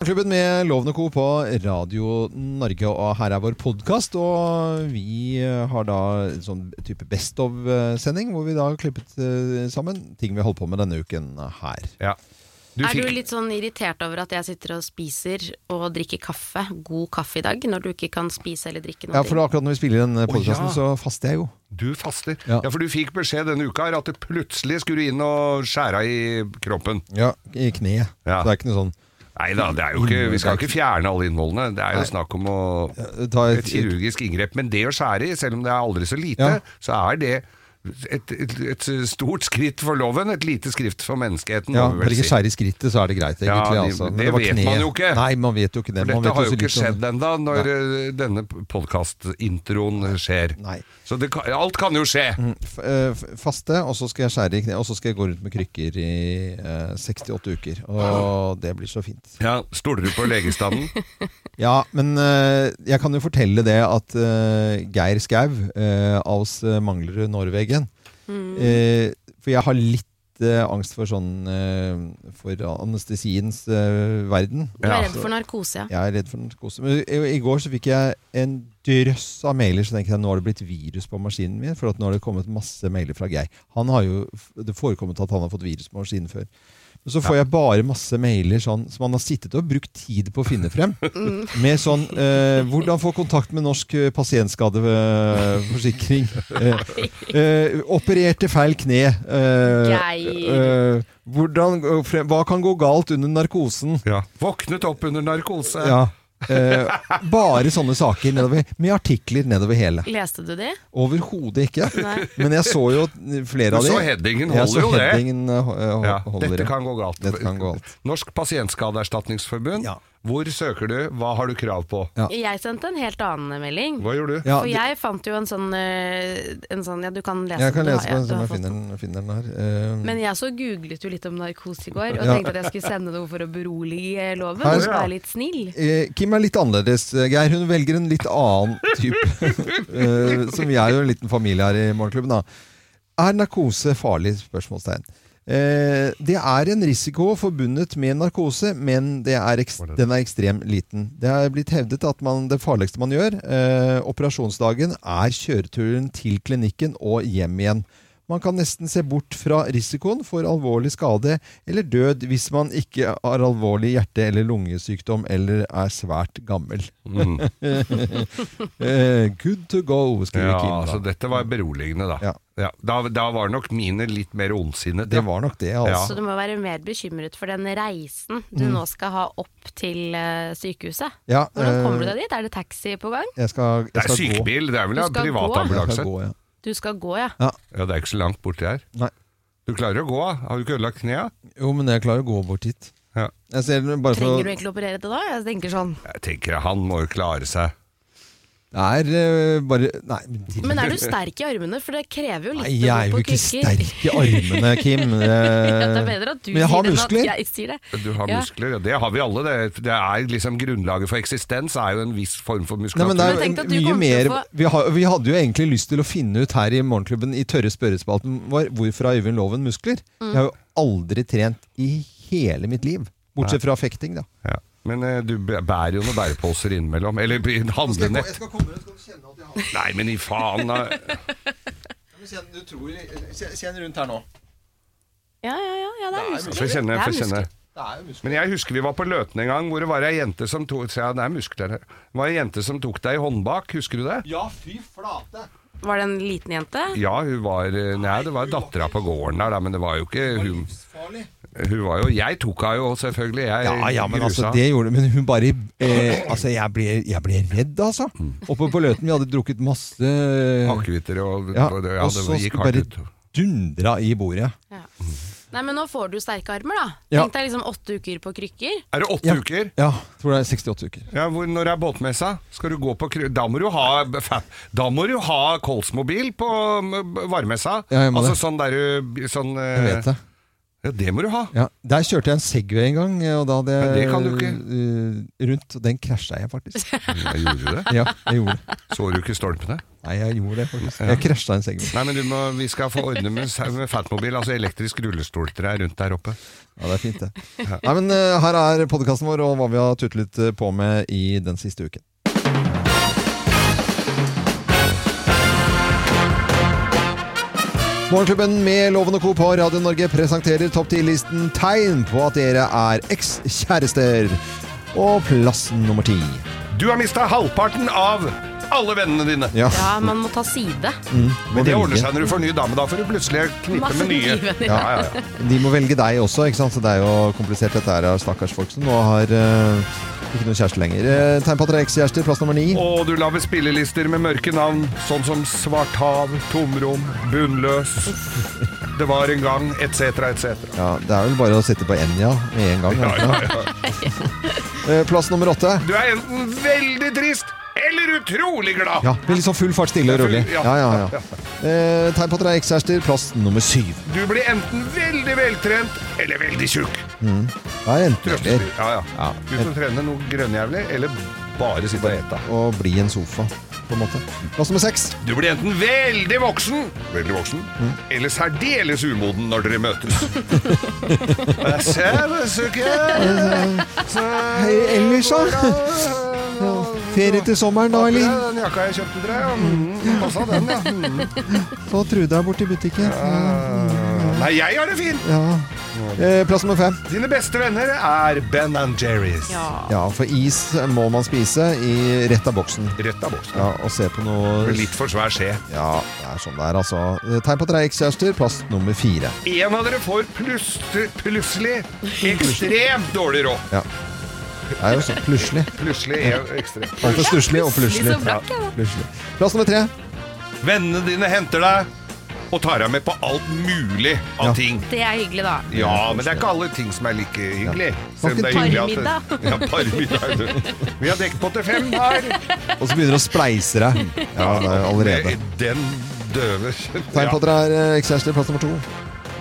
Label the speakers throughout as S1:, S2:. S1: Klubben med Lovende Co. på Radio Norge, og her er vår podkast. Og vi har da en sånn type Best of-sending, hvor vi da har klippet eh, sammen ting vi holdt på med denne uken her.
S2: Ja. Du
S3: er
S2: fikk,
S3: du litt sånn irritert over at jeg sitter og spiser og drikker kaffe, god kaffe i dag, når du ikke kan spise eller drikke noe?
S1: Ja, for akkurat når vi spiller
S2: eh,
S1: den podkasten,
S2: ja.
S1: så faster jeg jo.
S2: du faster. Ja.
S1: Ja.
S2: for du fikk beskjed denne uka her at du plutselig skulle inn og skjære i kroppen.
S1: Ja, I kneet.
S2: Ja.
S1: Så det er ikke noe sånn
S2: Nei da, det er jo ikke, vi skal ikke fjerne alle innholdene. Det er jo snakk om å
S1: ta
S2: et kirurgisk inngrep. Men det å skjære i, selv om det er aldri så lite,
S1: Ja.
S2: så er det et, et, et stort skritt for loven, et lite skrift for menneskeheten.
S1: Ja,
S2: må vi vel
S1: Bare ikke
S2: si.
S1: skjære i skrittet, så er det greit.
S2: Ja,
S1: egentlig,
S2: de-
S1: altså. Men
S2: det
S1: var
S2: vet man jo ikke.
S1: Nei, man vet jo ikke det.
S2: For
S1: Man
S2: dette
S1: vet
S2: har jo
S1: så
S2: ikke
S1: litt om-
S2: skjedd ennå når eh, denne podkastintroen skjer.
S1: Nei.
S2: Så det, kan- alt kan jo skje.
S1: F- eh, f- faste, og så skal jeg skjære i kneet, og så skal jeg gå rundt med krykker i eh, 68 uker. Og det blir så fint.
S2: Ja, Stoler du på legestanden?
S1: Ja, men eh, jeg kan jo fortelle det at eh, Geir Skau eh, av oss eh, mangler Norvegen. Eh, for jeg har litt eh, angst for sånn eh, For anestesiens eh, verden.
S3: Du er
S2: Ja.
S3: redd for narkose, ja.
S1: Jeg er redd for narkose. Men i, i går så fikk jeg en drøss av mailer, så tenkte jeg nå har det blitt virus på maskinen min. For at nå har det kommet masse mailer fra Geir. Han har jo, Det forekommet at han har fått virus på maskinen før. Men så får jeg bare masse mailer sånn, som han har sittet og brukt tid på å finne frem.
S3: Mm.
S1: Med sånn eh, 'Hvordan få kontakt med Norsk eh, pasientskadeforsikring'. Eh, eh, 'Opererte feil kne'. Eh,
S3: Geir.
S1: eh, hvordan, gå frem, hva kan gå galt under narkosen?
S2: Ja. Våknet opp under narkose.
S1: Ja. Eh, bare sånne saker nedover, med artikler nedover hele.
S3: Leste du de?
S1: Overhodet ikke.
S3: Nei.
S1: Men jeg så jo flere
S2: Du
S1: av de.
S2: så headingen
S1: Jeg
S2: holder
S1: så
S2: jo det.
S1: headingen, eh, ho- eh,
S2: Ja,
S1: holder
S2: dette
S1: det.
S2: kan gå galt.
S1: Dette kan gå galt.
S2: Norsk pasientskadeerstatningsforbund,
S1: Ja.
S2: hvor søker du, hva har du krav på?
S1: Ja.
S3: Jeg sendte en helt annen melding.
S2: Hva gjør du?
S1: Ja,
S3: For
S1: det-
S3: jeg fant jo en sånn, eh, en sånn Ja, du kan lese
S1: jeg kan
S3: den, du
S1: lese
S3: har-
S1: på den,
S3: du
S1: så
S3: har
S1: må jeg
S3: fått
S1: finne
S3: den.
S1: den, finne den her. Eh,
S3: Men jeg så googlet jo litt om narkose i går, og
S1: Ja.
S3: tenkte at jeg skulle sende noe for å berolige loven.
S1: Her-
S3: Og så være litt snill.
S1: eh, Kim er litt annerledes, eh, Geir. Hun velger en litt annen type. eh, som vi er jo en liten familie her i Morgenklubben, da. Er narkose farlig? spørsmålstegn. Eh, det er en risiko forbundet med narkose, men det er ekst- den er ekstremt liten. Det er blitt hevdet at man, det farligste man gjør eh, operasjonsdagen, er kjøreturen til klinikken og hjem igjen. Man kan nesten se bort fra risikoen for alvorlig skade eller død hvis man ikke har alvorlig hjerte- eller lungesykdom eller er svært gammel. eh, good to go, skriver Kim.
S2: Ja, altså,
S1: Da.
S2: så dette var beroligende, da.
S1: Ja.
S2: Ja, da, da var nok mine litt mer ondsinnet.
S1: Det
S2: ja.
S1: var nok det, altså.
S3: Så du må være mer bekymret for den reisen du
S1: Mm.
S3: nå skal ha opp til eh, sykehuset.
S1: Ja,
S3: Hvordan kommer du
S1: eh,
S3: deg dit? Er det taxi på gang?
S1: Jeg skal,
S2: Det
S1: jeg
S2: er
S1: skal gå.
S2: sykebil, det er vel
S3: Du
S2: en
S3: skal
S1: Jeg
S2: privatambulanse.
S1: skal gå, ja.
S3: Du skal gå, ja.
S2: Ja, det er ikke så langt borti her.
S1: Nei.
S2: Du klarer å gå, da. har du ikke ødelagt knea?
S1: Jo, men jeg klarer å gå bort hit.
S2: Ja.
S1: Jeg ser den bare for
S3: Trenger du
S1: Det
S3: egentlig å operere det da? Jeg tenker sånn.
S2: Jeg tenker han må jo klare seg.
S1: er eh, bare Nei, men de-
S3: Men er du sterk i armene? For det krever jo litt
S1: Nei, jeg er
S3: å
S1: jo
S3: gå på
S1: ikke
S3: krykker.
S1: sterk i armene, Kim.
S3: Ja, det er
S1: Eh,
S3: bedre at du
S1: Men jeg har
S3: sier det enn
S1: muskler.
S3: at jeg sier det.
S2: Du har
S3: Ja.
S2: muskler, ja. det har vi alle. Det, det er liksom Grunnlaget for eksistens er jo en viss form for
S1: Nei, men
S2: muskulatur.
S1: det er
S3: Men tenk at du
S1: mye
S3: kommer
S1: mer
S3: til å få-
S1: vi, har, vi hadde jo egentlig lyst til å finne ut her i Morgenklubben i tørre spørrespalten vår hvorfor har Øyvind Loven muskler?
S3: Mm.
S1: Jeg har jo aldri trent i hele mitt liv. Bortsett fra fekting, da.
S2: ja. men eh, du bæ- bærer jo noen bæreposer innimellom. Eller i en handlenett.
S1: komme, skal du kjenne at jeg har
S2: Nei, men i faen da.
S1: Kjenn rundt her nå.
S3: Ja, ja, ja, ja det er
S2: Få
S3: muskler.
S2: kjenne,
S3: Det er
S2: få kjenne.
S3: muskler.
S1: Det er jo muskler.
S2: Men jeg husker vi var på Løten en gang, hvor det var ei jente som tok ja, det er muskler her. Det var ei jente som tok deg i håndbak, husker du det?
S1: Ja, fy flate!
S3: Var det en liten jente?
S2: Ja, hun var eh, Nei, det var dattera på gården der, da, men det var jo ikke hun,
S1: Livsfarlig.
S2: hun var jo Jeg tok henne jo, selvfølgelig. Jeg
S1: Ja, ja, men
S2: grusa.
S1: altså, det gjorde Men hun bare eh, Altså, jeg ble, jeg ble redd, altså.
S2: Mm.
S1: Oppe på Løten, vi hadde drukket masse
S2: Akevitter og
S1: Ja,
S2: ja, det,
S1: og
S2: det
S1: så
S2: gikk
S1: skulle bare
S2: hardt ut.
S1: dundra i bordet.
S3: Ja. Nei, men nå får du sterke armer, da.
S1: Ja.
S3: Tenk deg liksom åtte uker på krykker.
S2: Er det åtte
S1: Ja.
S2: uker?
S1: Ja, tror det er 68 uker.
S2: Ja, hvor, når det er båtmessa, skal du gå på kru... Da må du ha, fa- da må du ha Kolsmobil på mm, varmessa.
S1: Ja, jeg må
S2: altså
S1: det.
S2: sånn der du Sånn
S1: Jeg vet det.
S2: Ja, det må du ha.
S1: Ja, der kjørte jeg en Segway en gang, og da hadde jeg
S2: Ja, det kan du ikke.
S1: eh, rundt, og den krasja jeg faktisk.
S2: Jeg gjorde det.
S1: Ja, jeg gjorde det.
S2: Så du ikke stolpene?
S1: Nei, jeg gjorde det faktisk. Jeg krasja en Segway.
S2: Nei, men du må, vi skal få ordne med, med fatmobil, altså elektrisk rullestol til deg rundt der oppe.
S1: Ja, det er fint, det. Nei, men eh, her er podkasten vår og hva vi har tutlet eh, på med i den siste uken. Morgenklubben med Loven og Co. på Radio Norge presenterer topp 10-listen tegn på at dere er ekskjærester. Og plass nummer ti.
S2: Du har mista halvparten av alle vennene dine.
S1: Ja,
S3: Ja, man må ta side.
S1: Mm.
S2: Men det
S1: må
S2: ordner
S1: velge.
S2: seg når du får ny dame. Da får du plutselig knippe
S3: Masse
S2: med nye.
S3: nye venner.
S2: Ja, ja, ja.
S1: De må velge deg også, ikke sant? Så det er jo komplisert dette her, stakkars folk som nå har eh, ikke noen kjæreste lenger. Eh, tegn på at dere er ekskjærester, plass nummer ni.
S2: Og du lager spillelister med mørke navn, sånn som Svart hav, Tomrom, Bunnløs, Det var en gang, etc., etc.
S1: Ja, Det er vel bare å sette på Enja med en gang. er det ikke det? Eh, Plass nummer åtte.
S2: Du er enten veldig trist eller utrolig glad.
S1: Ja, med litt sånn full fart, stille og rolig.
S2: Ja,
S1: Ja, ja, ja. Eh, tegn på at dere er ekskjærester. Plass nummer syv.
S2: Du blir enten veldig veltrent eller veldig tjukk.
S1: Det er enten eller
S2: Trøstelig. Ja, ja.
S1: Ja.
S2: Du får trene noe grønnjævlig, eller bare sitte og ete.
S1: å bli en sofa, på en måte. Plass nummer seks.
S2: Du blir enten veldig voksen, Mm. veldig voksen eller særdeles umoden når dere møtes. Jeg ser det, så ikke. Så-
S1: Hei, ellers, da? Ferie til sommeren, da,
S2: Ja,
S1: eller?
S2: Den jakka jeg kjøpte til deg, ja. Mm, passa den, ja. Mm.
S1: Så Trude er borte i butikken.
S2: Eh, Nei, jeg har det fint!
S1: Ja. Eh, plass nummer fem.
S2: Dine beste venner er Ben and Jerry's.
S3: Ja.
S1: Ja, for is må man spise i rett av boksen.
S2: Rett av boksen.
S1: Ja, Og se på noe
S2: Med Litt for svær skje.
S1: Ja, det er sånn det er, altså. Eh, Tegn på at dere er ekskjærester. Plass nummer fire.
S2: En av dere får plus- plutselig ekstremt dårlig råd.
S1: Det er jo sånn plutselig.
S2: Plutselig er ekstremt.
S1: Bare for stusslig og plutselig.
S3: Plutselig så brakk jeg, da.
S1: Plutselig. Plass nummer tre.
S2: Vennene dine henter deg og tar deg med på alt mulig av
S1: Ja.
S2: ting.
S3: Det er hyggelig, da.
S2: Ja, men det er ikke alle ting som er like hyggelig. Selv om det er hyggelig at- Ja, parmiddag. Vi har dekket på til fem her.
S1: Og så begynner du å spleise deg. Ja, det er allerede.
S2: Det- Den døve kjønn.
S1: Tegn på at dere er eh, ekskjærester. Plass nummer to.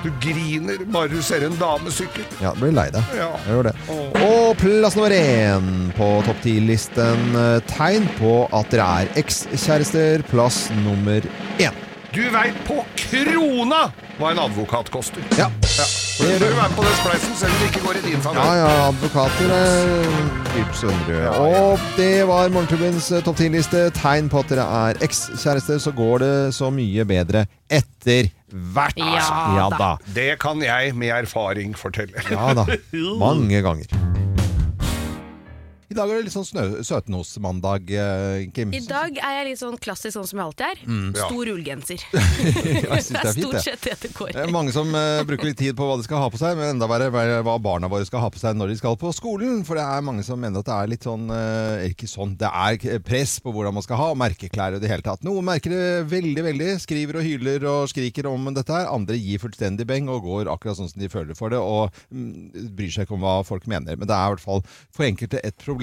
S2: Du griner bare du ser en dame sykle.
S1: Ja, du blir lei deg.
S2: Ja.
S1: Jeg gjør det. Og plass nummer én på topp ti-listen. eh, Tegn på at dere er ekskjærester. Plass nummer én.
S2: Du veit på krona hva en advokat koster.
S1: Ja.
S2: Ja. For Du bør være med på den spleisen selv om det ikke går i din
S1: Ja,
S2: favør.
S1: ja, advokater er dyrt sønderud. Og det var Morgenklubbens eh, topp 10-liste. Tegn på at dere er ekskjærester, så går det så mye bedre etter hvert.
S3: Ja da.
S2: Det kan jeg med erfaring fortelle.
S1: Ja da. Mange ganger. I dag er det litt sånn snø- søtnosmandag, eh, Kim.
S3: I dag er jeg litt sånn klassisk sånn som jeg alltid er.
S2: Ja.
S3: Stor ullgenser.
S1: Mm. Jeg synes det
S3: Det er
S1: er fint,
S3: stort
S1: det.
S3: sett det det går
S1: Det er
S3: i.
S1: Mange som eh, bruker litt tid på hva de skal ha på seg, men enda verre hva- hva barna våre skal ha på seg når de skal på skolen. For det er mange som mener at det er litt sånn eh, Ikke sånn, det er press på hvordan man skal ha, og merkeklær og det hele tatt. Noen merker det veldig, veldig. Skriver og hyler og skriker om dette her. Andre gir fullstendig beng og går akkurat sånn som de føler for det, og mm, bryr seg ikke om hva folk mener. Men det er i hvert fall for enkelte et problem.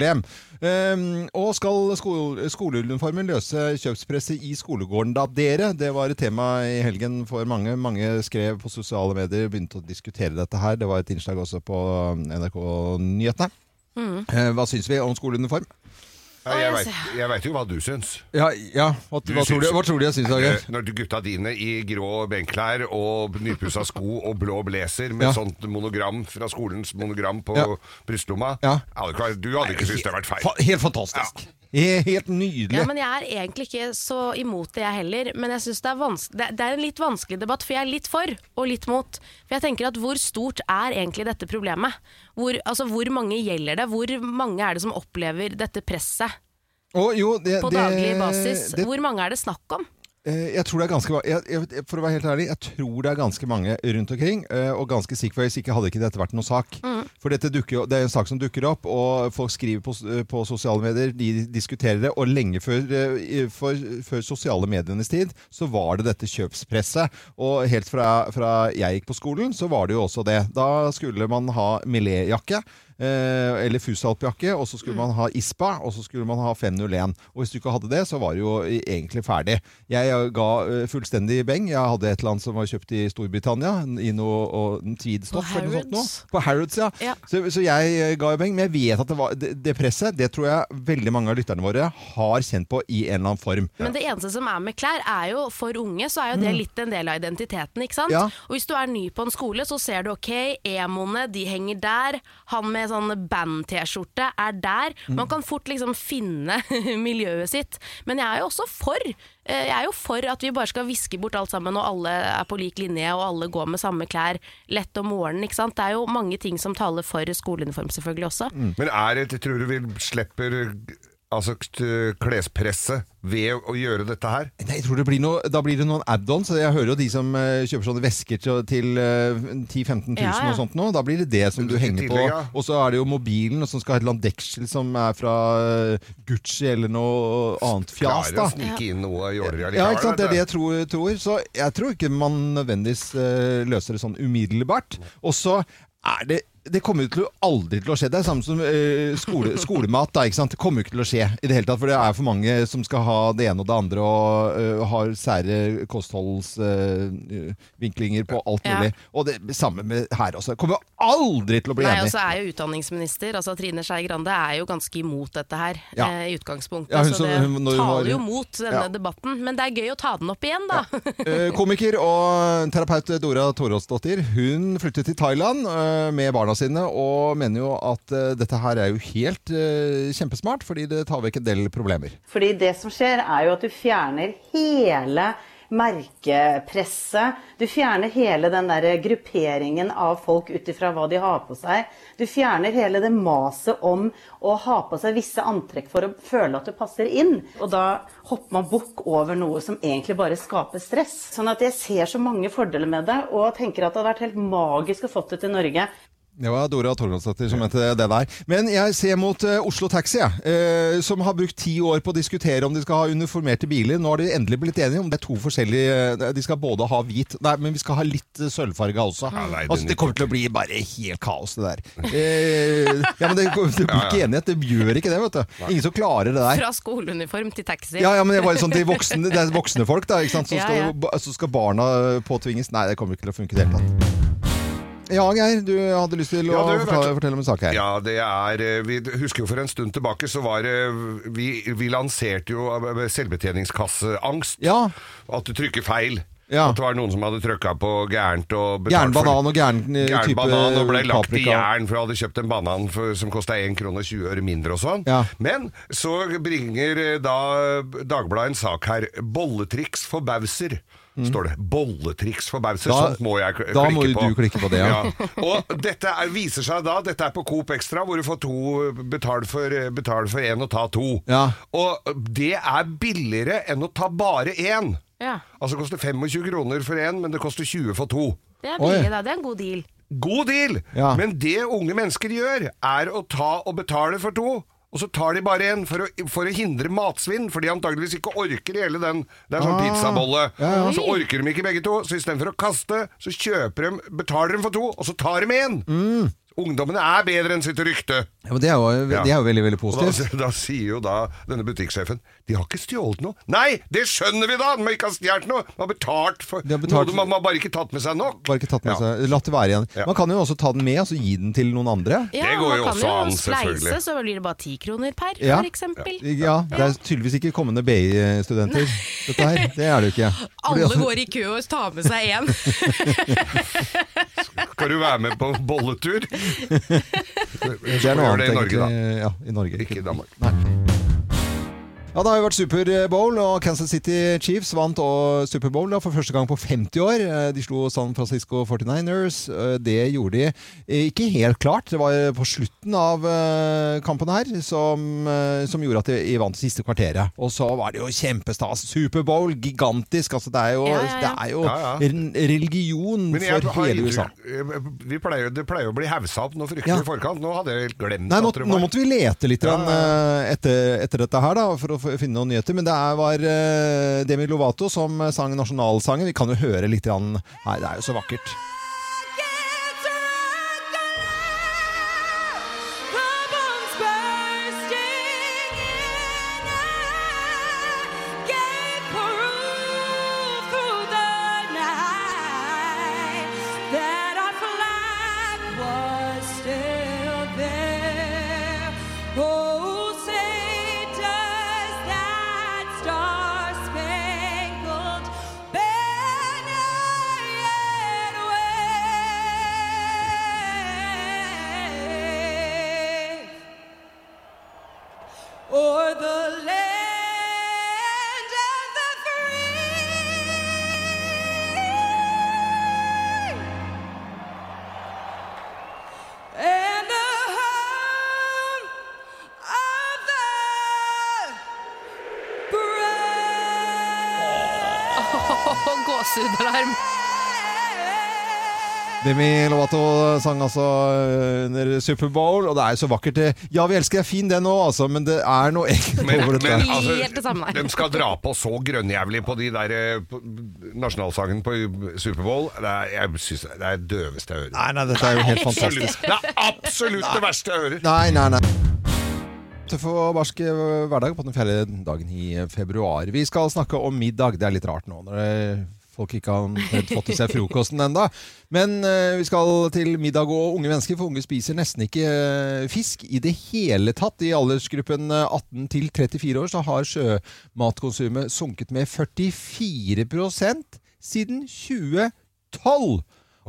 S1: Ehm, og skal skol skoleuniformen løse kjøpspresset i skolegården da, dere? Det var et tema i helgen for mange. Mange skrev på sosiale medier, begynte å diskutere dette her. Det var et innslag også på NRK Nyhetene.
S3: Mm.
S1: Eh, hva syns vi om skoleuniform?
S2: Ja, Jeg vet- Jeg veit jo hva du syns.
S1: Ja, Hva,
S2: hva tror du- hva
S1: tror du jeg syns,
S2: Eh, Når du gutta dine i grå benklær og nypussa sko og blå blazer med
S1: Ja.
S2: sånt monogram fra skolens monogram på
S1: Ja.
S2: brystlomma
S1: Ja.
S2: Jeg hadde ikke- Du hadde ikke syntes det hadde vært feil.
S1: Helt fantastisk. He- Helt nydelig.
S3: Ja, men jeg er egentlig ikke så imot det, jeg heller. Men jeg synes det, er vans- det, det er en litt vanskelig debatt, for jeg er litt for og litt mot. For jeg tenker at hvor stort er egentlig dette problemet? Hvor, altså, hvor mange gjelder det? Hvor mange er det som opplever dette presset
S1: Å, jo, det-
S3: på
S1: det-
S3: daglig basis?
S1: det-
S3: Hvor mange er det snakk om?
S1: Eh, Jeg tror det er ganske ma- jeg, jeg, For å være helt ærlig, jeg tror det er ganske mange rundt omkring. eh, Og ganske sikker for hvis ikke hadde ikke dette vært noen sak. For dette dukker, jo- det er en sak som dukker opp, og folk skriver på, s- eh, på sosiale medier, de diskuterer det. Og lenge før, eh, i- for, før sosiale medienes tid så var det dette kjøpspresset. Og helt fra, fra jeg gikk på skolen, så var det jo også det. Da skulle man ha Millet-jakke. eh, eller fusalpjakke, og så skulle
S3: Mm.
S1: man ha ISPA, og så skulle man ha 501. Og hvis du ikke hadde det, så var det jo i- egentlig ferdig. Jeg ga eh, fullstendig beng. Jeg hadde et eller annet som var kjøpt i Storbritannia, i noe og en tweedstoff
S3: På
S1: eller noe sånt nå.
S3: Harrods.
S1: På Harrods, ja.
S3: Ja.
S1: Så, så jeg eh, ga jo beng, men jeg vet at det var det, det presset, det tror jeg veldig mange av lytterne våre har kjent på i en eller annen form.
S3: Men det eneste som er med klær, er jo for unge, så er jo det litt en del av identiteten. ikke sant?
S1: Ja.
S3: Og hvis du er ny på en skole, så ser du ok, emoene de henger der, han med sånn band-T-skjorte er der. Man kan fort liksom finne miljøet sitt. Men jeg er jo også for. eh, Jeg er jo for at vi bare skal viske bort alt sammen, og alle er på lik linje, og alle går med samme klær lett om morgenen. ikke sant? Det er jo mange ting som taler for skoleuniform selvfølgelig også.
S2: Men er det, tror du vi slipper altså, k- klespresset ved å gjøre dette her?
S1: Nei, jeg tror det blir noe, Da blir det noen add-ons. Jeg hører jo de som eh, kjøper sånne vesker til, til eh, 10 000-15 000
S3: Ja, ja.
S1: og sånt nå. Da blir det det som du
S2: I
S1: henger på.
S2: tillegg, ja.
S1: Og så er det jo mobilen og som skal ha et eller annet deksel som er fra eh, Gucci eller noe annet fjas.
S2: Klarer å
S1: da.
S2: snike inn noe jåleri
S1: Ja, ikke sant? Det er det
S2: vet
S1: jeg tror. tror. Så jeg tror ikke man nødvendigvis eh, løser det sånn umiddelbart. Og så er det det kommer jo til å aldri til å skje. Det er samme som eh, skole, skolemat. Da, ikke sant? Det kommer jo ikke til å skje i det hele tatt. For det er for mange som skal ha det ene og det andre og eh, har sære kostholdsvinklinger på alt
S3: Ja.
S1: mulig. Og det samme med her også. Det kommer jo aldri til å bli
S3: Nei, og
S1: enig.
S3: så er jo utdanningsminister, altså Trine Skei Grande er jo ganske imot dette her
S1: Ja.
S3: eh, i utgangspunktet.
S1: Ja, hun
S3: så
S1: som-
S3: det
S1: hun- når hun var-
S3: taler jo mot denne
S1: Ja.
S3: debatten. Men det er gøy å ta den opp igjen, da.
S1: Eh, Komiker og terapeut Dora Toråsdottir Hun flyttet til Thailand eh, med barna sine og mener jo at eh, dette her er jo helt eh, kjempesmart, fordi det tar vekk en del problemer.
S4: Fordi det som skjer er jo at du fjerner hele merkepresset. Du fjerner hele den der grupperingen av folk ut ifra hva de har på seg. Du fjerner hele det maset om å ha på seg visse antrekk for å føle at du passer inn. Og da hopper man bukk over noe som egentlig bare skaper stress. Sånn at jeg ser så mange fordeler med det, og tenker at det hadde vært helt magisk å fått det til Norge.
S1: Det var Dora Torgalsdatter som mente det der. Men jeg ser mot eh, Oslo Taxi, jeg, eh, som har brukt ti år på å diskutere om de skal ha uniformerte biler. Nå har de endelig blitt enige om det er to forskjellige eh, De skal både ha hvit Nei, men vi skal ha litt eh, sølvfarge også.
S2: Ja, nei, det
S1: altså, det
S2: nytter
S1: kommer til å bli bare helt kaos, det der. Eh, ja, men det, det blir ikke enighet. Det gjør ikke det, vet du. Ingen som klarer det der.
S3: Fra skoleuniform til taxi.
S1: Ja, ja, men det var jo sånn til voksne, det er voksne folk, da. Ikke sant? Så,
S3: Ja,
S1: skal,
S3: ja.
S1: ba- så skal barna påtvinges. Nei, det kommer ikke til å funke i det hele tatt. Ja, Geir, du hadde lyst til
S2: Ja,
S1: å
S2: du, vet
S1: fortelle,
S2: du-
S1: fortelle om en sak her.
S2: Ja, det er eh, Vi husker jo for en stund tilbake så var det Vi, vi lanserte jo eh, selvbetjeningskasseangst.
S1: Ja.
S2: At du trykker feil.
S1: Ja.
S2: At det var noen som hadde trykka på gærent og betalt
S1: Gæren
S2: for det.
S1: banan og gæren eh,
S2: Gæren
S1: type
S2: banan og ble lagt i
S1: paprika.
S2: jern, for jeg hadde kjøpt en banan for, som kosta 1 krone 20 øre mindre og sånn.
S1: Ja.
S2: Men så bringer eh, da Dagbladet en sak her. 'Bolletriks for bauser'. Står det. Bolletriks for bauser.
S1: Da-
S2: Sånt må jeg k- klikke på.
S1: da må jo du klikke på det, ja.
S2: Og dette er, viser seg da Dette er på Coop Extra, hvor du får to betal for, betal for én og ta to.
S1: Ja.
S2: Og det er billigere enn å ta bare én.
S3: Ja.
S2: Altså det koster 25 kroner for én, men det koster 20 for to.
S3: Det er
S1: Oi.
S3: billig, da. Det er en god deal.
S2: God deal!
S1: Ja.
S2: Men det unge mennesker gjør, er å ta og betale for to. Og så tar de bare en for å, for å hindre matsvinn, for de antageligvis ikke orker hele den. Det er sånn
S1: Ah.
S2: pizzabolle.
S1: Ja,
S2: Så orker de ikke begge to, så istedenfor å kaste, så kjøper de, betaler de for to, og så tar de en!
S1: Mm.
S2: Ungdommene er bedre enn sitt rykte.
S1: Ja, men det er jo, eh,
S2: Ja.
S1: det er jo veldig, veldig
S2: Og da,
S1: positivt.
S2: da sier jo da denne butikksjefen De har ikke stjålet noe. Nei, det skjønner vi da! De har ikke ha stjålet noe! De har betalt for
S1: De har betalt-
S2: noe, de har bare ikke tatt med seg nok.
S1: Bare ikke tatt med
S2: Ja.
S1: seg, latt det være igjen.
S2: Ja.
S1: Man kan jo også ta den med, og så gi den til noen andre.
S3: Ja,
S2: Det går jo
S3: man kan
S2: også an,
S3: spleise,
S2: selvfølgelig.
S3: så blir det bare ti kroner per,
S1: Ja.
S3: for eksempel.
S1: Ja, det er tydeligvis ikke kommende BI-studenter, dette her. Det er det jo ikke. Fordi
S3: Alle
S1: at-
S3: går i kø og tar med seg én.
S2: Skal du være med på bolletur?
S1: Det er noe
S2: Gjør det
S1: annet,
S2: i Norge, da.
S1: egentlig. Ja, i Norge.
S2: Ikke i Danmark.
S1: Ja, Det har jo vært Super Bowl, og Kansas City Chiefs vant og Super Bowl da, for første gang på 50 år. Eh, De slo San Francisco 49ers. Eh, Det gjorde de eh, ikke helt klart. Det var eh, på slutten av eh, kampen her som, eh, som gjorde at de vant det siste kvarteret. Og så var det jo kjempestas. Super Bowl, gigantisk. Altså, det er jo,
S3: Ja, ja, ja.
S1: Det er jo
S2: Ja, ja.
S1: en religion
S2: Men jeg
S1: for
S2: har
S1: hele USA.
S2: inntrykk vi pleier, Det pleier å bli haussa opp noe fryktelig
S1: Ja.
S2: i forkant. Nå hadde jeg helt glemt
S1: Nei, nå,
S2: at det
S1: nå
S2: var
S1: måtte vi lete litt grann, eh, etter, etter dette her da, for å f- finne noen nyheter. Men det er, var eh, Demi Lovato som sang nasjonalsangen. Vi kan jo høre litt grann. Nei, det er jo så vakkert.
S5: Get a girl. Oh, O'er the land of the free and the home of the
S6: Og gåsehudalarm.
S5: brave.
S1: Demi Lovato sang altså eh, under Superbowl, og det er jo så vakkert. det. Ja, vi elsker deg, fin den òg, altså, men det er noe ekkelt
S2: Men,
S1: over dette.
S2: men altså,
S1: her.
S3: Helt det samme.
S2: de skal dra på så grønnjævlig på de der eh, på- nasjonalsangen på Superbowl. Det er, jeg synes det er det døveste jeg hører.
S1: Nei, nei, dette er jo helt fantastisk.
S2: Absolutt. Det er absolutt det verste jeg hører.
S1: Nei, nei, nei. For barsk hverdag på den fjerde dagen i eh, februar. Vi skal snakke om middag. Det er litt rart nå når det- folk ikke har omtrent fått i seg frokosten enda. Men eh, vi skal til middag og unge mennesker, for unge spiser nesten ikke eh, fisk i det hele tatt. I aldersgruppen eh, 18 til 34 år så har sjømatkonsumet sunket med 44 siden 2012.
S2: Oi.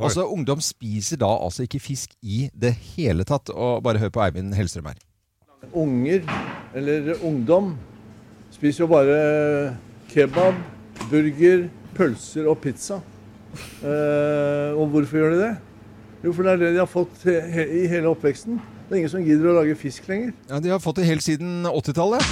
S1: Altså, ungdom spiser da altså ikke fisk i det hele tatt. Og bare hør på Eivind Hellstrøm her.
S7: unger eller ungdom spiser jo bare kebab, burger, pølser og pizza. Eh, og hvorfor gjør de det? Jo, for det er det de har fått he he i hele oppveksten. Det er ingen som gidder å lage fisk lenger.
S1: Ja, De har fått det helt siden 80-tallet.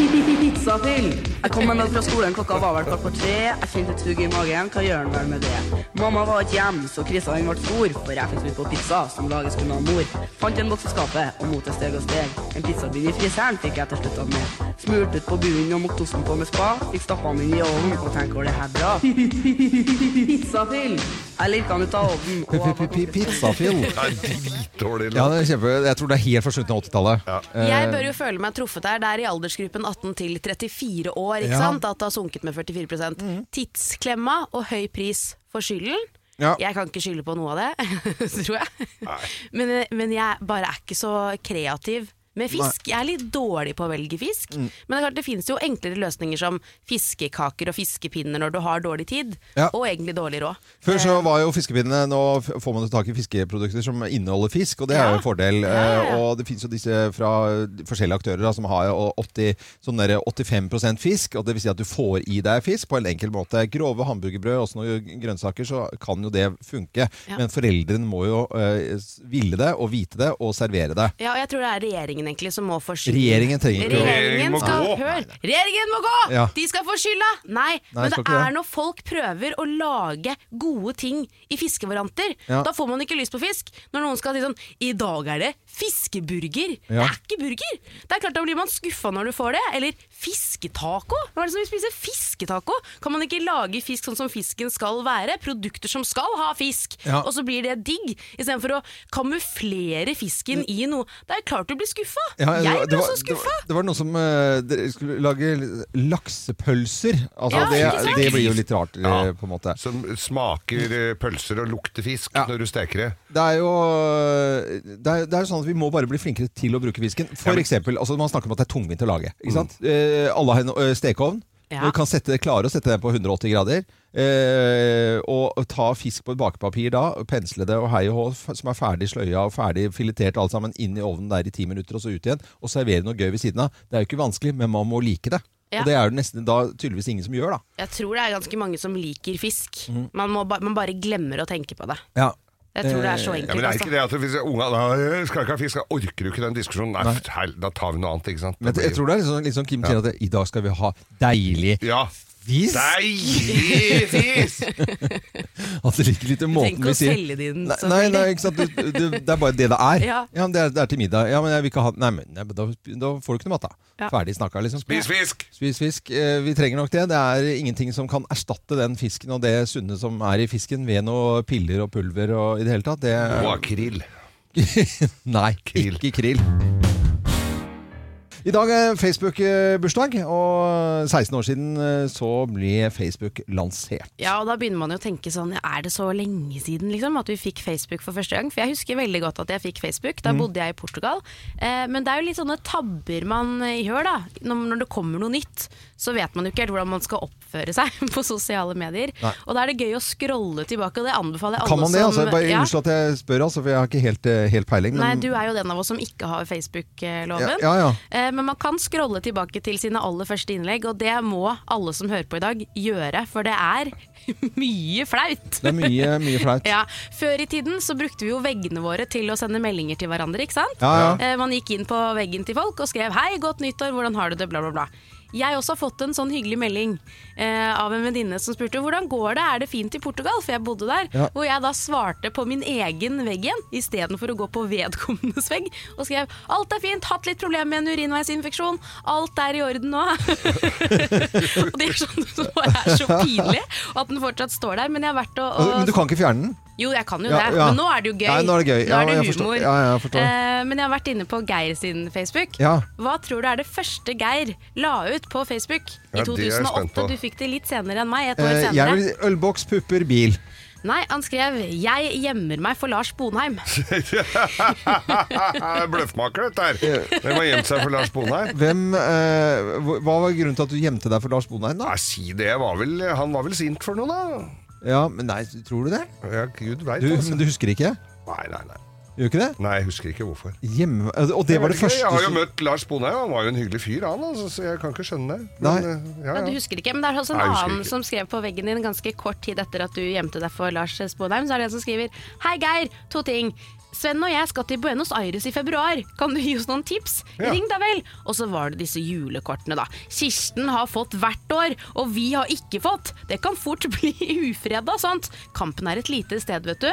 S8: Pizza til! Jeg kom meg ned fra skolen, klokka var vel kvart på tre. Jeg kjente et sug i magen, hva gjør han vel med det? Mamma var ikke hjemme, så krisa den ble stor, for jeg fikk ut på pizza som lages kun av mor. Fant en boks i skapet, og mot det steg og steg. En pizzabunn i fryseren fikk jeg til slutt av med. Smurt ut på bunnen og mokte osten på med spa. Fikk stappa den inn i ovnen, og tenk hvor det her bra. Pizza til! Jeg lirka den ut av ovnen. og jeg var ganske
S1: P-p-p- Pizzafil.
S2: Det er dritdårlig.
S1: Ja,
S2: låt.
S1: det er kjempe, Jeg tror det er helt forsvunnet av 80-tallet.
S3: Jeg
S1: Eh.
S3: bør jo føle meg truffet her. Det er i aldersgruppen 18 til 34 år ikke
S1: Ja. Mhm.
S3: sant? at det har sunket med 44 Tidsklemma og høy pris for skylden.
S1: Ja.
S3: Jeg kan ikke skylde på noe av det, tror jeg. Men, men jeg bare er ikke så kreativ med fisk. Jeg er litt dårlig på å velge fisk.
S1: Mm.
S3: Men det er klart det finnes jo enklere løsninger som fiskekaker og fiskepinner når du har dårlig tid,
S1: Ja.
S3: og egentlig dårlig råd.
S1: Før så var jo fiskepinnene Nå f- får man jo tak i fiskeprodukter som inneholder fisk, og det er jo en fordel. Eh, Og det fins jo disse fra forskjellige aktører da, som har jo 80, sånn der 85 fisk. Og det vil si at du får i deg fisk på en enkel måte. Grove hamburgerbrød og noen grønnsaker, så kan jo det funke.
S3: Ja.
S1: Men foreldrene må jo eh, s- ville det, og vite det, og servere det.
S3: Ja, og jeg tror det er regjeringen egentlig som må få skylda.
S1: Regjeringen trenger ikke å-
S2: Regjeringen
S3: Regjeringen
S2: må
S3: skal
S2: gå.
S3: Hør! Regjeringen må gå!
S1: Ja.
S3: De skal få skylda! Nei, men
S1: skal
S3: det
S1: ikke det.
S3: er når folk prøver å lage gode ting i fiskevarianter.
S1: Ja.
S3: Da får man ikke lyst på fisk. Når noen skal si sånn I dag er det fiskeburger. Det
S1: Ja.
S3: er ikke burger! Det er klart Da blir man skuffa når du får det. Eller fisketaco. Hva er det som vil spise fisketaco? Kan man ikke lage fisk sånn som fisken skal være? Produkter som skal ha fisk.
S1: Ja.
S3: Og så blir det digg, istedenfor å kamuflere fisken i noe. Det er klart du blir skuffa!
S1: Ja, det var-
S3: jeg
S1: det
S3: ble
S1: var-
S3: også
S1: det
S3: skuffa!
S1: var- Det var noen som eh, dere skulle lage laksepølser. Altså,
S3: Ja, ikke
S1: det,
S3: sant?
S1: det blir jo litt rart, eh,
S2: Ja.
S1: på en måte.
S2: Som smaker eh, pølser og lukter fisk
S1: Ja.
S2: når du steker det.
S1: Det er jo det er, det er jo sånn at vi må bare bli flinkere til å bruke fisken. For eksempel, altså Man snakker om at det er tungvint å lage. Ikke sant? Eh, alle har en ø, stekeovn.
S3: Ja.
S1: Du kan sette, klare å sette den på 180 grader. Eh, og og ta fisk på et bakepapir da, og pensle det og hei og hå, f- som er ferdig sløya og ferdig filetert alt sammen, inn i ovnen der i ti minutter og så ut igjen. Og servere noe gøy ved siden av. Det er jo ikke vanskelig, men man må like det.
S3: Ja.
S1: Og det er det nesten da tydeligvis ingen som gjør, da.
S3: Jeg tror det er ganske mange som liker fisk.
S1: Mhm.
S3: Man, må ba man bare glemmer å tenke på det. Jeg tror det er
S1: Eh,
S3: så
S2: Ja,
S3: enkelt.
S2: men det er
S3: altså.
S2: ikke det at hvis unga da, «Øh, skal ikke ha fisk, da orker du ikke den diskusjonen. Nei, f- hel- da tar vi noe annet, ikke sant.
S1: Men jeg, jeg tror det er litt sånn- litt sånn Kim sier at i dag skal vi ha deilig
S2: Ja.
S1: fisk.
S2: Deilig fisk!
S1: At det ligger litt i
S3: Tenk
S1: måten
S3: å
S1: vi sier
S3: selge det inn,
S1: Nei, nei,
S3: selvfølgelig.
S1: nei ikke sant? Du, du, det er bare det det er. Ja,
S3: Ja.
S1: men det, er, det er til middag. Ja, men jeg vil ikke ha Nei, men nei, men da, da får du ikke noe mat, da.
S3: Ja.
S1: Ferdig snakka, liksom.
S2: Spis fisk!
S1: Spis fisk. Eh, Vi trenger nok det. Det er ingenting som kan erstatte den fisken og det sunne som er i fisken, ved noe piller og pulver og i det hele tatt. Det
S2: Og akrill.
S1: Nei,
S2: Krill.
S1: ikke krill. I dag er Facebook-bursdag, og 16 år siden eh, så ble Facebook lansert.
S3: Ja, og da begynner man jo å tenke sånn ja, Er det så lenge siden liksom, at vi fikk Facebook for første gang? For jeg husker veldig godt at jeg fikk Facebook.
S1: Mm.
S3: Da bodde jeg i Portugal. Eh, men det er jo litt sånne tabber man eh, gjør, da. Når, når det kommer noe nytt, så vet man jo ikke helt hvordan man skal oppføre seg på sosiale medier.
S1: Nei.
S3: Og da er det gøy å scrolle tilbake, og det anbefaler jeg alle
S1: Kan man det?
S3: som
S1: altså? Bare
S3: Ja.
S1: Unnskyld at jeg spør, altså, for jeg har ikke helt, eh, helt peiling. Men
S3: Nei, du er jo den av oss som ikke har Facebook-loven.
S1: Ja, ja, ja.
S3: Eh, Eh, Men man kan scrolle tilbake til sine aller første innlegg, og det må alle som hører på i dag, gjøre. For det er mye flaut.
S1: Det er mye, mye flaut.
S3: Ja, Før i tiden så brukte vi jo veggene våre til å sende meldinger til hverandre. ikke sant?
S1: Ja, ja.
S3: Eh, Man gikk inn på veggen til folk og skrev 'Hei, godt nyttår, hvordan har du det?' bla, bla, bla. Jeg også har fått en sånn hyggelig melding eh, av en venninne som spurte 'Hvordan går det, er det fint i Portugal?' For jeg bodde der.
S1: Ja.
S3: Hvor jeg da svarte på min egen vegg igjen, istedenfor å gå på vedkommendes vegg. Og skrev 'Alt er fint, hatt litt problemer med en urinveisinfeksjon. Alt er i orden nå'. og det er sånn som bare er så pinlig, og at den fortsatt står der. Men jeg har vært og, og
S1: Altså, Men du kan ikke fjerne den?
S3: jo, jeg kan jo
S1: Ja,
S3: det,
S1: ja.
S3: men nå er det jo gøy.
S1: Nei, nå er det gøy.
S3: Nå
S1: Ja,
S3: er det
S1: jeg
S3: humor.
S1: forstår. Ja, ja, jeg forstår.
S3: Eh, men jeg har vært inne på Geir sin Facebook.
S1: Ja.
S3: Hva tror du er det første Geir la ut på Facebook
S2: Ja, det
S3: i
S2: er jeg
S3: 2008?
S2: spent på.
S3: Du fikk det litt senere enn meg. Et år
S1: Eh,
S3: senere.
S1: jeg vil ølboks, pupper, bil.
S3: Nei, han skrev 'Jeg gjemmer meg for Lars Bonheim'.
S2: Bløffmaker, dette her. Hvem har gjemt seg for Lars Bonheim?
S1: Hvem, eh, hva hva var grunnen til at du gjemte deg for Lars Bonheim, da?
S2: Nei, si det. Var vel, han var vel sint for noe, da?
S1: Ja, men nei, tror du det?
S2: Ja, gud veit,
S1: Du,
S2: altså.
S1: men du husker ikke?
S2: Nei, nei, nei.
S1: Gjør ikke det?
S2: Nei, Jeg husker ikke hvorfor.
S1: Hjemme, altså, og det var det første
S2: Jeg har jo
S1: som-
S2: møtt Lars Bonheim, han var jo en hyggelig fyr, han, altså, så jeg kan ikke skjønne det.
S1: Nei.
S2: eh,
S3: Ja,
S2: ja,
S3: du
S2: ja.
S3: husker ikke, men det er også en
S2: Nei, jeg husker
S3: annen
S2: ikke.
S3: som skrev på veggen din ganske kort tid etter at du gjemte deg for Lars Sponheim. Så er det en som skriver Hei Geir, to ting. Sven og jeg skal til Buenos Aires i februar. Kan du gi oss noen tips?
S2: Ja.
S3: Ring da vel! Og så var det disse julekortene, da. Kirsten har fått hvert år, og vi har ikke fått. Det kan fort bli ufred av sånt. Kampen er et lite sted, vet du.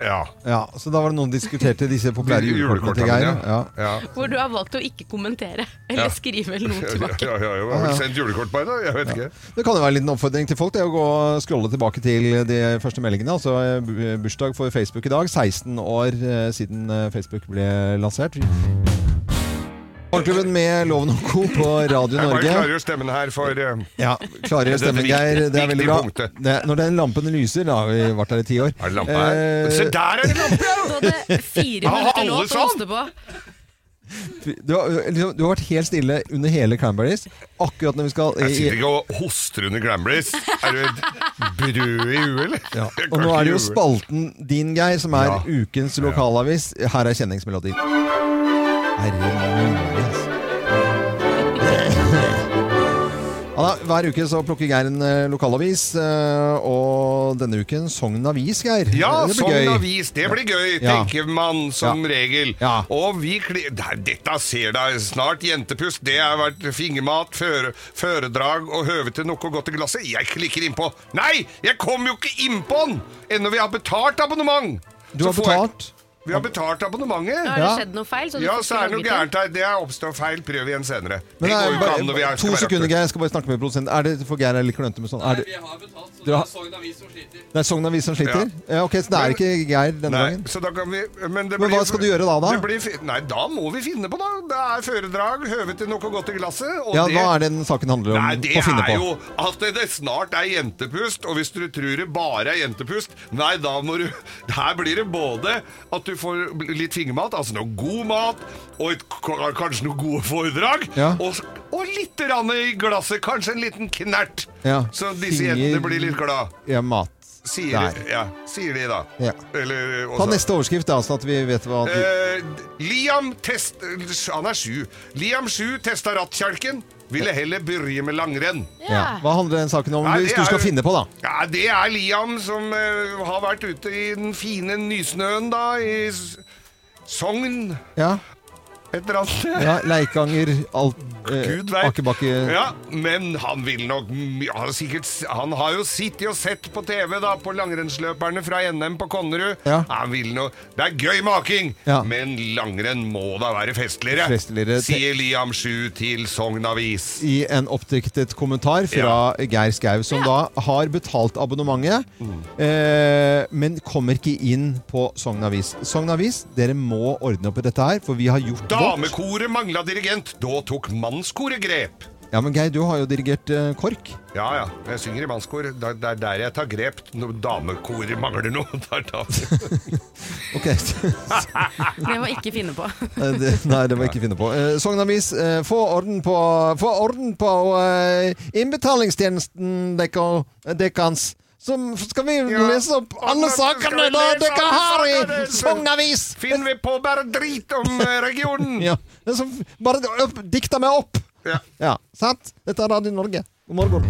S2: ja.
S1: Ja, så da var det noen diskuterte disse populære julekortene til Geir.
S2: mine,
S1: Ja.
S2: ja.
S3: Hvor du har valgt å ikke kommentere eller skrive noe
S2: Ja,
S3: tilbake.
S2: ja, ja, jeg har vel sendt julekort på henne, jeg vet ikke.
S1: Det kan jo være en liten oppfordring til folk. Det er å gå og scrolle tilbake til de første meldingene. Altså eh, bu- bursdag for Facebook i dag. 16 år eh, siden eh, Facebook ble lansert. Morgenklubben med Loven og Co. på Radio
S2: Jeg bare
S1: Norge.
S2: klarer jo stemmen her for eh,
S1: Ja, Klarer
S2: Det er
S1: stemmen,
S2: et
S1: Geir.
S2: viktig-
S1: Det er veldig
S2: viktig
S1: bra.
S2: punktet.
S1: Det, når den lampen lyser Da har vi vært her i ti år. Eh,
S2: Er det lampe her? Se, der er det lampe! ja!
S3: Du hadde fire
S2: Har alle
S3: minutter låt å
S2: sånn?
S3: hoste på.
S1: Du har, liksom, du har vært helt stille under hele Cranberries. Akkurat når vi skal
S2: Jeg sitter ikke og hoster under Glamblys. Er du et brød i huet, eller?
S1: Ja. Og nå er det jo spalten din, Geir, som er
S2: Ja.
S1: ukens lokalavis. Her er kjenningsmelodien. Herre min, altså. Ja, da, hver uke så plukker Geir en eh, lokalavis, eh, og denne uken Sogn Avis, Geir.
S2: Ja,
S1: Det blir
S2: Sogn
S1: gøy.
S2: Avis. Det blir gøy,
S1: Ja.
S2: tenker man som regel.
S1: Ja.
S2: Og vi kli... Nei, Dette ser deg snart, jentepust. Det har vært fingermat, føre, føredrag og høve til noe godt i glasset. Jeg klikker innpå. Nei, jeg kom jo ikke innpå'n! Ennå vi har betalt abonnement!
S1: Du har
S2: Så får jeg-
S1: betalt.
S2: Vi har betalt abonnementet.
S3: Har det
S1: Ja.
S3: skjedd noe feil? du
S2: Ja, så
S3: får ikke
S2: er det noe
S3: logget inn?
S2: gærent her. Det er oppstått feil. Prøv igjen senere.
S1: Men det
S2: det går jo
S1: er
S2: ikke an når vi
S1: bare,
S2: er- skal
S1: to
S2: være
S1: sekunder,
S2: aktuelle.
S1: Geir. Jeg skal bare snakke med produsenten. Er det, for Geir er litt klønete med sånn. Er det,
S9: Vi har betalt, så
S1: Dere
S9: det
S1: har-
S9: er Sogn Avis som sliter.
S1: det er Sogn Avis som sliter? Ja, ok, Så det er ikke Geir denne
S2: Nei,
S1: gangen?
S2: så da kan vi, men, det
S1: Men
S2: blir-
S1: hva skal du gjøre da, da?
S2: Det blir, fi- nei, da må vi finne på, da. Det er foredrag, høve til noe godt i glasset. Og
S1: Ja,
S2: det,
S1: Hva er det den saken handler om?
S2: Nei, det
S1: å finne
S2: er
S1: på?
S2: jo at det, det snart er jentepust, og hvis du tror det bare er jentepust, nei, da må du Her blir det både at du får litt fingermat, altså noe god mat, og et, k- kanskje noe gode foredrag,
S1: Ja.
S2: og, s- og litt rann i glasset, kanskje en liten knert.
S1: Ja.
S2: Så disse
S1: Finger-
S2: jentene blir litt glad.
S1: Ja, mat.
S2: Sier,
S1: Der.
S2: ja, sier de, da.
S1: Ja.
S2: Eller,
S1: Ta
S2: også-
S1: neste overskrift, da, sånn at vi vet hva du
S2: Eh, Liam test... Han er sju. Liam sju testa rattkjelken. Ville heller begynne med langrenn.
S1: ja. Hva handler den saken om?
S2: Nei,
S1: hvis
S2: det
S1: du
S2: er
S1: skal
S2: jo-
S1: finne på, da.
S2: Ja, det er Liam som eh, har vært ute i den fine nysnøen, da, i S- Sogn
S1: Ja,
S2: et eller annet sted.
S1: ja Leikanger, alt, eh,
S2: Gud vet.
S1: Akebakke
S2: Ja, men han vil nok my- han har, sikkert, s- han har jo sittet og sett på TV da på langrennsløperne fra NM på Konnerud.
S1: Ja.
S2: Han vil no, det er gøy making,
S1: Ja.
S2: men langrenn må da være festligere,
S1: Festligere.
S2: sier Liam 7 til Sogn Avis.
S1: I en oppdiktet kommentar fra Geir Skau, som da har betalt abonnementet, eh, men kommer ikke inn på Sogn Avis. Sogn Avis, dere må ordne opp i dette her, for vi har gjort vårt.
S2: Damekoret mangla dirigent, da tok mannskoret grep.
S1: Ja, men Geir, du har jo dirigert eh, KORK.
S2: Ja ja, jeg synger i mannskor. Det er der, der jeg tar grep. Når damekoret mangler noe. Der, da.
S1: Ok,
S3: Det må jeg ikke finne på.
S1: Eh, det, nei, det må jeg ikke finne på. Eh, Sogn Avis, eh, få orden på, få orden på eh, innbetalingstjenesten dekka- dekkans, så skal vi lese opp alle sakene da dere har i Sognavis.
S2: Finner vi på bare drit om eh, regionen!
S1: Ja, det er så, bare opp, dikta meg opp.
S2: Ja.
S1: Ja, sant? Dette er Radio Norge. God morgen.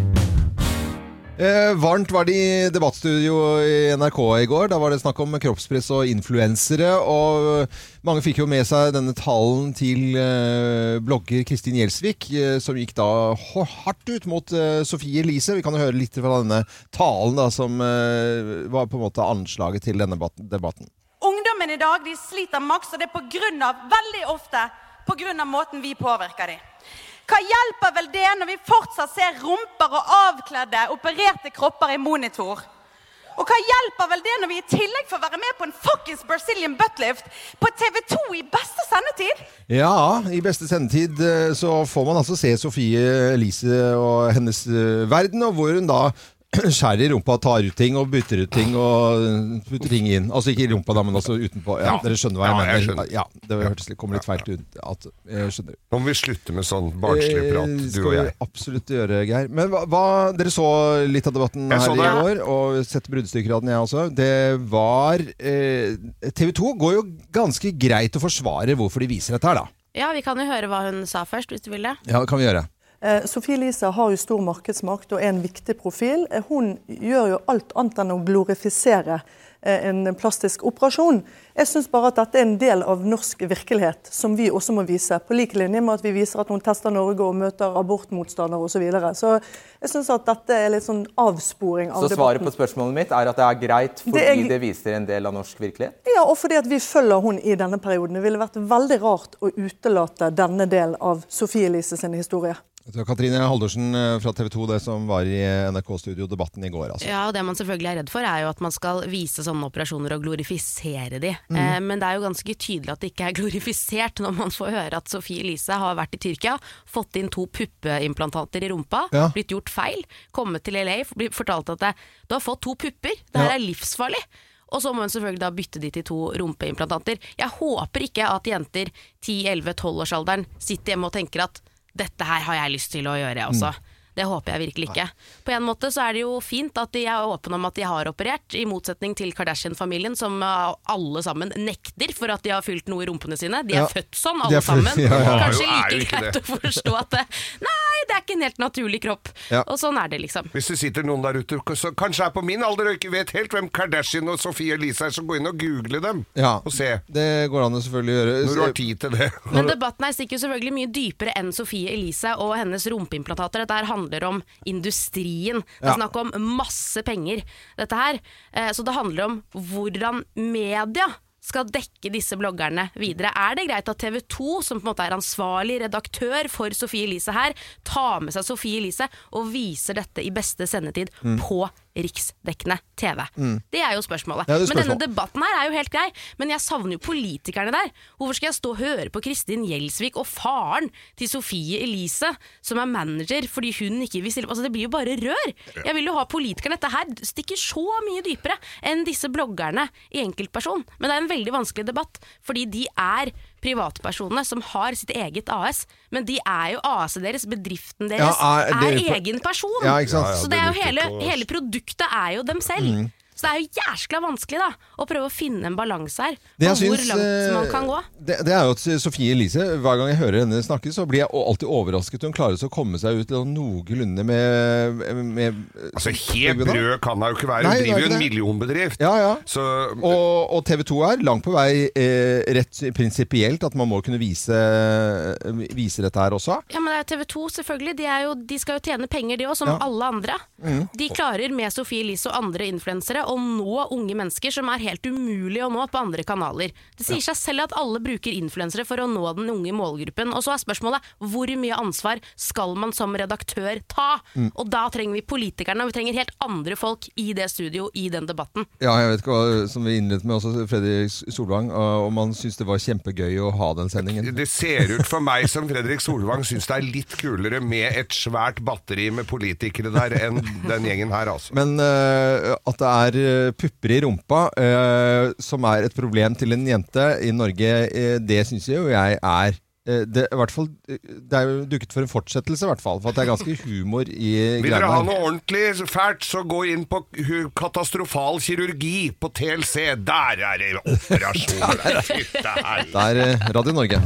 S1: Eh, varmt var det i debattstudio i NRK i går. Da var det snakk om kroppspress og influensere. Og eh, mange fikk jo med seg denne talen til eh, blogger Kristin Gjelsvik, eh, som gikk da hår- hardt ut mot eh, Sofie Elise. Vi kan jo høre litt fra denne talen da, som eh, var på en måte anslaget til denne bat- debatten.
S9: Ungdommen i dag de sliter maks, og det er på grunn av, veldig ofte på grunn av måten vi påvirker dem. Hva hjelper vel det når vi fortsatt ser rumper og avkledde, opererte kropper i monitor? Og hva hjelper vel det når vi i tillegg får være med på en fuckings Brazilian buttlift på TV 2 i beste sendetid?
S1: Ja, i beste sendetid eh, så får man altså se Sofie Elise og hennes eh, verden, og hvor hun da skjærer i rumpa, tar ut ting og bytter ut ting og eh, putter ting inn. Altså ikke i rumpa, da, men altså utenpå. Ja,
S2: Ja.
S1: Dere skjønner hva jeg
S2: Ja, jeg
S1: mener.
S2: skjønner.
S1: Ja, det hørtes litt, kom litt feil ut. At, eh, jeg skjønner.
S2: Nå må vi slutte med sånn barnslig prat,
S1: Eh,
S2: du
S1: skal
S2: og
S1: vi
S2: jeg.
S1: absolutt gjøre, Geir. Men hva, hva, dere så litt av debatten
S2: Jeg
S1: her
S2: så
S1: i
S2: det.
S1: år, og sett bruddstykker av den, jeg også. Det var eh, TV 2 går jo ganske greit å forsvare hvorfor de viser dette her, da.
S3: Ja, vi kan jo høre hva hun sa først, hvis du vil det.
S1: Ja, det kan vi gjøre.
S10: Eh, Sophie Elise har jo stor markedsmakt og er en viktig profil. Eh, Hun gjør jo alt annet enn å glorifisere eh, en plastisk operasjon. Jeg syns bare at dette er en del av norsk virkelighet som vi også må vise. På lik linje med at vi viser at hun tester Norge og møter abortmotstandere osv. Så, videre. så jeg syns at dette er litt sånn avsporing av
S11: Så svaret på spørsmålet mitt er at det er greit fordi
S10: Det
S11: det,
S10: er-
S11: viser en del av norsk virkelighet?
S10: Ja, og fordi at vi følger hun i denne perioden. Det ville vært veldig rart å utelate denne del av Sophie Elise sin historie.
S1: Det var Katrine Haldorsen eh, fra TV 2, det som var i eh, NRK-studio debatten i går. Altså.
S3: Ja, og Det man selvfølgelig er redd for, er jo at man skal vise sånne operasjoner og glorifisere de. Eh, men det er jo ganske tydelig at det ikke er glorifisert når man får høre at Sophie Elise har vært i Tyrkia, fått inn to puppeimplantater i rumpa,
S1: Ja.
S3: blitt gjort feil, kommet til LA, blitt fortalt at det, du har fått to pupper, det her
S1: Ja.
S3: er livsfarlig. Og så må hun selvfølgelig da bytte de til to rumpeimplantater. Jeg håper ikke at jenter 10-11-12-årsalderen sitter hjemme og tenker at dette her har jeg lyst til å gjøre, jeg
S1: Mm.
S3: også. Det håper jeg virkelig ikke. På en måte så er det jo fint at de er åpne om at de har operert, i motsetning til Kardashian-familien som eh, alle sammen nekter for at de har fylt noe i rumpene sine. De
S1: Ja.
S3: er født sånn,
S1: De er
S3: alle
S1: født-
S3: sammen.
S1: ja, ja.
S3: Kanskje
S2: Ja, jo, er jo
S3: like
S2: ikke
S3: greit
S2: det.
S3: å forstå at det, nei, det er ikke en helt naturlig kropp.
S1: Ja.
S3: Og sånn er det, liksom.
S2: Hvis det sitter noen der ute som kanskje er på min alder og ikke vet helt hvem Kardashian og Sophie Elise er, så gå inn og google dem
S1: Ja.
S2: og se.
S1: Det går an å selvfølgelig gjøre.
S2: Når du har tid til det.
S3: Men debatten her stikker jo selvfølgelig mye dypere enn Sofie Elise og hennes rumpeimplantater. Dette her handler om industrien. Det er
S1: Ja.
S3: snakk om masse penger, dette her. Eh, Så det handler om hvordan media skal dekke disse bloggerne videre. Er det greit at TV 2, som på en måte er ansvarlig redaktør for Sofie Elise her, tar med seg Sofie Elise og viser dette i beste sendetid
S1: Mm.
S3: på riksdekkende TV? Det er jo spørsmålet.
S1: Ja, det er
S3: Men denne
S1: spørsmål.
S3: debatten her er jo helt grei, men jeg savner jo politikerne der. Hvorfor skal jeg stå og høre på Kristin Gjelsvik og faren til Sofie Elise, som er manager, fordi hun ikke vil stille Altså, det blir jo bare rør! Jeg vil jo ha politikerne. Dette her stikker så mye dypere enn disse bloggerne i enkeltperson. Men det er en veldig vanskelig debatt, fordi de er privatpersonene som har sitt eget AS, men de er jo AS-et deres, bedriften deres,
S1: Ja, er
S3: er,
S1: det-
S3: egen person.
S1: Ja, ikke sant? Mm. Ja, ja,
S3: så
S2: det
S3: det er jo
S2: nytter
S3: hele,
S2: ikke å-
S3: hele produktet er jo dem selv. Så det er jo jæskla vanskelig da, å prøve å finne en balanse her.
S1: Det
S3: På
S1: jeg
S3: hvor
S1: syns,
S3: langt man kan gå.
S1: eh, Det, det er jo at Sofie Elise, hver gang jeg hører henne snakke, så blir jeg alltid overrasket. Hun klarer så å komme seg ut sånn noenlunde med, med eh,
S2: Altså, helt brød kan hun jo ikke være.
S1: Nei, det er
S2: Hun driver jo
S1: ikke
S2: en
S1: det.
S2: millionbedrift.
S1: Ja, ja.
S2: Så
S1: Og, og TV 2 er langt på vei eh, rett prinsipielt at man må kunne vise, eh, vise dette her også.
S3: Ja, men det er TV 2 selvfølgelig. De, er jo, de skal jo tjene penger de òg, som
S1: Ja. Mm.
S3: alle andre. De klarer med Sophie Elise og andre influensere å nå unge mennesker som er helt umulig å nå på andre kanaler. Det sier seg selv at alle bruker influensere for å nå den unge målgruppen. Og så er spørsmålet hvor mye ansvar skal man som redaktør ta?
S1: Mm.
S3: Og da trenger vi politikerne, og vi trenger helt andre folk i det studio, i den debatten.
S1: Ja, jeg vet ikke hva som vi innledet med også, Fredrik Solvang, og om han syntes det var kjempegøy å ha den sendingen.
S2: det ser ut for meg som Fredrik Solvang syns det er litt kulere med et svært batteri med politikere der enn den gjengen her, altså.
S1: Men eh, at det er eh, pupper i rumpa eh, som er et problem til en jente i Norge, eh, det syns jo jeg er eh, det, i hvert fall, eh, det er jo duket for en fortsettelse, i hvert fall. For at det er ganske humor i
S2: Vil dere
S1: greiene.
S2: ha noe ordentlig så fælt, så gå inn på hu- katastrofal kirurgi på TLC. Der er det operasjoner! der. Fytte helvete.
S1: Det er eh, Radio Norge.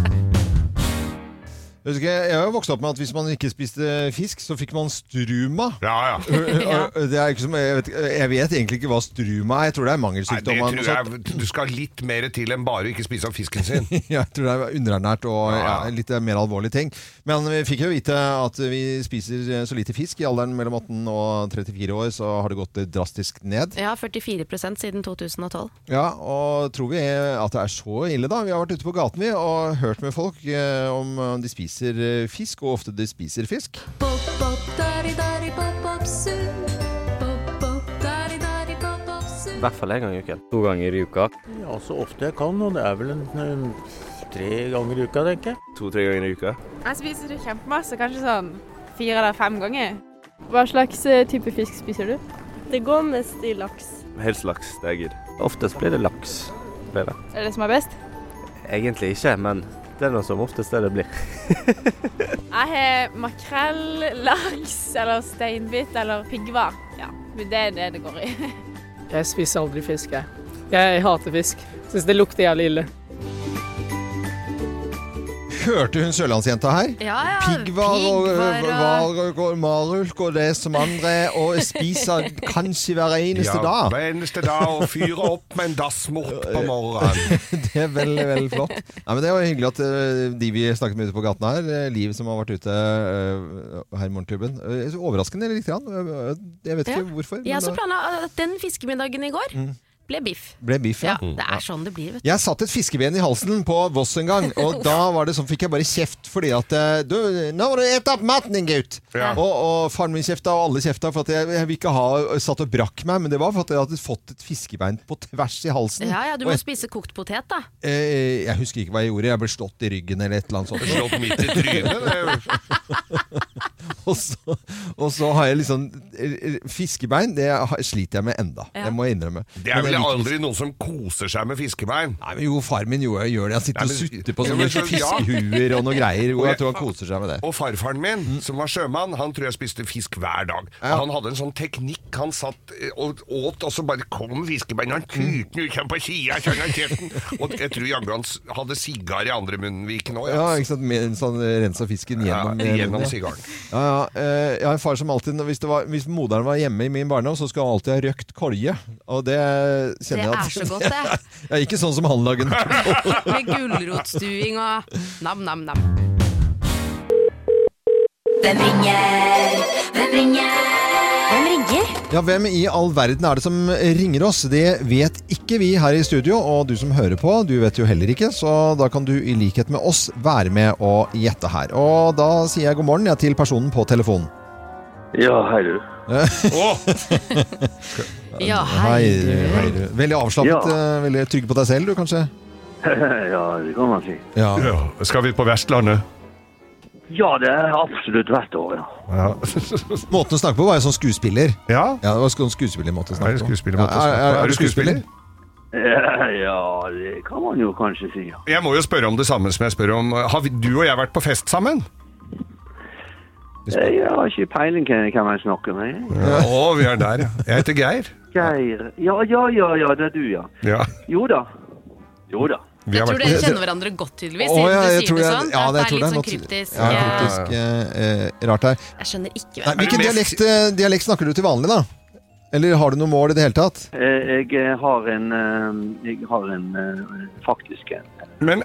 S1: Jeg husker, jeg jeg har jo vokst opp med at hvis man ikke spiste fisk, så fikk man struma.
S2: Ja.
S1: Det er ikke som, jeg, vet, jeg vet egentlig ikke hva struma er. Jeg tror det er
S2: Nei, det
S1: mangelsykdom. av
S2: tror
S1: noe sånt.
S2: jeg, du skal litt mer til enn bare å ikke spise av fisken sin.
S1: Jeg tror det er underernært og ja, litt eh, mer alvorlige ting. Men vi fikk jo vite at vi spiser eh, så lite fisk i alderen mellom 18 og 34 år, så har det gått drastisk ned.
S3: Ja, 44 siden 2012.
S1: Ja, og tror vi at det er så ille, da? Vi har vært ute på gaten vi og hørt med folk eh, om eh, de spiser eh, fisk, og ofte de spiser fisk.
S12: I hvert fall én gang i uken. To ganger i uka.
S13: Ja, så ofte jeg kan, og det er vel en, en tre ganger i uka, tenker jeg.
S12: To-tre ganger i uka.
S14: Jeg spiser det kjempemasse, kanskje sånn fire eller fem ganger.
S15: Hva slags eh, type fisk spiser du? Det går mest i laks.
S12: Helst laks. Det er jeg gidder. Oftest blir det laks. Blir det.
S15: Er det det som er best?
S12: Egentlig ikke, men det er noe som oftest det det blir.
S15: Jeg har makrell, laks eller steinbit eller piggvar. Ja, men det er det det går i.
S16: Jeg spiser aldri fisk, jeg. Jeg hater fisk. Syns det lukter jævlig ille.
S1: Hørte hun sørlandsjenta her?
S3: Ja, ja.
S1: Piggvar og
S3: piggvar
S1: eh, varulk og marulk og det som andre, og spiser kanskje hver eneste
S2: Ja,
S1: dag.
S2: Hver eneste dag og fyre opp med en dassmort på morgenen.
S1: det er vel, vel flott. Nei, men det var hyggelig at eh, de vi snakket med ute på gaten her, eh, Liv som har vært ute eh, her i morgenklubben eh, så Overraskende lite grann. Eh, Jeg vet ikke
S3: Ja.
S1: hvorfor. men eh,
S3: Jeg også
S1: da-
S3: plana at den fiskemiddagen i går
S1: Mm.
S3: ble biff.
S1: Ble biff, ja.
S3: Det er sånn det blir, vet du.
S1: Jeg satt et fiskeben i halsen på Voss en gang, og da var det sånn, fikk jeg bare kjeft fordi at eh, du, 'Nå må du ete opp maten din, gutt!' Og, og faren min kjefta, og alle kjefta, for at jeg, jeg vil ikke ha satt og brakk meg, men det var for at jeg hadde fått et fiskebein på tvers i halsen.
S3: Ja, ja, du
S1: Og
S3: må
S1: jeg-
S3: spise kokt potet, da.
S1: Eh, jeg husker ikke hva jeg gjorde. Jeg ble slått i ryggen eller et eller annet sånt.
S2: Slått midt i trynet, det er
S1: og, så, og så har jeg liksom eh, Fiskebein det har- sliter jeg med enda.
S2: Ja.
S1: Det må jeg innrømme.
S2: Det er
S1: Men
S2: vel
S1: jeg liker
S2: aldri noen som koser seg med fiskebein?
S1: Nei, men Jo, far min gjør, gjør det. Han sitter
S2: Nei,
S1: og
S2: men-
S1: sutter på
S2: Ja,
S1: sånne
S2: men så- ja.
S1: fiskehuer og noe greier.
S2: Og
S1: Og
S2: jeg-
S1: jeg tror han koser seg med det.
S2: Og
S1: Mm.
S2: farfaren min, som var sjømann, han tror jeg spiste fisk hver dag. Han hadde en sånn teknikk. Han satt eh, og åt, og så bare kom
S1: Mm.
S2: fiskebeina. Han tyrte den ut sånn på sida, kjønna kjeften. Og jeg tror jaggu han s- hadde sigar i andre munnviken òg.
S1: Ja, ikke sant? Med en sånn eh, rensa fisken gjennom
S2: Ja,
S1: eh,
S2: gjennom
S1: munnen, ja.
S2: sigaren.
S1: Ja, ja. Eh, Jeg har en far som alltid Hvis, det var, hvis moderen var hjemme i min barndom, så skulle han alltid ha røkt kolje. Og det kjenner jeg
S3: Det er så godt, det.
S1: Ja, ikke sånn som han lager den.
S3: Med gulrotstuing og nam-nam-nam.
S17: Hvem ringer? Hvem ringer? Hvem ringer?
S1: Ja, Hvem i all verden er det som ringer oss? Det vet ikke vi her i studio, og du som hører på, du vet jo heller ikke, så da kan du i likhet med oss være med og gjette her. Og da sier jeg god morgen ja, til personen på telefonen.
S18: Ja, hei du.
S3: Ja,
S1: hei du. Hei, du. Veldig avslappet,
S18: Ja.
S1: eh, veldig trygg på deg selv du, kanskje?
S18: ja, det kan man si.
S1: Ja.
S2: Skal vi på Vestlandet?
S18: Ja, det er absolutt verdt å ja.
S1: Måten å snakke på var jo sånn skuespiller.
S2: Ja,
S1: det var sånn skuespillermåte å snakke på.
S2: skuespillermåte å snakke
S1: er,
S2: på? Er
S1: er,
S2: du
S1: du skuespiller?
S18: Ja, det kan man jo kanskje si, ja.
S2: Jeg må jo spørre om det samme som jeg spør om eh, Har vi, du og jeg vært på fest sammen?
S18: Eh, Jeg har ikke peiling hvem hvem jeg snakker med.
S2: Å, vi er der, ja. Jeg heter Geir.
S18: Geir. Ja, ja, ja, ja, det er du, ja.
S2: Ja.
S18: Jo da. Jo da.
S3: Jeg tror dere kjenner hverandre godt, tydeligvis. siden
S1: ja,
S3: du
S1: jeg
S3: sier
S1: tror
S3: det
S1: jeg-
S3: sånn.
S1: ja,
S3: det
S1: jeg
S3: er
S1: tror
S3: litt sånn
S1: det er
S3: kryptisk.
S1: Ja,
S3: eh,
S1: kryptisk eh, eh, rart her.
S3: Jeg skjønner ikke
S1: Nei,
S3: hvem
S1: hvilken dialekt, eh, dialekt snakker du til vanlig, da? Eller har du noe mål i det hele tatt?
S18: Eh, Jeg eh, har en eh, Jeg har en eh, faktisk en
S2: Men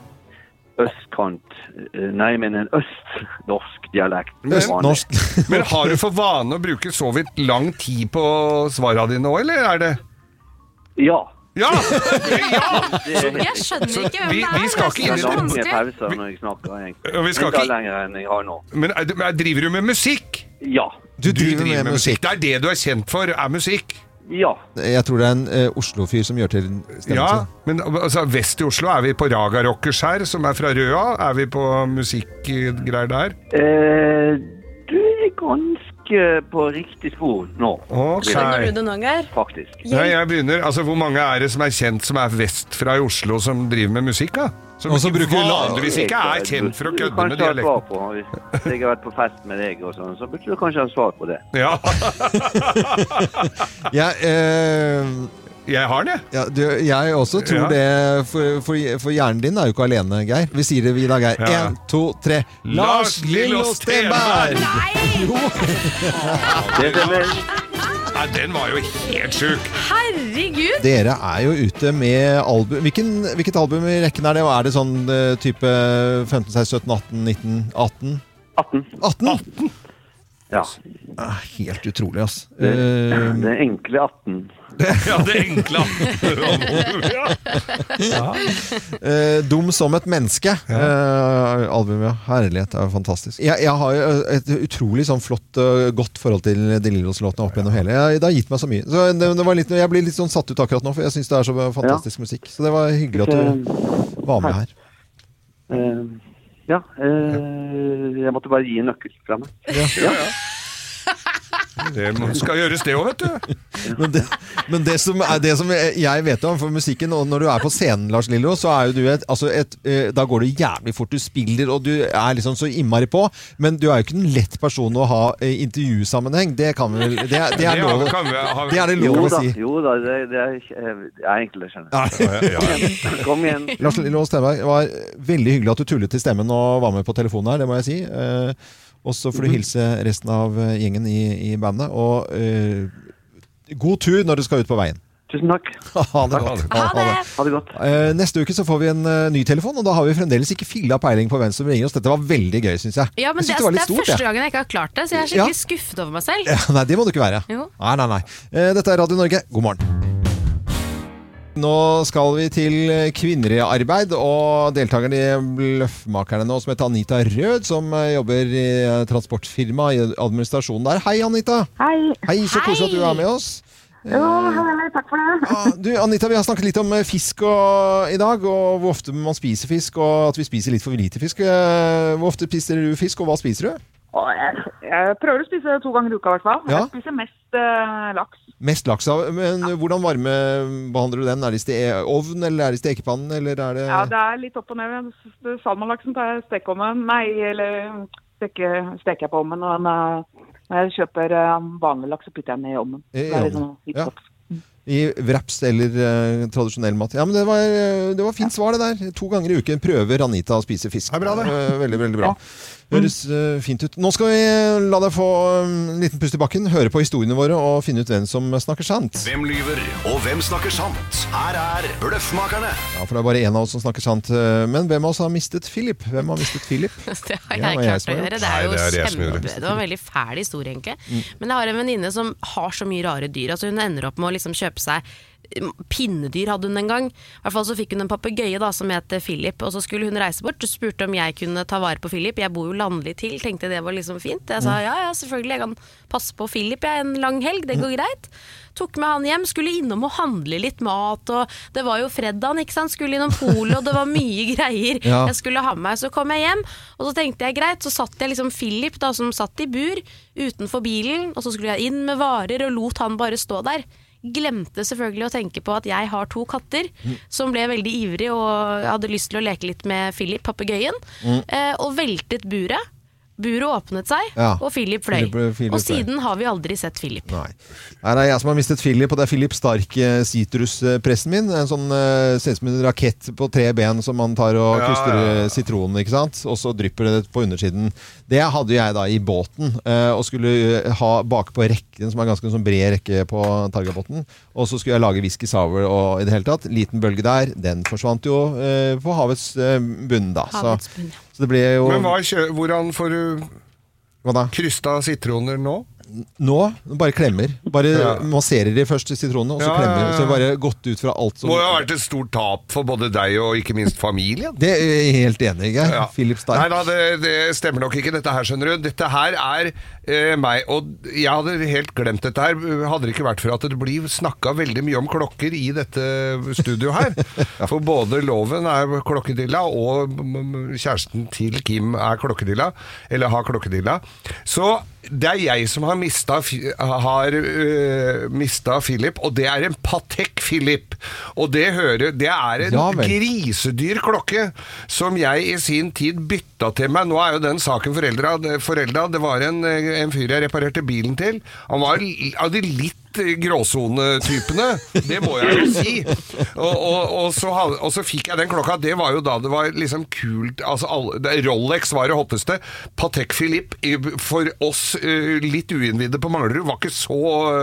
S18: østkant eh, Nei, men en østnorsk dialekt.
S1: Østnorsk.
S2: Men har du for vane å bruke så vidt lang tid på svara dine òg, eller er det
S18: Ja.
S2: Ja!
S18: Jeg
S2: Så vi, vi skal ikke
S18: Jeg har
S2: inn i
S18: lange
S3: sånn-
S2: det.
S18: pauser når jeg snakker, egentlig.
S2: Ja, vi
S18: Jeg
S2: skal
S18: tar
S2: ikke-
S18: lenger enn jeg har nå.
S2: Men er, du- er- driver du med musikk?
S18: Ja.
S1: Du driver med musikk.
S2: Det er det du er kjent for, er musikk.
S18: Ja.
S1: Jeg tror det er en eh, Oslo-fyr som gjør til stemmen
S2: Ja,
S1: sin.
S2: men altså, vest i Oslo er vi på Raga Rockers her, som er fra Røa. Er vi på musikkgreier der?
S18: Eh, du er ganske ganske på riktig spor nå.
S2: Ok.
S19: Skjønner du det nå, Geir?
S18: Faktisk.
S2: Nei, jeg begynner. Altså, Hvor mange er det som er kjent som er vestfra i Oslo, som driver med musikk? da? Som
S1: Og som
S2: ikke-
S1: bruker la-
S2: vanligvis ikke er kjent for å
S18: eh, Du
S2: kødde med
S18: kanskje har svar
S2: dialekten.
S18: på, Hvis jeg har vært på fest med deg, og sånn, så burde du kanskje ha svar på det.
S2: Ja.
S1: Jeg,
S2: jeg har den,
S1: eh,
S2: jeg.
S1: Ja, du, jeg også tror det, for, for, for hjernen din er jo ikke alene, Geir. Vi sier det, vi da, Geir.
S2: Ja.
S1: Én, to, tre.
S2: Lars Lillo Stenberg! Nei, den var jo helt sjuk.
S19: Herregud!
S1: Dere er jo ute med album. Hvilken, hvilket album i rekken er det? Og er det sånn eh, type 15, 16, 17, 18, 19, 18?
S18: 18.
S1: 18?
S18: Ja.
S1: Ah, Helt utrolig, ass.
S18: Det,
S1: Eh,
S18: det enkle 18.
S2: Ja, det enkle
S18: 18.
S2: Ja.
S1: Eh, Dum som et menneske. Eh, albumet, ja. Herlighet, det er jo fantastisk. Jeg, jeg har jo et utrolig sånn flott og godt forhold til De Lillos-låtene opp gjennom hele. Jeg, det har gitt meg så mye. Så eh, det, det var litt, jeg blir litt sånn satt ut akkurat nå, for jeg syns det er så eh, fantastisk musikk. Så det var hyggelig at du var med her.
S18: Eh, ja, eh, jeg måtte bare gi en nøkkel fra meg. Ja.
S2: Det må- skal gjøres, det òg, vet du.
S1: Men det, men det som er det som jeg vet om for musikken, og når du er på scenen, Lars Lillo, så er jo du et, altså et eh, Da går det jævlig fort. Du spiller, og du er liksom så innmari på. Men du er jo ikke en lett person å ha i intervjusammenheng. Det kan vi vel Det, er- det
S18: Det har-
S1: er lov
S18: kan vi ha-
S1: Det er det
S18: Jo
S1: lov å
S18: da,
S1: si.
S18: Jo da, det, det er, eh, det er enkelt, jeg skjønner.
S1: Ja, ja,
S18: Kom igjen.
S1: Lars Lillo Stenberg, det var veldig hyggelig at du tullet til stemmen og var med på telefonen her, det må jeg si. Eh, og så
S18: Mhm.
S1: får du hilse resten av eh, gjengen i, i bandet. Og eh, god tur når du skal ut på veien.
S18: Tusen takk.
S1: Ha det godt.
S18: Ha det godt.
S1: Eh, Neste uke så får vi en eh, ny telefon, og da har vi fremdeles ikke filla peiling på hvem som ringer oss. Dette var veldig gøy, syns jeg.
S3: Ja, men
S1: Jeg
S3: det,
S1: synes var
S3: det
S1: litt
S3: er
S1: stort,
S3: første
S1: jeg.
S3: gangen jeg ikke har klart det, så jeg er
S1: Ja.
S3: skikkelig skuffet over meg selv.
S1: Ja, nei, det må du ikke være.
S3: Jo.
S1: Nei, nei, nei. Eh, Dette er Radio Norge, god morgen. Nå skal vi til kvinner i arbeid, og deltakerne i Bløffmakerne nå, som heter Anita Rød, som eh, jobber i eh, transportfirma i administrasjonen der. Hei, Anita!
S20: Hei.
S1: Hei, så koselig at du er med oss.
S20: Jo, hei, takk for det.
S1: Du, Anita, vi har snakket litt om eh, fisk og, i dag, og hvor ofte man spiser fisk, og at vi spiser litt for lite fisk. Eh, Hvor ofte spiser du fisk, og hva spiser du?
S20: Og jeg, jeg prøver å spise to ganger i uka, i hvert fall.
S1: Ja.
S20: Jeg spiser mest eh, laks.
S1: Mest laks av, men hvordan varmebehandler du den? Er det i ste- ovn, eller er det i stekepannen, eller er det
S20: Ja, det er litt opp og ned. Salmalaksen tar jeg stekeovnen, nei, eller steke, steker jeg på ovnen. Og den, eh, når jeg kjøper eh, vanlig laks, så putter jeg den i ovnen.
S1: I
S20: Det er litt
S1: ovnen, ja.
S20: sånn
S1: I wraps eller eh, tradisjonell mat. Ja, men det var, eh, det var fint svar, det der. To ganger i uken prøver Anita å spise fisk. Eh, veldig, veldig bra. Høres eh, fint ut. Nå skal vi la deg få eh, en liten pust i bakken, høre på historiene våre og finne ut hvem som eh, snakker sant.
S21: Hvem lyver, og hvem snakker sant? Her er Bløffmakerne.
S1: Ja, for det er bare én av oss som snakker sant. eh, Men hvem av oss har mistet Philip? Hvem har mistet Philip? Ja, det
S3: Det har jeg
S1: var jeg
S3: klart
S1: som
S3: å
S1: har gjort.
S3: gjøre. Det er
S1: Nei,
S3: jo
S1: det er jeg som gjorde
S3: kjempe...
S1: det.
S3: Det var en veldig fæl historie, egentlig.
S1: Mm.
S3: Men jeg har en venninne som har så mye rare dyr. Altså Hun ender opp med å liksom kjøpe seg mm, Pinnedyr hadde hun en gang. I hvert fall så fikk hun en papegøye da, som het eh, Philip. Og så skulle hun reise bort og spurte om jeg kunne ta vare på Philip. Jeg bor jo landlig til, tenkte det var liksom fint. Jeg sa
S22: Mm.
S3: ja ja, selvfølgelig, jeg kan passe på Philip jeg en lang helg, det går greit. Tok med han hjem, skulle innom og handle litt mat, og det var jo fredagen, ikke sant. Skulle innom polet, og det var mye greier
S22: Ja.
S3: jeg skulle ha med meg. Så kom jeg hjem, og så tenkte jeg greit, så satt jeg liksom Philip da, som satt i bur utenfor bilen, og så skulle jeg inn med varer og lot han bare stå der. Glemte selvfølgelig å tenke på at jeg har to katter
S22: Mm.
S3: som ble veldig ivrig og hadde lyst til å leke litt med Philip, papegøyen,
S1: Mm.
S3: eh, og veltet buret. Buret åpnet seg,
S1: Ja.
S3: og Philip fløy.
S1: Philip- eh, Philip
S3: og
S1: fløy.
S3: siden har vi aldri sett Philip.
S1: Nei. Nei, det er jeg som har mistet Philip, og det er Philip Stark, eh, sitruspressen min. En sånn eh, ser ut som en rakett på tre ben som man tar og
S2: Ja,
S1: kruster
S2: ja,
S1: eh, sitronen, ikke sant? Og så drypper det på undersiden. Det hadde jeg da i båten, eh, og skulle eh, ha bak på rekken, som er ganske sånn bred rekke på Targabotn. Og så skulle jeg lage whisky sour og i det hele tatt. Liten bølge der, den forsvant jo eh, på havets eh, bunn, da.
S2: Havets
S1: så,
S2: bunn,
S1: så det ble jo
S2: Men hva, kjø- hvordan får du
S1: Hva da?
S2: krysta sitroner nå?
S1: Nå bare klemmer. Bare
S2: Ja.
S1: masserer de først i sitronene, og så
S2: Ja, ja, ja.
S1: klemmer. Så det bare gått ut fra alt
S2: Det
S1: som
S2: må jo ha vært et stort tap for både deg og ikke minst familien.
S1: Det er jeg helt enig i, Geir. Philip Stark.
S2: Nei da, det, det stemmer nok ikke dette her, skjønner du. Dette her er eh, meg, og jeg hadde helt glemt dette her. Hadde det ikke vært for at det blir snakka veldig mye om klokker i dette studioet her. For både Loven er klokkedilla, og m- m- kjæresten til Kim er klokkedilla, eller har klokkedilla. Så det er jeg som har mista, Fi- har, øh, mista Philip, og det er en Patek Philip. Og det, hører, det er en
S1: Ja vel.
S2: grisedyr klokke som jeg i sin tid bytta til meg. Nå er jo den saken foreldra. foreldra det var en, øh, en fyr jeg reparerte bilen til. Han var l- av de litt øh, gråsonetypene, det må jeg jo si. Og, og, og, så, hadde- og så fikk jeg den klokka. Det var jo da det var liksom kult altså alle, det, Rolex var det hotteste. Patek Philippe i- for oss eh, litt uinnvidde på Manglerud var ikke så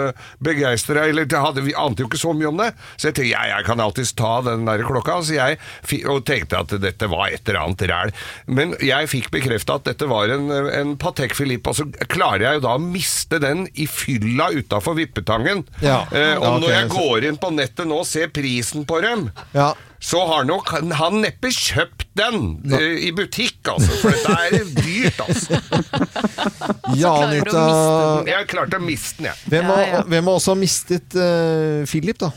S2: uh, begeistra. Eller det hadde, vi ante jo ikke så mye om det. Så jeg tenkte ja, jeg kan alltids ta den der klokka. Så jeg fi, og tenkte at dette var et eller annet ræl. Men jeg fikk bekrefta at dette var en, en Patek Philippe, og så klarer jeg jo da å miste den i fylla utafor Vippetangen.
S1: Ja.
S2: Eh, og
S1: Ja, ok,
S2: når jeg
S1: så-
S2: går inn på nettet nå og ser prisen på dem,
S1: Ja.
S2: så har nok han- han neppe kjøpt den eh, i butikk, altså. For dette er dyrt, altså.
S1: Ja,
S2: klarer du å
S1: Anita.
S2: Jeg klarte å miste den, jeg.
S1: Hvem har, hvem har også mistet eh, Philip, da?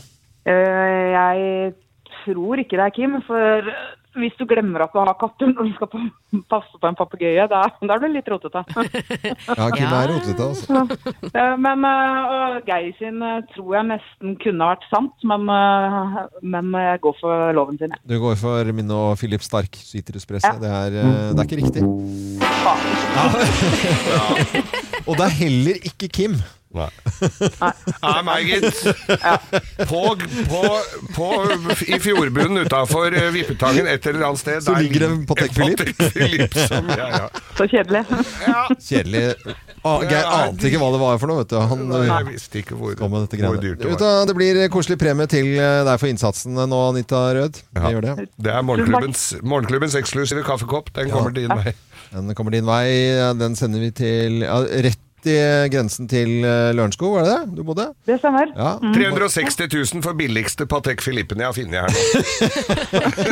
S20: Eh, jeg tror ikke det er Kim, for eh, hvis du glemmer at du har kattunger når du skal pa- passe på en papegøye, da, da er du litt rotete.
S1: Ja, Kim er rotete, altså.
S20: Eh, men eh, og Geir sin eh, tror jeg nesten kunne ha vært sant, men, eh, men jeg går for loven sin. jeg.
S1: Du går for min og Philip Stark sitruspresse.
S20: Ja.
S1: Det, er, eh, det er ikke riktig. Ja. Og det er heller ikke Kim.
S2: Nei. Nei, meg, gitt. På, på, på, I fjordbunnen utafor eh, Vippetangen et eller annet sted
S1: Så
S2: der
S1: ligger det en Patek Philippe.
S2: Philippe som, ja, ja.
S20: Så kjedelig.
S1: Kjedelig. Ah, Geir ante ikke hva det var for noe, vet du. Han
S2: Nei, jeg
S1: eh,
S2: visste ikke hvor,
S1: kom med dette
S2: hvor
S1: greiene.
S2: dyrt det
S1: Vet du,
S2: var.
S1: det blir koselig premie til eh, deg for innsatsen nå, Anita Rød. Vi gjør det.
S2: Det er morgenklubbens, morgenklubbens eksklusive kaffekopp. Den kommer din vei.
S1: Den kommer din vei. Den sender vi til ja, Rett i grensen til eh, Lørenskog, var det det? Du bodde?
S20: Det stemmer. Mm.
S1: Ja.
S2: 360 000 for billigste Patek Philippen jeg har funnet her nå.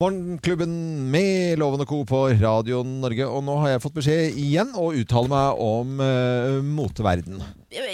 S1: Morgenklubben med Loven og Co. på Radio Norge. Og nå har jeg fått beskjed igjen å uttale meg om uh, moteverden.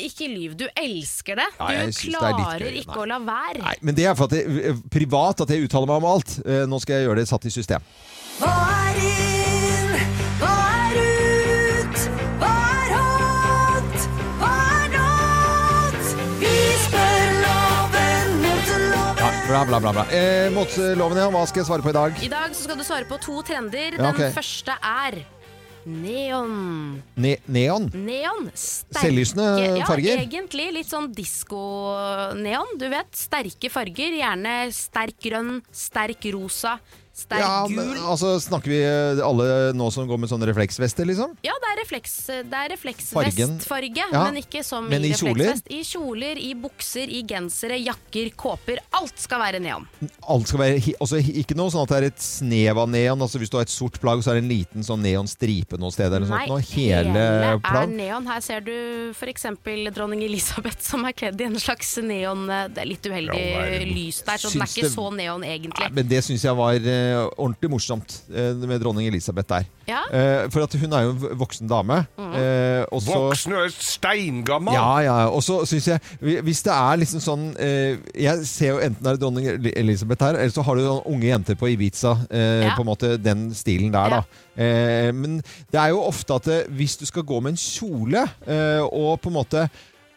S3: Ikke lyv, du elsker det.
S1: Nei, jeg
S3: du
S1: synes det er litt
S3: klarer
S1: gøy,
S3: ikke å la være.
S1: Nei, men det er for at jeg, eh, privat at jeg uttaler meg om alt. Eh, nå skal jeg gjøre det satt i system.
S17: Hva er inn? Hva er ut? Hva er hot? Hva er not? Vi spør loven, moteloven.
S1: Ja, bla, bla, bla. bla. Eh, moteloven, ja. Hva skal jeg svare på i dag?
S3: I dag så skal du svare på to trender.
S1: Ja, ok.
S3: Den første er neon.
S1: Ne neon?
S3: Neon. Sterke,
S1: Selvlysende farger?
S3: Ja, egentlig litt sånn disko-neon. Du vet, sterke farger. Gjerne sterk grønn, sterk rosa, sterk
S1: Ja,
S3: gul.
S1: men, altså, snakker vi eh, alle nå som går med sånne refleksvester, liksom?
S3: Ja, det er, refleks, det
S1: Fargen.
S3: er refleksvestfarge,
S1: Ja,
S3: men ikke som
S1: men
S3: i
S1: i kjoler?
S3: refleksvest. I kjoler, i bukser, i gensere, jakker, kåper. Alt skal være neon.
S1: Alt skal være, hi- altså, hi- ikke noe sånn at det er et snev av neon. Altså, hvis du har et sort plagg, så er det en liten sånn neonstripe noe sted. Eller noe sånt, nå. hele
S3: er
S1: plagg.
S3: neon. Her ser du f.eks. dronning Elisabeth som er kledd i en slags neon eh, Det er litt uheldig
S1: Ja, verden.
S3: lys der, så den er
S1: Syns
S3: ikke
S1: det-
S3: så neon egentlig.
S1: Nei, men det syns jeg var eh, ordentlig morsomt eh, med dronning Elisabeth der.
S3: Ja. Mm.
S1: Eh, for at hun er jo en v- voksen dame. eh, og så-
S2: Voksen og steingammal!
S1: Ja, ja. Og så syns jeg hvi- Hvis det er liksom sånn eh, Jeg ser jo enten er det dronning El- Elisabeth her, eller så har du sånn unge jenter på Ibiza. Eh,
S4: Ja.
S1: På en måte den stilen der, da. Eh, men det er jo ofte at eh, hvis du skal gå med en kjole, eh, og på en måte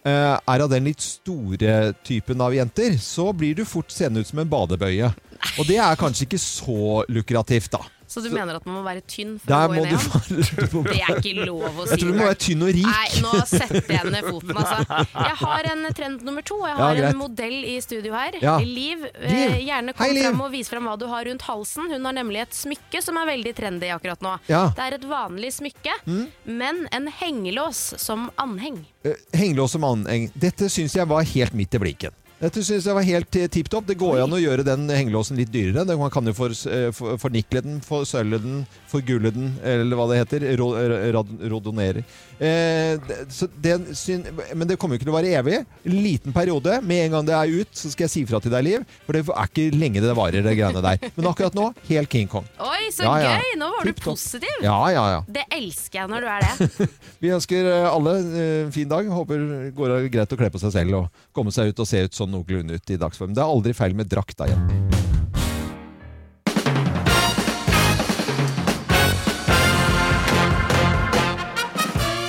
S1: eh, er av den litt store typen av jenter, så blir du fort seende ut som en badebøye. Og det er kanskje ikke så lukrativt, da.
S3: Så du mener at man må være tynn for
S1: Der
S3: å
S1: må
S3: gå i
S1: du
S3: neon?
S1: være du må-
S3: Det er ikke lov å si.
S1: Jeg tror du må være tynn og rik.
S3: Nei, nå setter jeg ned foten, altså. Jeg har en trend nummer to. Jeg
S1: Ja,
S3: har
S1: greit.
S3: en modell i studio her.
S1: Ja.
S3: Liv,
S1: Liv.
S3: eh, gjerne
S1: Hei,
S3: kom
S1: Liv.
S3: fram og vis fram hva du har rundt halsen. Hun har nemlig et smykke som er veldig trendy akkurat nå.
S1: Ja.
S3: Det er et vanlig smykke,
S1: Mm.
S3: men en hengelås som anheng.
S1: Eh, Hengelås og manneng. Dette syns jeg var helt midt i blinken. Dette synes jeg var helt eh, tipp topp. Det går jo an å gjøre den hengelåsen litt dyrere. Det- Man kan jo for- eh, for- fornikle den, forsølve den, forgulle den, eller hva det heter. ro- ra- rad- Rodonere. Eh, det- så den syn- men det kommer jo ikke til å vare evig. Liten periode. Med en gang det er ut, så skal jeg si fra til deg, Liv. For det er ikke lenge det varer, det greiene der. Men akkurat nå, helt King Kong.
S3: Oi, så
S1: Ja, ja.
S3: gøy! Nå var du
S1: Tipp topp.
S3: positiv.
S1: Ja, ja, ja.
S3: Det elsker jeg når du er det.
S1: Vi ønsker eh, alle eh, en fin dag. Håper det går greit å kle på seg selv og komme seg ut og se ut sånn noenlunde ut i dagsform. Det er aldri feil med drakt da igjen.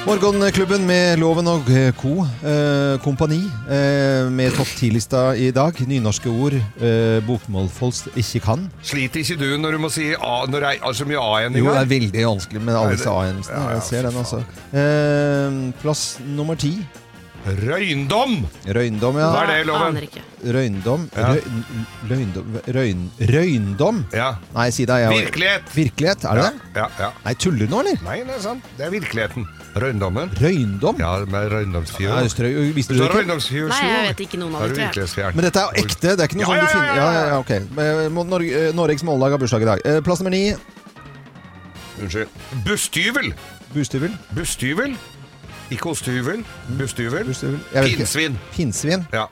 S1: Morgenklubben med Loven og eh, co. Eh, kompani eh, med topp 10-lista i dag. Nynorske ord eh, bokmålfolk ikke kan.
S2: Sliter ikke du når du må si A når det er A- så mye A igjen? i
S1: Jo, det
S2: gang?
S1: er veldig vanskelig med
S2: Nei,
S1: alle
S2: det-
S1: disse A-endene.
S2: Ja, ja,
S1: Jeg ser
S2: fy
S1: den, altså. Eh, plass nummer ti.
S2: Røyndom!
S1: Røyndom, ja.
S2: Hva er det, Loven? Aner ikke.
S1: Røyndom.
S2: Ja.
S1: Røy, løyndom Røyn, Røyndom? Nei, si det. Jeg,
S2: Virkelighet!
S1: Virkelighet, er det
S2: Ja,
S1: det?
S2: ja, ja.
S1: Nei, tuller du nå, eller?
S2: Nei, det er sant. Det er virkeligheten. Røyndommen.
S1: Røyndom?
S2: Ja, med røyndomsfjord.
S1: Nei, strø- visste du
S2: Så
S1: det ikke?
S2: røyndomsfjord-
S19: Nei, jeg vet ikke noen av de,
S2: Er du
S19: tror jeg.
S2: virkelighetsfjern?
S1: Men dette er jo ekte, det er ikke noe sånn du
S2: Ja, ja, ja,
S1: finner
S2: ja, ja.
S1: ja, ja, ok. Eh, Mo- Norge, eh, Norges mållag har bursdag i dag. Eh, Plass nummer ni.
S2: Unnskyld. Busstyvel!
S1: Busstyvel?
S2: Busstyvel? Ikke ostehyvel. Busstyvel.
S1: Jeg vet ikke.
S2: Pinnsvin.
S1: Pinnsvin?
S2: Ja.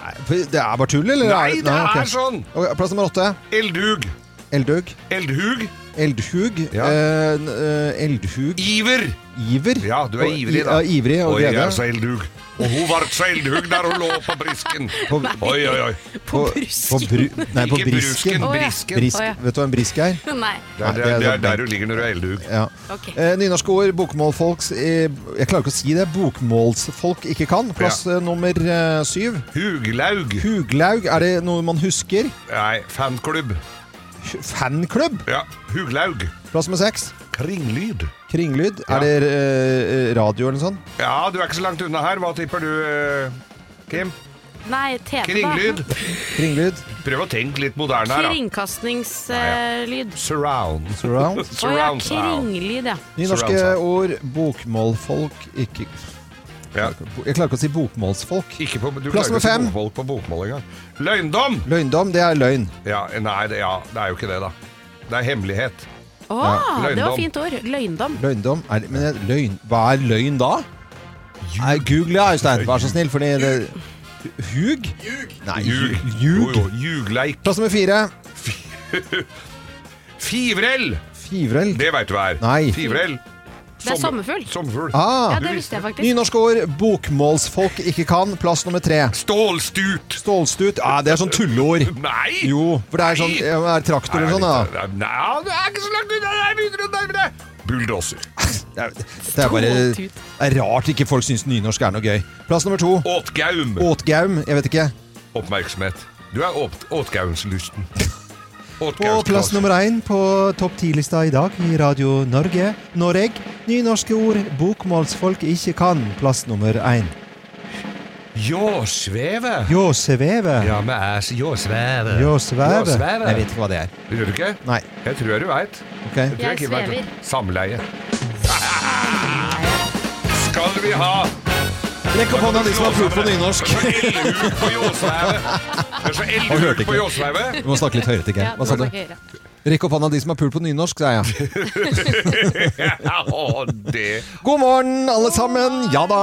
S1: Nei, for det er bare tull, eller?
S2: Nei, det
S1: ok.
S2: er sånn.
S1: Ok, plass nummer åtte.
S2: Eldhug.
S1: Eldhug.
S2: Eldhug.
S1: Eldhug.
S2: Ja.
S1: Eh, n- eh, eldhug.
S2: Iver.
S1: Iver.
S2: Ja, du er
S1: Og-
S2: ivrig, da.
S1: Ja, ivrig og
S2: Oi, jeg
S1: glede.
S2: er så eldhug. Og hun var så eldhug der hun lå på brisken.
S1: På-
S2: Oi, oi, oi.
S1: På brusken. På bru, nei, på
S2: Ikke
S1: brisken.
S2: brusken, Å, ja. brisken.
S1: Brisk,
S2: Å, ja.
S1: Vet du hva en brisk er?
S19: Nei.
S2: Det er, det er, det er der du ligger når du er eldhug.
S1: Ja.
S19: Ok.
S1: Eh, nynorske ord, bokmålfolks eh, Jeg klarer ikke å si det. Bokmålsfolk ikke kan. Plass eh, nummer eh, syv.
S2: Huglaug.
S1: Huglaug. Er det noe man husker?
S2: Nei, fanklubb.
S1: Fanklubb?
S2: Ja, Huglaug.
S1: Plass nummer seks.
S2: Kringlyd.
S1: Kringlyd. Er det eh, radio eller noe sånt?
S2: Ja, du er ikke så langt unna her. Hva tipper du, eh, Kim?
S19: Nei, TV,
S2: Kringlyd.
S19: da.
S1: Kringlyd.
S2: Prøv å tenke litt moderne her, da.
S19: Kringkastingslyd.
S2: Surround.
S1: Surround.
S19: Å ja,
S2: Surround sound.
S19: kringlyd, ja.
S1: Nynorske
S2: Surround
S1: ord, bokmålfolk ikke Jeg klarer ikke å si bokmålsfolk.
S2: Ikke på, du
S1: Plass
S2: klarer ikke å
S1: nummer
S2: si
S1: fem.
S2: bokmål på bokmål engang. Løgndom!
S1: Løgndom, det er løgn.
S2: Ja, nei, det, ja, det er jo ikke det, da. Det er hemmelighet.
S19: Å, det
S2: Ja.
S19: var
S2: Løgndom.
S19: fint ord. Løgndom.
S1: Løgndom er, Men det- løgn Hva er løgn da? Nei, Google det, Øystein. Vær så snill, fordi det Hug? Nei,
S2: Ljug.
S1: ljug.
S2: Jo, jo, ljugleik.
S1: Plass nummer fire.
S2: Fivrell!
S1: Fivrell?
S2: Det veit du hva er.
S1: Nei.
S2: Fivrell.
S19: Det er sommerfugl.
S2: Sommerfugl.
S1: Ah.
S19: Ja, det visste jeg faktisk.
S1: Nynorske ord bokmålsfolk ikke kan. Plass nummer tre.
S2: Stålstut.
S1: Stålstut. Ja, det er sånn tulleord.
S2: Nei!
S1: Jo, for det er sånn ja, det er traktor eller sånn, da.
S2: Nei, nei, du er ikke så langt unna! Jeg begynner å nærme deg! Bulldoser.
S1: Det er, det er bare det
S2: Ståltut.
S1: er rart ikke folk syns nynorsk er noe gøy. Plass nummer to.
S2: Åtgaum.
S1: Åtgaum. Jeg vet ikke.
S2: Oppmerksomhet. Du er åt, åtgaumslysten.
S1: På plass
S2: Åtgaumsklasse.
S1: nummer én på topp ti-lista i dag i Radio Norge, Noreg, nynorske ord bokmålsfolk ikke kan. Plass nummer én.
S2: Jåsveve.
S1: Jåseveve.
S2: Ja, men æsj. Jåsveve.
S1: Jåsveve.
S2: Jåsveve.
S1: Jeg vet ikke hva det er.
S2: Gjør du ikke?
S1: Nei.
S2: Jeg tror jeg du veit.
S1: Ok.
S19: Jeg svever.
S2: Samleie. Skal vi ha
S1: Rekk opp hånda de som har fulgt på nynorsk.
S2: Elhug på Jåsveve? Det er så
S1: Han hørte
S2: elhug
S1: ikke.
S2: på Jåsveve.
S1: Du må snakke litt høyere til Geir. Hva sa du? Rekk opp hånda de som har pult på nynorsk, sa jeg.
S2: ja, å, det
S1: God morgen, alle sammen! Ja da!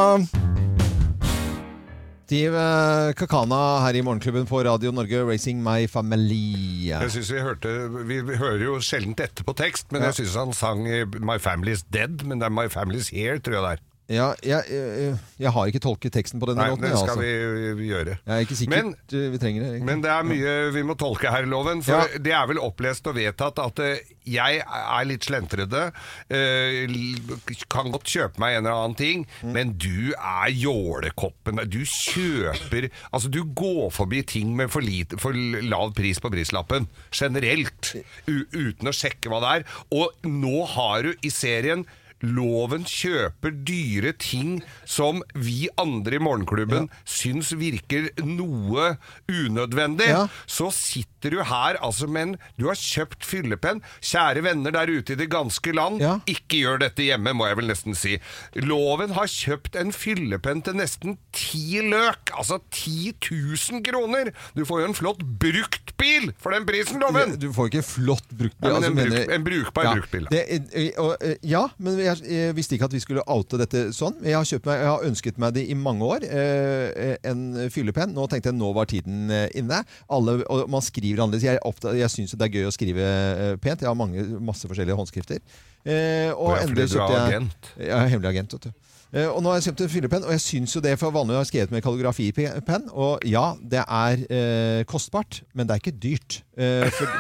S1: Steve eh, Kakana her i Morgenklubben på Radio Norge, Racing My Family.
S2: Jeg synes Vi hørte Vi vi hører jo sjelden etter på tekst, men
S1: Ja.
S2: jeg syns han sang eh, 'My Family's Dead', men det er 'My Family's Here', tror jeg det er.
S1: Ja, jeg, jeg, jeg har ikke tolket teksten på denne
S2: Nei,
S1: låten.
S2: det
S1: jeg,
S2: skal
S1: altså.
S2: vi, vi gjøre.
S1: Jeg er ikke sikker
S2: Men-
S1: eh, vi trenger det. egentlig.
S2: Men det er mye vi må tolke her i loven, for
S1: Ja.
S2: det er vel opplest og vedtatt at eh, jeg er litt slentrede, eh, l- kan godt kjøpe meg en eller annen ting, men du er jålekoppen. Du kjøper Altså, du går forbi ting med for, lite, for lav pris på prislappen, generelt, u uten å sjekke hva det er. Og nå har du i serien Loven kjøper dyre ting som vi andre i morgenklubben syns virker noe unødvendig. Så sitter du her altså med en Du har kjøpt fyllepenn. Kjære venner der ute i det ganske land, ikke gjør dette hjemme, må jeg vel nesten si. Loven har kjøpt en fyllepenn til nesten ti løk. Altså 10 000 kroner! Du får jo en flott bruktbil for den prisen, Loven!
S1: Du får ikke flott bruktbil.
S2: Nei, men
S1: altså,
S2: en
S1: mener-
S2: bruk- en brukbar
S1: ja,
S2: bruktbil, da.
S1: Det, eh, og, eh, ja, men jeg, jeg visste ikke at vi skulle oute dette sånn. Jeg har, kjøpt meg, jeg har ønsket meg det i mange år. eh, En fyllepenn. Nå tenkte jeg nå var tiden eh, inne. Alle, og man skriver annerledes. Jeg, er opptatt- jeg syns det er gøy å skrive eh, pent. Jeg har mange, masse forskjellige håndskrifter. Eh, og
S2: Å ja, fordi
S1: endelig
S2: du er
S1: kjøpte jeg
S2: agent.
S1: Jeg er hemmelig agent, vet du. Eh, Og nå har jeg kjøpt en fyllepenn, og jeg syns jo det, for vanlig har jeg skrevet med kalligrafipenn. Og ja, det er eh, kostbart, men det er ikke dyrt. Eh, for,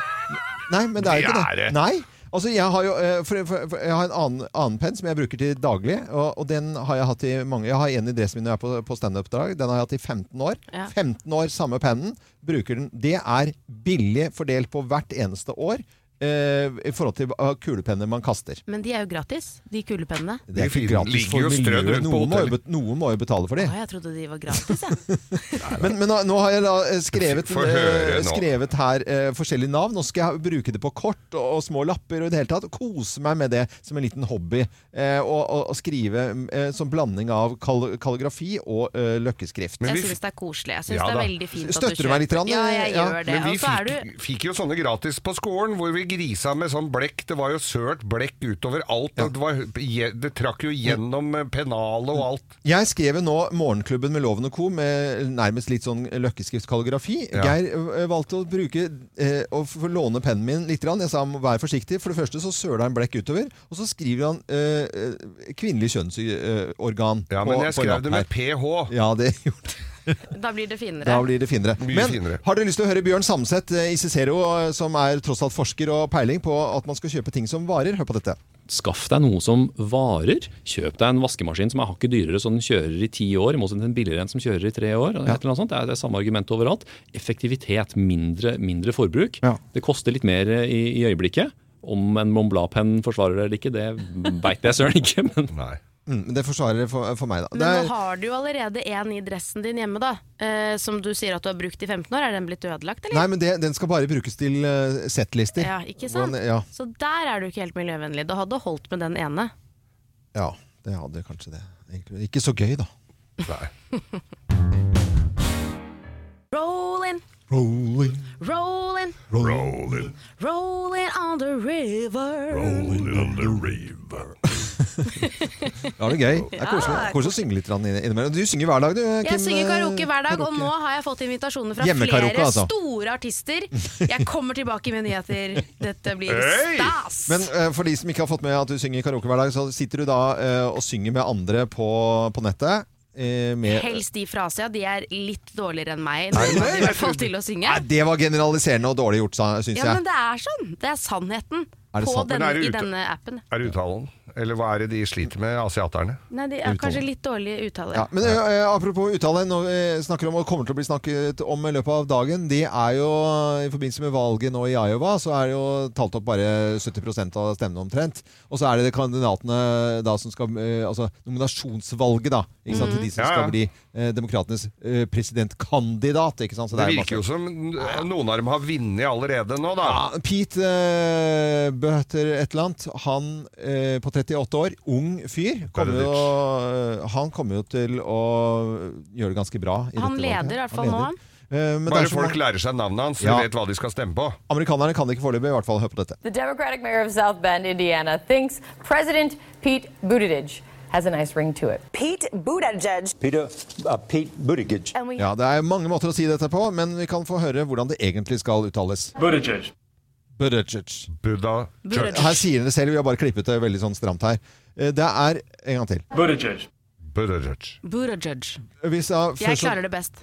S1: nei, men det er jo
S2: Det
S1: ikke
S2: er
S1: det.
S2: det.
S1: Nei. Altså, jeg har jo eh, for, for, for, jeg har en annen, annen penn som jeg bruker til daglig, og, og den har jeg hatt i mange Jeg har en i dressen min når jeg er på, på standup-drag. Den har jeg hatt i 15 år.
S17: Ja.
S1: 15 år, samme pennen. Bruker den. Det er billig fordelt på hvert eneste år eh, i forhold til hva kulepenner man kaster.
S3: Men de er jo gratis, de kulepennene.
S1: Det er ikke gratis
S2: ligger jo
S1: for
S2: strødd
S1: miljøet.
S2: rundt på
S1: Noen må, jo
S2: hotellet.
S1: bet- noen må jo betale for de.
S3: Å, jeg trodde de var gratis, jeg.
S1: Men, men nå, nå har jeg da eh, skrevet,
S2: Få høre
S1: eh,
S2: nå.
S1: skrevet her eh, forskjellige navn. Nå skal jeg bruke det på kort og, og små lapper og i det hele tatt. Kose meg med det som en liten hobby. Eh, og, og, og skrive eh, som blanding av kal kalligrafi og eh, løkkeskrift.
S3: jeg synes det er koselig. Jeg synes
S1: Ja
S3: det er
S1: da.
S3: veldig fint at du
S1: Støtter du meg litt,
S3: kjøper.
S1: Rand?
S3: Ja, jeg
S1: Ja.
S3: gjør det.
S2: Men vi
S3: Og så er
S2: fikk, fikk jo sånne gratis på skolen, hvor vi grisa med sånn blekk. Det var jo sølt blekk utover alt. og Det, var, det trakk jo gjennom eh, pennalet og alt.
S1: Jeg skrev jo nå Morgenklubben med Loven og co. med nærmest litt sånn løkkeskriftkalligrafi.
S2: Ja.
S1: Geir ø, valgte å bruke eh, å få låne pennen min litt. Grann. Jeg sa han må være forsiktig. For det første så søler han blekk utover, og så skriver han eh, eh, kvinnelig kjønnsorgan.
S2: Ja, men jeg skrev det med ph.
S1: Ja, det gjorde
S3: du, da blir det finere.
S1: da blir det finere. Men har dere lyst til å høre Bjørn Samset i Cicero, eh, som er tross alt forsker og peiling på at man skal kjøpe ting som varer? Hør på dette.
S4: Skaff deg noe som varer. Kjøp deg en vaskemaskin som er hakket dyrere, så den kjører i ti år, i motsetning til en billigere en som kjører i tre år. Et eller annet sånt. Det er det samme argumentet overalt. Effektivitet, mindre, mindre forbruk. Det koster litt mer eh, i, i øyeblikket. Om en Mont Blanc-penn forsvarer det eller ikke, det veit jeg søren ikke, men
S1: Mm, men det forsvarer det for, for meg, da.
S3: Men
S1: Det er-
S3: nå har du jo allerede en i dressen din hjemme, da. Eh, som du sier at du har brukt i 15 år. Er den blitt ødelagt, eller?
S1: Nei, men det, den skal bare brukes til eh, settlister.
S3: Ja, ikke sant?
S1: Hvordan- ja,
S3: Så der er du ikke helt miljøvennlig. Det hadde holdt med den ene.
S1: ja, det hadde kanskje det. Egentlig. Ikke så gøy, da.
S3: Rolling,
S1: Rolling,
S3: rolling,
S2: rolling,
S3: rolling on the river.
S2: on the river.
S1: Ja, det er gøy. Det er koselig,
S3: Ja.
S1: koselig å synge litt grann inn- innimellom. Du synger hver dag, du. Kim, eh,
S3: Jeg synger karaoke hver dag, og
S1: karaoke.
S3: nå har jeg fått invitasjoner fra
S1: Hjemmekaraoke,
S3: flere
S1: altså.
S3: store artister. Jeg kommer tilbake med nyheter. Dette blir
S1: Hey!
S3: stas!
S1: Men eh, for de som ikke har fått med at du synger karaoke hver dag, så sitter du da eh, og synger med andre på, på nettet. eh, med,
S3: Helst de fra Asia. De er litt dårligere enn meg.
S1: Nei,
S3: De
S1: nei,
S3: er i
S1: jeg
S3: hvert fall
S1: trodde-
S3: til å synge.
S1: Nei, det var generaliserende og dårlig gjort, sa- syns
S3: Ja, men
S1: jeg.
S3: det er sånn. Det er sannheten
S2: Er det
S3: på
S2: sant? Men
S3: denne,
S2: er det
S3: i
S2: ute-
S3: denne appen.
S2: Er det uttalen? Eller hva er det de sliter med, asiaterne?
S3: Nei, det er
S2: Uttalen.
S3: kanskje litt dårlig uttale.
S1: Ja, men eh, apropos uttale, nå eh, snakker om og kommer til å bli snakket om i løpet av dagen. Det er jo eh, i forbindelse med valget nå i Iowa, så er det jo talt opp bare 70 av stemmene omtrent. Og så er det de kandidatene da som skal eh, Altså nominasjonsvalget, da. Ikke sant?
S2: Mhm.
S1: Til de som
S2: Ja, ja.
S1: skal bli eh, demokratenes eh, presidentkandidat. Ikke sant? Så
S2: Det
S1: er
S2: virker jo som noen av dem har vunnet allerede nå, da.
S1: ja, Pete eh, Bøter et eller annet, han eh, på 38 år, ung fyr, kommer jo, eh, han kommer jo til å gjøre det ganske bra. i
S3: Han
S1: dette
S3: leder
S1: valget.
S3: i hvert fall nå, han.
S1: Eh, men det
S2: Bare
S1: er så
S2: folk
S1: mange-
S2: lærer seg navnet hans,
S1: Ja.
S2: de vet hva de skal stemme på.
S1: Amerikanerne kan det ikke foreløpig, i hvert fall. Hør på dette.
S22: The Democratic mayor of South Bend, Indiana, thinks President Pete Buttigieg has a nice ring to it.
S23: Pete Buttigieg.
S1: Pete Buttigieg. Ja, det er mange måter å si dette på, men vi kan få høre hvordan det egentlig skal uttales.
S2: Buttigieg.
S1: Buttigieg.
S2: Buttigieg.
S1: Her sier dere selv, vi har bare klippet det veldig sånn stramt her. Eh, Det er En gang til.
S2: Buttigieg. Buttigieg.
S3: Buttigieg.
S1: Vi sa
S3: Jeg
S1: først så-
S3: klarer det best.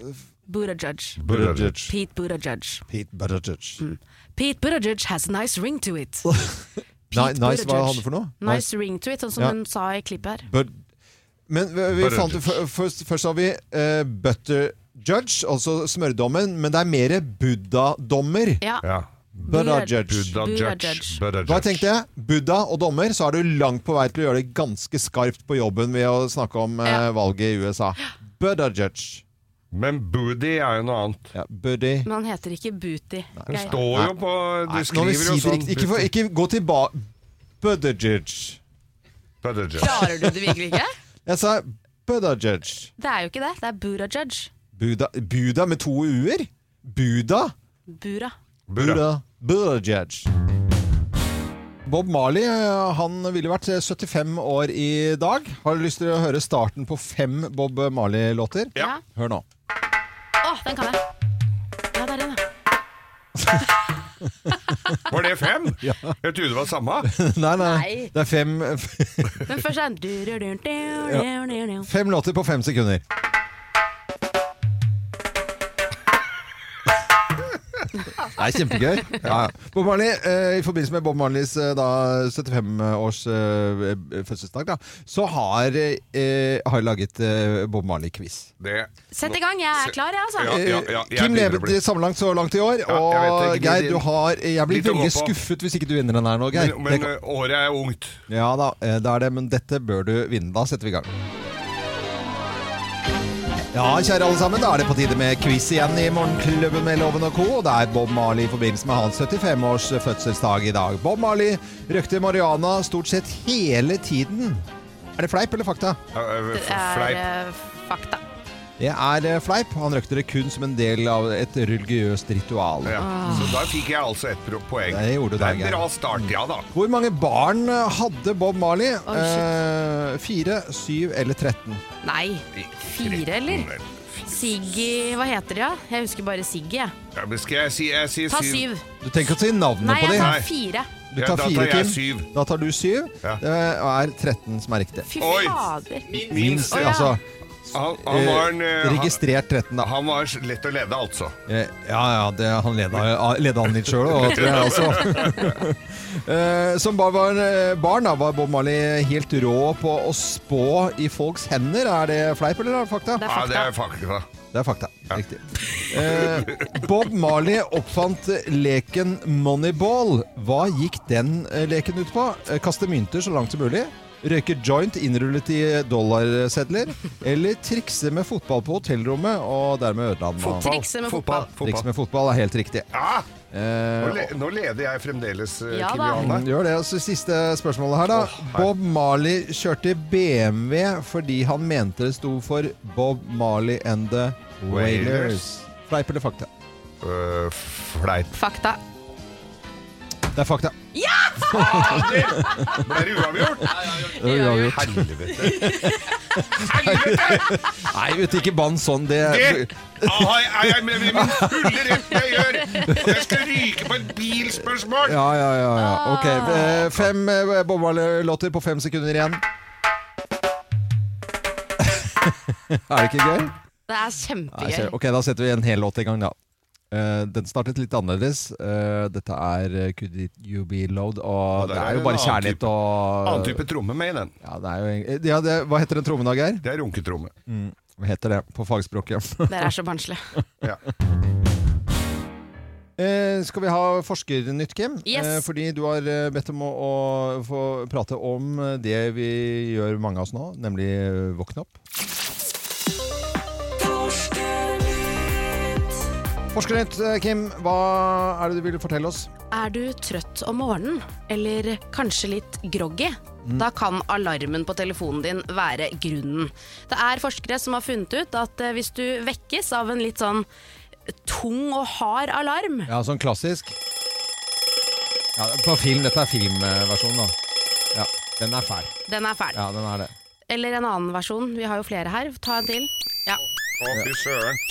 S3: Buttigieg.
S1: Buttigieg.
S3: Pete Buttigieg.
S1: Pete Buttigieg.
S3: Mm. Pete Buttigieg has a nice ring to it.
S1: Nei, nice,
S3: Pete
S1: hva
S3: Buttigieg.
S1: er han for noe?
S3: Nice ring to it, sånn som
S1: Ja.
S3: hun sa i klippet her.
S1: Bud- Men vi, vi
S2: Butter
S1: fant, f- først, først har vi eh, butter judge, altså smørdommen, men det er mer buddha-dommer.
S2: Ja. Ja.
S1: Buddha judge.
S2: Buddha judge. Buddha
S1: Hva
S2: judge.
S1: tenkte jeg? Buddha og dommer, så er du langt på vei til å gjøre det ganske skarpt på jobben ved å snakke om eh, valget i USA. Buddha judge.
S2: Men Booty er jo noe annet.
S1: Ja, Buddy.
S3: Men han heter ikke Booty.
S2: Det står jo på
S1: Nei,
S2: Du
S1: nå vil
S2: skriver
S1: jeg
S2: jo
S1: si det
S2: sånn.
S1: riktig. Ikke, for, ikke gå tilbake. Buddha judge.
S2: Buddha
S3: Klarer du det virkelig ikke?
S1: Jeg sa buddha judge.
S3: Det er jo ikke det. Det er Buttigieg.
S1: Buddha, Buddha med to u-er? Buddha?
S3: Bura.
S1: Buddha. Buttigieg. Bob Marley eh, han ville vært 75 år i dag. Har du lyst til å høre starten på fem Bob Marley-låter?
S3: Ja.
S1: Hør nå.
S3: Å, den kan jeg. Ja, det er den, ja.
S2: Var det fem? Jeg trodde det var samme.
S1: nei, nei,
S3: Nei.
S1: Det er fem,
S3: Men først er den du-du-du-du-du-du-du.
S1: fem låter på fem sekunder. Det er kjempegøy. Ja. ja. Bob Marley, eh, I forbindelse med Bob Marleys eh, da, 75-års eh, fødselsdag, da, så har, eh, har jeg laget eh, Bob Marley-quiz.
S3: Sett i gang, jeg er klar, jeg, altså.
S1: Eh, Kim levet så langt så langt i år,
S2: jeg
S1: og
S2: vet det.
S1: Geir, du har Jeg blir
S2: Litt å gå
S1: veldig
S2: på.
S1: skuffet hvis ikke du vinner den her nå, Geir.
S2: Men, men
S1: Det-
S2: ø, året er ungt.
S1: ja da, eh, det er det, men dette bør du vinne. Da setter vi i gang. Ja, kjære alle sammen, da er det på tide med quiz igjen i Morgenklubben med Loven og Co. Og det er Bob Marley i forbindelse med hans 75-års fødselsdag i dag. Bob Marley røkte marihuana stort sett hele tiden. Er det fleip eller fakta?
S3: Det er eh, fakta.
S1: Det er eh, fleip. Han røkte det kun som en del av et religiøst ritual.
S2: Ja. Så da fikk jeg altså ett pro- poeng.
S1: Det gjorde du,
S2: er en
S1: Geir.
S2: bra start, ja da.
S1: Hvor mange barn eh, hadde Bob Marley?
S2: Oi, shit.
S1: eh, fire, syv eller 13?
S3: Nei, fire, eller? Siggy Hva heter de, da? Jeg husker bare Siggy, jeg.
S2: Ja, men skal jeg si jeg sier
S3: Ta syv.
S1: Du trenger ikke å si navnet
S3: Nei,
S1: på
S3: jeg
S1: dem.
S3: tar fire.
S1: Du tar
S2: Ja, da tar
S1: fire,
S2: jeg
S1: Kim.
S2: syv.
S1: Da tar du syv. Det er 13 som er riktig.
S3: Fy fader.
S1: Minst,
S2: Å, ja.
S1: altså.
S2: Han, han var en, ø,
S1: eh, registrert 13, da.
S2: han, han var lett å lede, altså.
S1: Eh, Ja, ja, det, han leda, leda han litt sjøl òg, tror jeg også. Eh, Som bare var eh, barn da, var Bob Marley helt rå på å spå i folks hender. Er det fleip eller er det fakta?
S2: Ja, det er fakta.
S1: Det er fakta. Riktig. Eh, Bob Marley oppfant leken Moneyball. Hva gikk den eh, leken ut på? Eh, Kaste mynter så langt som mulig? Røyke joint innrullet i dollarsedler? Eller trikse med fotball på hotellrommet, og dermed ødela han
S2: Fotball. Trikse med fotball. fotball.
S1: Trikse med fotball er helt riktig.
S2: Nå,
S1: Eh,
S2: le, nå leder jeg fremdeles, ø,
S1: ja,
S2: Kim Johanne.
S1: Gjør det. Og så siste spørsmålet her, da. Bob Marley kjørte BMW fordi han mente det sto for Bob Marley and the Wailers. Fleip eller fakta?
S2: Ø, fleip.
S3: Fakta.
S1: Det er fakta.
S3: Ja!
S2: Ble det uavgjort?
S1: Det var uavgjort.
S2: Helvete!
S1: Nei, vet du, ikke bann sånn. Det,
S2: Det Ah, jeg, jeg, jeg, med min fulle rett jeg gjør! Og jeg skal ryke på et bilspørsmål!
S1: Ja, ja, ja. ja.
S3: Ah.
S1: Ok. eh, Fem eh, Bob Marley-låter på fem sekunder igjen. er det ikke gøy?
S3: Det er
S1: Nei,
S3: kjempegøy.
S1: kjære. ok, da setter vi en hel låt i gang, da. Eh, den startet litt annerledes. Eh, dette er eh, Could It You Be Loved, og
S2: Og der
S1: det
S2: er
S1: er jo
S2: en
S1: bare
S2: annen
S1: kjærlighet
S2: type-
S1: og
S2: Annen type tromme med i den.
S1: Ja, det er jo egentlig- ja, det, Hva heter den trommen da, Geir?
S2: Det er runketromme.
S1: Mm, hva heter det på fagspråket?
S3: Dere er så barnslige.
S1: Eh, skal vi ha forskernytt, Kim?
S3: Yes.
S1: Eh, fordi du har eh, bedt om å, å få prate om eh, det vi gjør mange av oss nå, nemlig eh, våkne opp. Forskernytt, eh, Kim. Hva er det du ville fortelle oss?
S3: Er du trøtt om morgenen, eller kanskje litt groggy?
S1: Mm.
S3: Da kan alarmen på telefonen din være grunnen. Det er forskere som har funnet ut at eh, hvis du vekkes av en litt sånn tung og hard alarm
S1: Ja, sånn klassisk. Ja, på film. Dette er filmversjonen, da. Ja, den er fæl.
S3: Den er fæl.
S1: Ja, den er det.
S3: Eller en annen versjon. Vi har jo flere her. Ta en til. Ja.
S2: Å, fy søren.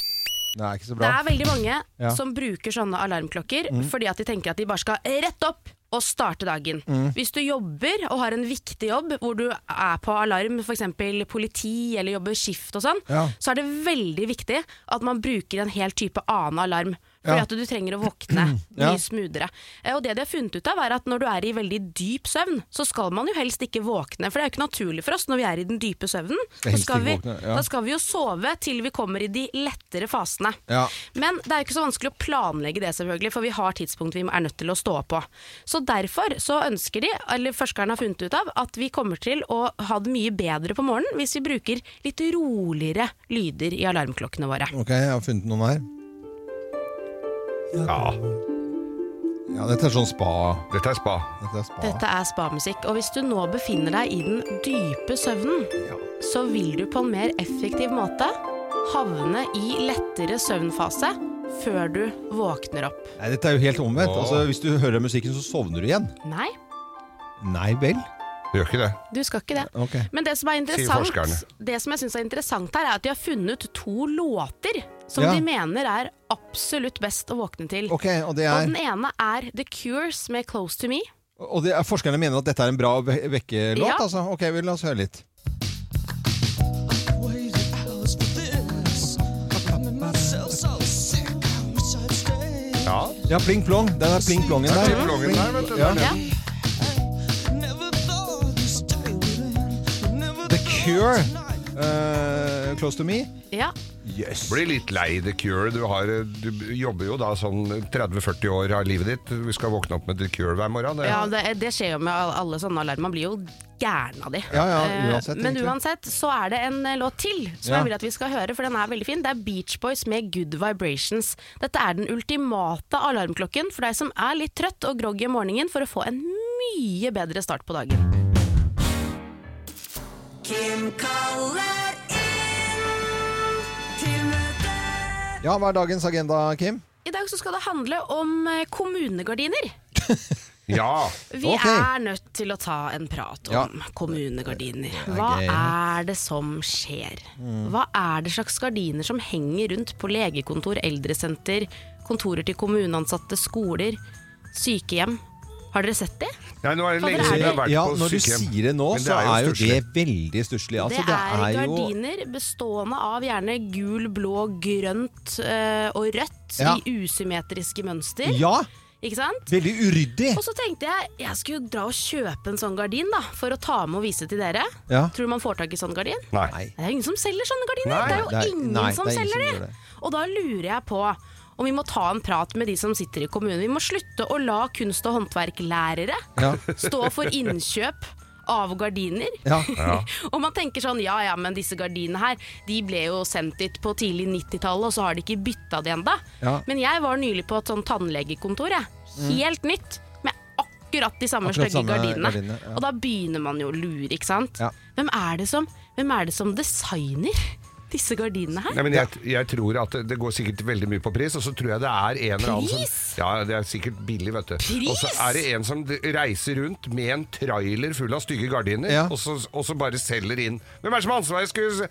S1: Det er ikke så
S3: Det
S1: bra.
S3: er veldig mange
S1: Ja.
S3: som bruker sånne alarmklokker
S1: Mm.
S3: fordi at de tenker at de bare skal rett opp og starte dagen.
S1: Mm.
S3: Hvis du jobber og har en viktig jobb hvor du er på alarm, f.eks. politi eller jobber skift og sånn,
S17: Ja.
S3: så er det veldig viktig at man bruker en helt type annen alarm. Fordi
S17: Ja.
S3: at du trenger å våkne mye
S17: Ja.
S3: smoothere. Eh, Og det de har funnet ut av er at når du er i veldig dyp søvn, så skal man jo helst ikke våkne. For det er jo ikke naturlig for oss når vi er i den dype søvnen.
S17: Skal
S3: Så
S17: helst
S3: skal
S17: ikke
S3: vi,
S17: våkne, ja.
S3: Da skal vi jo sove til vi kommer i de lettere fasene.
S17: Ja.
S3: Men det er jo ikke så vanskelig å planlegge det, selvfølgelig, for vi har tidspunkt vi er nødt til å stå på. Så derfor så ønsker de, eller forskerne har funnet ut av, at vi kommer til å ha det mye bedre på morgenen hvis vi bruker litt roligere lyder i alarmklokkene våre.
S1: Ok, jeg har funnet noen her.
S2: Ja.
S1: Ja, dette er sånn spa.
S2: Dette er spa.
S1: Dette er spa.
S3: Dette er spamusikk, og hvis du nå befinner deg i den dype søvnen, så vil du på en mer effektiv måte havne i lettere søvnfase før du våkner opp.
S1: Nei, dette er jo helt omvendt. Altså, hvis du hører musikken, så sovner du igjen.
S3: Nei,
S1: Nei vel?
S2: Gjør ikke det.
S3: du skal ikke det.
S1: Ok.
S3: Men det som er
S1: Sier
S3: interessant,
S1: forskerne.
S3: det som jeg synes er interessant her, er at de har funnet to låter som
S1: Ja.
S3: de mener er absolutt best å våkne til.
S1: Ok, og det er-
S3: den ene er The Cures med Close To Me.
S1: Og det er, forskerne mener at dette er en bra ve vekkelåt,
S3: Ja.
S1: altså? Ok, vi la oss høre litt.
S17: myself so sick. I wish I'd stayed.
S1: Ja, pling plong. Den er pling plongen
S2: Det
S1: der.
S2: er pling plongen der, vet du. Det
S1: Ja.
S2: er den.
S1: The Cure, eh, Close to Me.
S3: Ja.
S1: Yes.
S2: Blir litt lei The Cure. Du, har, du jobber jo da sånn 30-40 år av livet ditt. Du skal våkne opp med The Cure hver morgen. Det.
S3: Ja, det, det skjer jo med al- alle sånne alarmer. Man blir jo gæren av de.
S2: Ja, ja,
S3: Eh,
S2: uansett,
S3: Men
S2: egentlig.
S3: uansett så er det en eh, låt til som
S2: Ja.
S3: jeg vil at vi skal høre, for den er veldig fin. Det er Beach Boys med Good Vibrations. Dette er den ultimate alarmklokken for deg som er litt trøtt og groggy om morgenen for å få en mye bedre start på dagen.
S17: Kim kaller inn til møte.
S1: Ja, hva er dagens agenda, Kim?
S3: I dag så skal det handle om eh, kommunegardiner.
S2: Ja.
S3: Vi er nødt til å ta en prat om
S1: Ja.
S3: kommunegardiner.
S1: er
S3: Hva
S1: gøy.
S3: er det som skjer?
S1: Mm.
S3: Hva er det slags gardiner som henger rundt på legekontor, eldresenter, kontorer til kommuneansatte, skoler, sykehjem? Har dere sett det?
S2: Nei, nå er det
S3: Fader,
S2: lenge siden jeg har vært
S1: Ja,
S2: på
S1: når du
S2: sykehjem.
S1: sier det nå,
S2: Men
S1: så er jo det
S2: stusslig.
S1: veldig stusslig. Altså,
S3: det er,
S1: jo-
S3: gardiner bestående av gjerne gul, blå, grønt eh, og rødt
S1: Ja.
S3: i usymmetriske mønster.
S1: Ja.
S3: Ikke sant?
S1: Veldig uryddig.
S3: Og så tenkte jeg jeg skulle dra og kjøpe en sånn gardin da, for å ta med og vise til dere.
S1: Ja.
S3: Tror du man får tak i sånn gardin?
S2: Nei.
S3: Det er ingen som selger sånne gardiner.
S1: Nei,
S3: det er jo
S1: det er-
S3: ingen
S1: nei,
S3: som
S1: det er ingen
S3: selger
S1: som gjør
S3: de.
S1: det.
S3: Og da lurer jeg på om vi må ta en prat med de som sitter i kommunen. Vi må slutte å la kunst- og håndverklærere
S1: Ja.
S3: stå for innkjøp av gardiner.
S1: Ja.
S3: og man tenker sånn, ja ja, men disse gardinene her, de ble jo sendt dit på tidlig 90-tallet, og så har de ikke bytta de enda.
S1: Ja.
S3: Men jeg var nylig på et sånn tannlegekontor, jeg.
S1: Mm.
S3: Helt nytt. Med akkurat de samme
S1: Akkurat
S3: stygge
S1: samme
S3: gardinene.
S1: gardinene, ja.
S3: Og da begynner man jo å lure, ikke sant.
S1: Ja.
S3: Hvem, er det som, hvem er det som designer disse gardinene her?
S2: Nei, men jeg, jeg tror at det, det går sikkert veldig mye på pris, og så tror jeg det er en eller annen
S3: Pris?
S2: som Ja, det er sikkert billig, vet du.
S3: Pris?
S2: Og så er det en som d- reiser rundt med en trailer full av stygge gardiner, og, så, og så bare selger inn. Hvem er det som har ansvaret? Jeg skulle,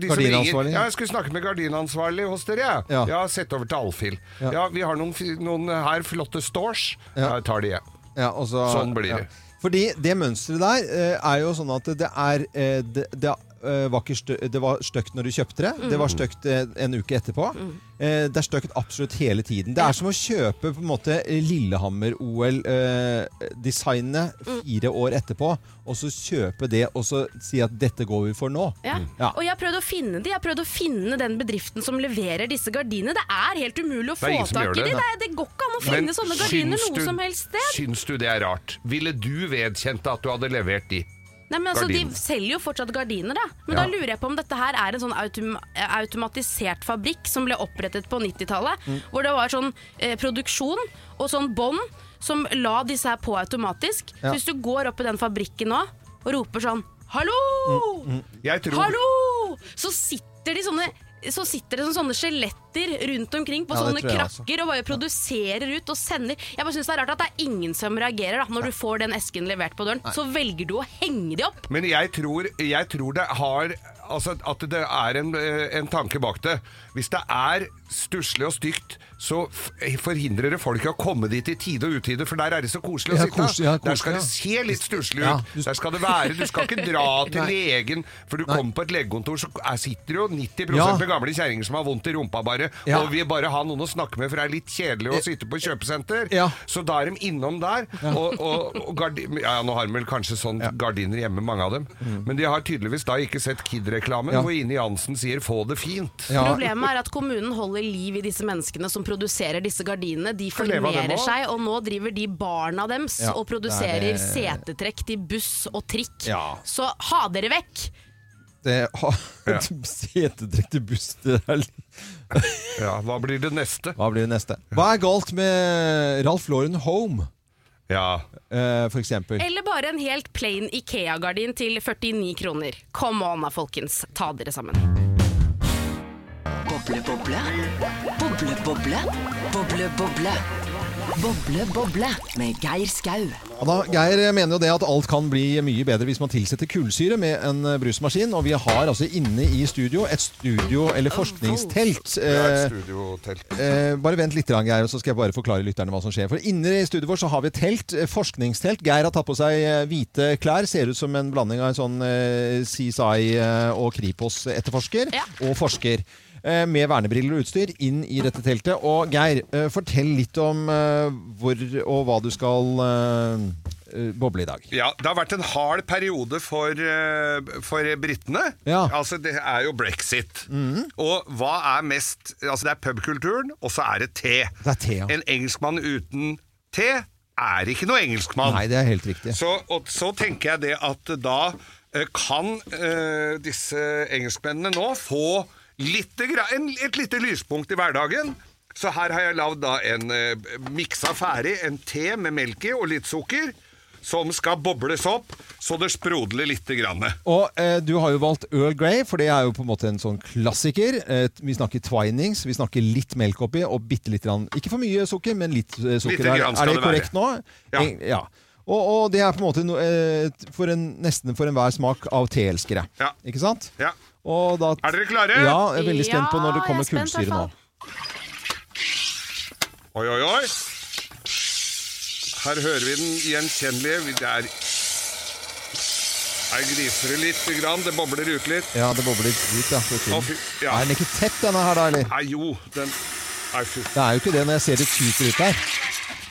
S2: de som ringer,
S1: Gardinansvarlig?
S2: ja, jeg skulle snakke med gardinansvarlig hos dere, jeg. Ja.
S1: Ja.
S2: sett over til Alfhild.
S1: Ja.
S2: Ja. vi har noen, fi- noen her flotte stores. Ja.
S1: Ja.
S2: Jeg tar de, jeg.
S1: Ja, og så,
S2: Sånn blir det.
S1: Fordi det mønsteret der eh, er jo sånn at det er eh, Det, det, eh, var, ikke stø, det var støkt når du kjøpte det.
S17: Mm.
S1: Det var støkt eh, en uke etterpå.
S3: Mm.
S1: Eh, det er støkt absolutt hele tiden. Det er som å kjøpe på en måte Lillehammer-OL-designet
S3: Mm.
S1: fire år etterpå, og så kjøpe det og så si at 'dette går vi for nå'.
S3: Ja.
S2: Mm.
S3: Og jeg har prøvd å finne de. Jeg har prøvd å finne den bedriften som leverer disse gardinene. Det er helt umulig å
S2: Det er
S3: få
S2: ingen som
S3: tak
S2: gjør
S3: i de.
S2: det,
S3: Det,
S2: nei.
S3: er- det går ikke an å finne
S2: Men
S3: sånne gardiner
S2: syns
S3: noe
S2: du-
S3: som helst sted.
S2: Syns du det er rart? Ville du vedkjent at du hadde levert de?
S3: Nei, men altså, de
S2: gardinene?
S3: selger jo fortsatt gardiner, da.
S2: Ja.
S3: Men da lurer jeg på om dette her er en sånn autom automatisert fabrikk som ble opprettet på 90-tallet.
S19: Mm.
S3: Hvor det var sånn eh, produksjon og sånn bånd som la disse her på automatisk.
S2: Ja.
S3: Så hvis du går opp i den fabrikken nå og roper sånn Hallo!
S2: Mm, Jeg tror
S3: Hallo! Så sitter de sånne så sitter det som sånne skjeletter rundt omkring på
S2: Ja, det
S3: sånne
S2: tror jeg
S3: krakker og bare produserer ut og sender. Jeg bare synes Det er rart at det er ingen som reagerer da når du får den esken levert på døren. Så velger du å henge de opp.
S2: Men jeg tror, jeg tror det har Altså at det er en, eh, en tanke bak det. Hvis det er stusslig og stygt, så f- forhindrer det folk i å komme dit i tide og utide, for der er det så koselig å
S1: Ja,
S2: sitte.
S1: koselig, ja,
S2: der skal
S1: koselig,
S2: det se litt stusslig
S1: Ja,
S2: ut. Der skal det være. Du skal ikke dra til
S1: Nei.
S2: legen, for du kommer på et legekontor, så er- sitter jo 90
S1: Ja.
S2: med gamle kjerringer som har vondt i rumpa bare,
S1: Ja. Eh,
S2: og vil bare ha noen å snakke med, for det er litt kjedelig å sitte på kjøpesenter. Så da er de innom der, og, og, og gardi- ja, ja, nå har de vel kanskje sånn gardiner hjemme, mange av dem. Men de har tydeligvis da ikke sett Kid-reklamen,
S1: Mm. Ja.
S2: hvor Ine Jansen sier 'få det fint'.
S3: Problemet er at kommunen holder liv i disse menneskene som produserer disse gardinene. De
S2: Får leve av dem
S3: formerer
S2: også.
S3: seg, og nå driver de barna deres
S1: Ja,
S3: og
S1: det er
S3: produserer
S1: det-
S3: setetrekk til buss og trikk.
S1: Ja.
S3: Så ha dere vekk!
S1: Det har Setedrekk til buss, det er
S2: Ja, hva blir det neste?
S1: Hva blir det neste? Hva er galt med Ralph Lauren Home? eh,
S2: Ja.
S1: for eksempel.
S3: Eller bare en helt plain Ikea-gardin til 49 kroner. Come on da, folkens. Ta dere sammen.
S17: Boble, boble. Boble, boble. Boble, boble. Boble, boble med Geir Skau.
S1: Ja Da, Geir mener jo det at alt kan bli mye bedre hvis man tilsetter kullsyre med en eh, brusmaskin. Og vi har altså inne i studio et studio- eller forskningstelt.
S2: Ja, et
S1: Eh,
S2: studiotelt.
S1: Eh, bare vent litt, Geir, og så skal jeg bare forklare lytterne hva som skjer. For Inne i studioet vårt så har vi et telt, eh, forskningstelt. Geir har tatt på seg eh, hvite klær. Ser ut som en blanding av en sånn eh, CSI eh, og Kripos-etterforsker og forsker. Eh, eh, med vernebriller og utstyr inn i dette teltet. Og Geir, eh, fortell litt om eh, hvor og hva du skal eh, eh, boble i dag.
S2: Ja, Det har vært en hard periode for, eh, for britene.
S1: Ja.
S2: Altså, Det er jo brexit.
S1: Mhm.
S2: Og hva er mest Altså, det er pubkulturen, og så er det te.
S1: Det er te, ja.
S2: En engelskmann uten te er ikke noe engelskmann.
S1: Nei, det er helt riktig.
S2: Så, og så tenker jeg det at da eh, kan eh, disse engelskmennene nå få lite gra- en, et lite lyspunkt i hverdagen. Så her har jeg lagd da en eh, miksa ferdig, en te med melk i og litt sukker, som skal bobles opp så det sprodler lite grann.
S1: Og eh, du har jo valgt Earl Grey, for det er jo på en måte en sånn klassiker. Eh, vi snakker twinings, vi snakker litt melk oppi, og bitte litt grann, ikke for mye sukker, men litt eh, sukker.
S2: Lite
S1: Er-
S2: grann
S1: er
S2: skal
S1: det
S2: det være.
S1: korrekt nå?
S2: Ja.
S1: Eng- ja. Og, og det er på en måte no, eh, for en, nesten for enhver smak av teelskere.
S2: Ja.
S1: Ikke sant?
S2: Ja.
S1: Og da,
S2: Er dere klare?
S1: Ja, jeg er veldig spent på når det
S2: Ja,
S1: kommer
S2: jeg er spent, altså.
S1: kullsyre nå.
S2: hvertfall. Oi, oi, oi. Her hører vi den gjenkjennelige. Det er Her griser det litt, grann. det bobler ut litt.
S1: Ja, det bobler ut, ja. for tiden.
S2: Å, fy- ja.
S1: Er den ikke tett, denne her, da? eller?
S2: Nei, jo, den Nei, fy.
S1: Det er jo ikke det. Når jeg ser det tyter ut der,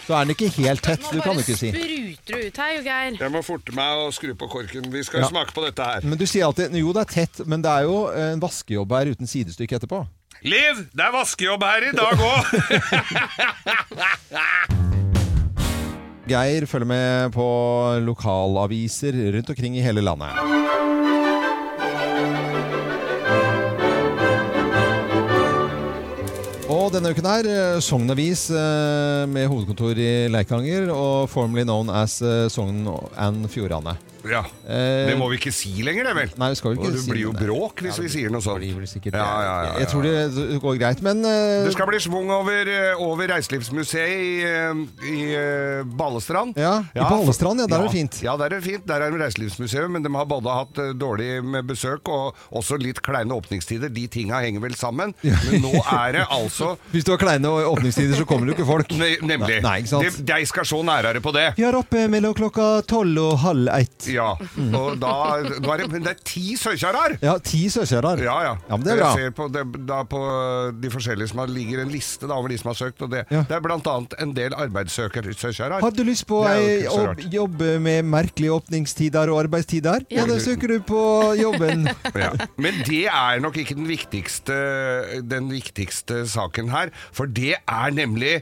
S1: så er den ikke helt tett. Du kan jo ikke si.
S19: spruter det ut her, jo, Geir.
S2: Jeg må forte meg å skru på korken. Vi skal
S1: Ja.
S2: smake på dette her.
S1: Men du sier alltid Jo, det er tett, men det er jo eh, en vaskejobb her uten sidestykke etterpå.
S2: Liv, det er vaskejobb her i dag òg!
S1: Geir følger med på lokalaviser rundt omkring i hele landet. Og denne uken her, eh, Sogn Avis eh, med hovedkontor i Leikanger og formerly known as eh, Sogn and Fjordane.
S2: ja.
S1: Eh,
S2: Det må vi ikke si lenger, det vel?
S1: Nei, vi skal jo ikke
S2: det
S1: si
S2: blir jo
S1: det.
S2: bråk hvis vi sier noe sånt. Det blir sikkert ja, ja, ja, ja.
S1: Jeg tror det det går greit, men eh,
S2: Det skal bli svung over, eh, over Reiselivsmuseet i, eh, i eh, Balestrand.
S1: Ja, i Balestrand, ja, der er det fint.
S2: Ja, der er det fint. Der er det reiselivsmuseum, men de har både hatt eh, dårlig med besøk og også litt kleine åpningstider. De tinga henger vel sammen. Men nå er det altså
S1: Hvis du har kleine åpningstider, så kommer jo ikke folk.
S2: Ne- Nemlig.
S1: Nei, ikke sant?
S2: De, de skal se nærere på det.
S1: Vi er oppe mellom klokka tolv og halv ett.
S2: Ja, og da, nå er det, men det er ti søkjarar!
S1: Ja, ti søkjarar.
S2: Ja, ja.
S1: men det er bra.
S2: Jeg ser på, det, da på de forskjellige som har, ligger en liste da, over de som har søkt, og det, det er blant annet en del arbeidssøkere.
S1: Har du lyst på ei jobb, jobb med merkelige åpningstider og arbeidstider? Ja, da søker du på jobben.
S2: Ja. Men det er nok ikke den viktigste, den viktigste saken her, for det er nemlig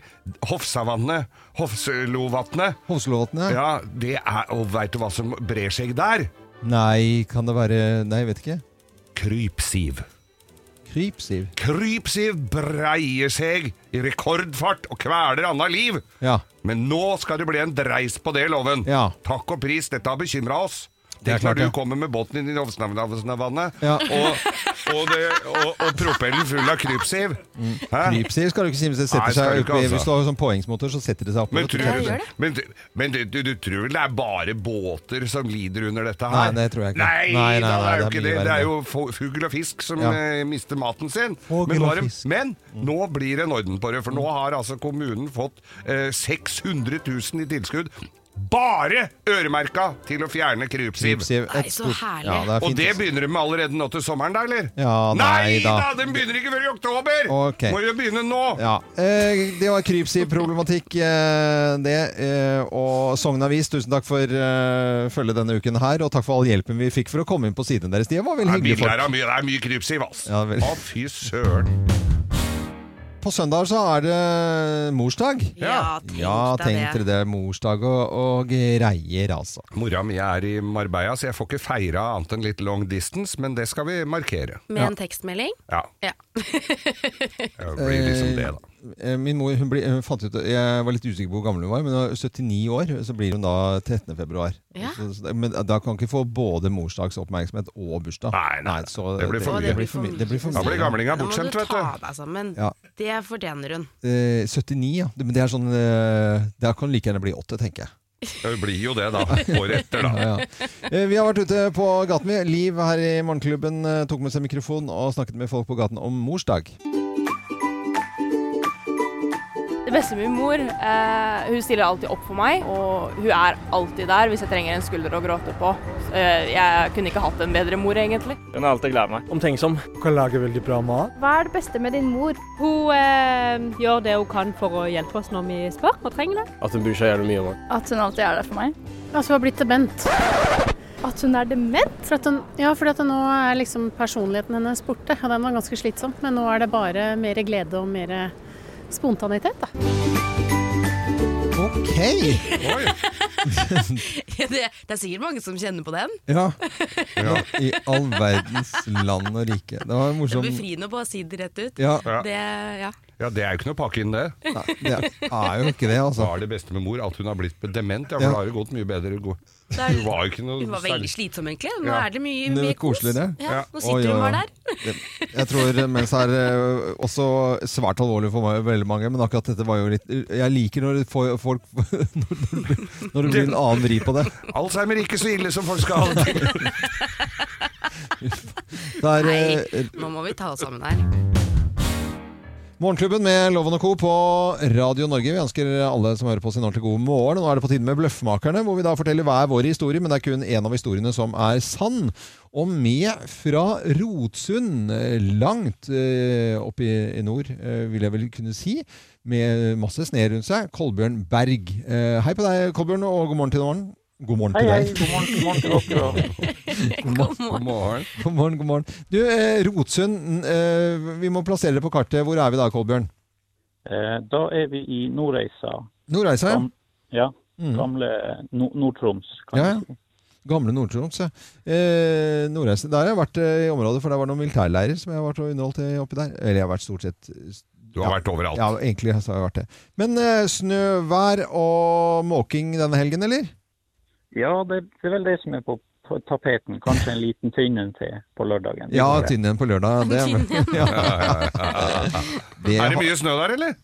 S2: Hofsavannet. Hofslovatnet.
S1: Hofslovatnet?
S2: Ja, det er, og veit du hva som brer seg der?
S1: Nei, kan det være Nei, jeg vet ikke.
S2: Krypsiv.
S1: Krypsiv?
S2: Krypsiv breier seg i rekordfart og kveler anna liv.
S1: Ja.
S2: Men nå skal det bli en dreis på det, loven.
S1: Ja.
S2: Takk og pris, dette har bekymra oss.
S1: Det er
S2: Tenk
S1: klart
S2: når du
S1: det.
S2: kommer med båten inn i Hofsnavannet
S1: Ja.
S2: og, og, det- og, og propellen full av krypsiv.
S1: Mm.
S2: Hæ?
S1: Krypsiv skal du ikke si hvis det
S2: Nei,
S1: setter
S2: skal
S1: seg opp
S2: du ikke,
S1: i-
S2: altså.
S1: Hvis du har sånn påhengsmotor, så setter det seg opp.
S2: Men,
S1: vet du.
S2: tror du, men, men du, du, du tror vel det er bare båter som lider under dette her?
S1: Nei, det tror jeg ikke.
S2: Nei,
S1: Nei, nei,
S2: da, det
S1: nei, det
S2: er jo
S1: er
S2: ikke
S1: mye
S2: det.
S1: verre
S2: Det er
S1: enn
S2: jo fo- fugl og fisk som
S1: Ja.
S2: eh, mister maten sin.
S1: Fugl
S2: Men nå,
S1: og
S2: er det-
S1: fisk. Mm.
S2: men nå blir det en orden på det, for nå har altså kommunen fått eh, 600 000 i tilskudd. Bare øremerka til å fjerne krypsiv.
S1: Krypsiv, Nei, så eksport- herlig. Ja, det er
S2: og
S1: fint,
S2: det
S1: altså.
S2: begynner de med allerede nå til sommeren, da, eller?
S1: Ja, nei
S2: da.
S1: da.
S2: Den begynner ikke før i oktober!
S1: Ok.
S2: Må jo begynne nå!
S1: Ja, eh, Det var krypsiv-problematikk, eh, det. Eh, og Sogn Avis, tusen takk for eh, følget denne uken her. Og takk for all hjelpen vi fikk for å komme inn på siden deres. De var vel
S2: Nei,
S1: hyggelige
S2: bilder
S1: folk.
S2: er mye, det er mye krypsiv, altså.
S1: Ja, vel.
S2: Å, fy søren.
S1: På søndag så er det eh, morsdag.
S2: Ja,
S1: tenk, ja,
S2: deg
S1: tenk dere
S2: det.
S1: det. er Morsdag og, og greier, altså.
S2: Mora mi er i Marbella, så jeg får ikke feira annet enn litt long distance, men det skal vi markere.
S3: Med en tekstmelding?
S2: Ja.
S3: Ja.
S2: Det blir liksom det, da.
S1: Eh, Min mor hun blir, hun fant ut, Jeg var litt usikker på hvor gammel hun var, men hun var 79 år. Så blir hun da 13. februar.
S3: Ja.
S1: Så, så, det- men da kan hun ikke få både morsdagsoppmerksomhet og bursdag. Nei, så,
S2: Det blir for mye.
S1: Det blir for mye. Det blir for
S2: Da blir
S19: Eh,
S1: mye.
S2: gamlinga
S3: Da må du
S2: bortskjemt, vet
S3: ta
S2: du.
S3: deg sammen.
S1: Ja.
S3: Det fortjener hun.
S1: Eh, 79, ja. Det- Men det er sånn eh, Der kan hun like gjerne bli 80, tenker jeg.
S2: Det blir jo det, da. Året etter, da.
S1: Ja, ja. Eh, Vi har vært ute på gaten. vi. Liv her i Morgenklubben eh, tok med seg mikrofon og snakket med folk på gaten om morsdag.
S15: Det
S14: Bestemor mor, eh, hun stiller alltid opp for meg, og hun er alltid der hvis jeg trenger en skulder å gråte på. Så, eh, jeg kunne ikke hatt en bedre mor, egentlig.
S12: Hun har alltid glad i meg. Omtenksom.
S5: Kan lage veldig bra mat.
S6: Hva er det beste med din mor? Hun eh, gjør det hun kan for å hjelpe oss når vi spør og trenger det.
S12: At hun bryr seg jævlig mye om meg.
S6: At hun alltid er der for meg. At hun har blitt dement. At hun er dement? For at hun, ja, fordi at nå er liksom personligheten hennes borte. Og den var ganske slitsom, men nå er det bare mer glede og mer spontanitet, da.
S1: Ok!
S19: det, det er sikkert mange som kjenner på den.
S1: Ja. I all verdens land og rike. Det var en
S19: Det
S1: morsom
S19: er befriende på å si det rett ut.
S1: Ja.
S19: Det, ja.
S2: Ja, Det er jo ikke noe å pakke inn, det. Nei,
S1: det er jo ikke det, altså.
S2: Hva er det beste med mor? At hun har blitt dement? Ja, for
S1: Ja.
S2: da har det gått mye bedre. Hun
S19: Det er-
S2: hun var jo ikke noe
S19: Hun var veldig slitsom, egentlig. Nå
S2: Ja.
S19: er det mye,
S1: Det er
S19: mye kos.
S1: koseligere.
S19: Ja.
S1: Ja.
S19: Nå sitter
S1: Oi, oi,
S19: hun
S1: oi.
S19: bare der.
S1: Jeg tror mens er eh, også svært alvorlig for meg, veldig mange, men akkurat dette var jo litt Jeg liker når det får- folk Når det blir- når det blir en annen vri på det.
S2: Alzheimer er ikke så ille som folk skal ha det til.
S1: Det er eh,
S19: Nei, nå må vi ta oss sammen her.
S1: Morgenklubben med Loven og Co. på Radio Norge. Vi ønsker alle som hører på oss en ordentlig god morgen. Nå er det på tide med Bløffmakerne, hvor vi da forteller hver vår historie, men det er kun én av historiene som er sann. Og med fra Rotsund, eh, langt eh, oppe i, i nord, eh, vil jeg vel kunne si, med masse sne rundt seg, Kolbjørn Berg. Eh, hei på deg, Kolbjørn, og god morgen til morgen. God morgen til
S23: Hei, hei.
S1: deg.
S23: God morgen, god morgen til dere også.
S1: God morgen.
S23: God morgen.
S1: God morgen, god morgen. Du, eh, Rotsund, eh, vi må plassere det på kartet. Hvor er vi da, Kolbjørn?
S23: Eh, Da er vi i Nordreisa.
S1: Nordreisa, ja.
S23: Gam- Ja.
S1: Mm.
S23: Gamle Nord- Nord-Troms.
S1: Ja, ja. Gamle Nord-Troms, ja. Eh, Nordreise. Der har jeg vært eh, i området, for det var noen militærleirer som jeg har vært og underholdt i oppi der. Eller jeg har vært stort sett
S2: Du har vært overalt.
S1: Ja, egentlig så har jeg vært det. Men eh, snøvær og måking denne helgen, eller?
S23: Ja, det, det er vel det som er på, på tapeten. Kanskje en liten tynn en til på lørdagen.
S1: Ja, tynn igjen på lørdag. Det,
S23: Tynn
S1: ja. Det
S2: Er det
S1: har-
S2: mye snø der, eller?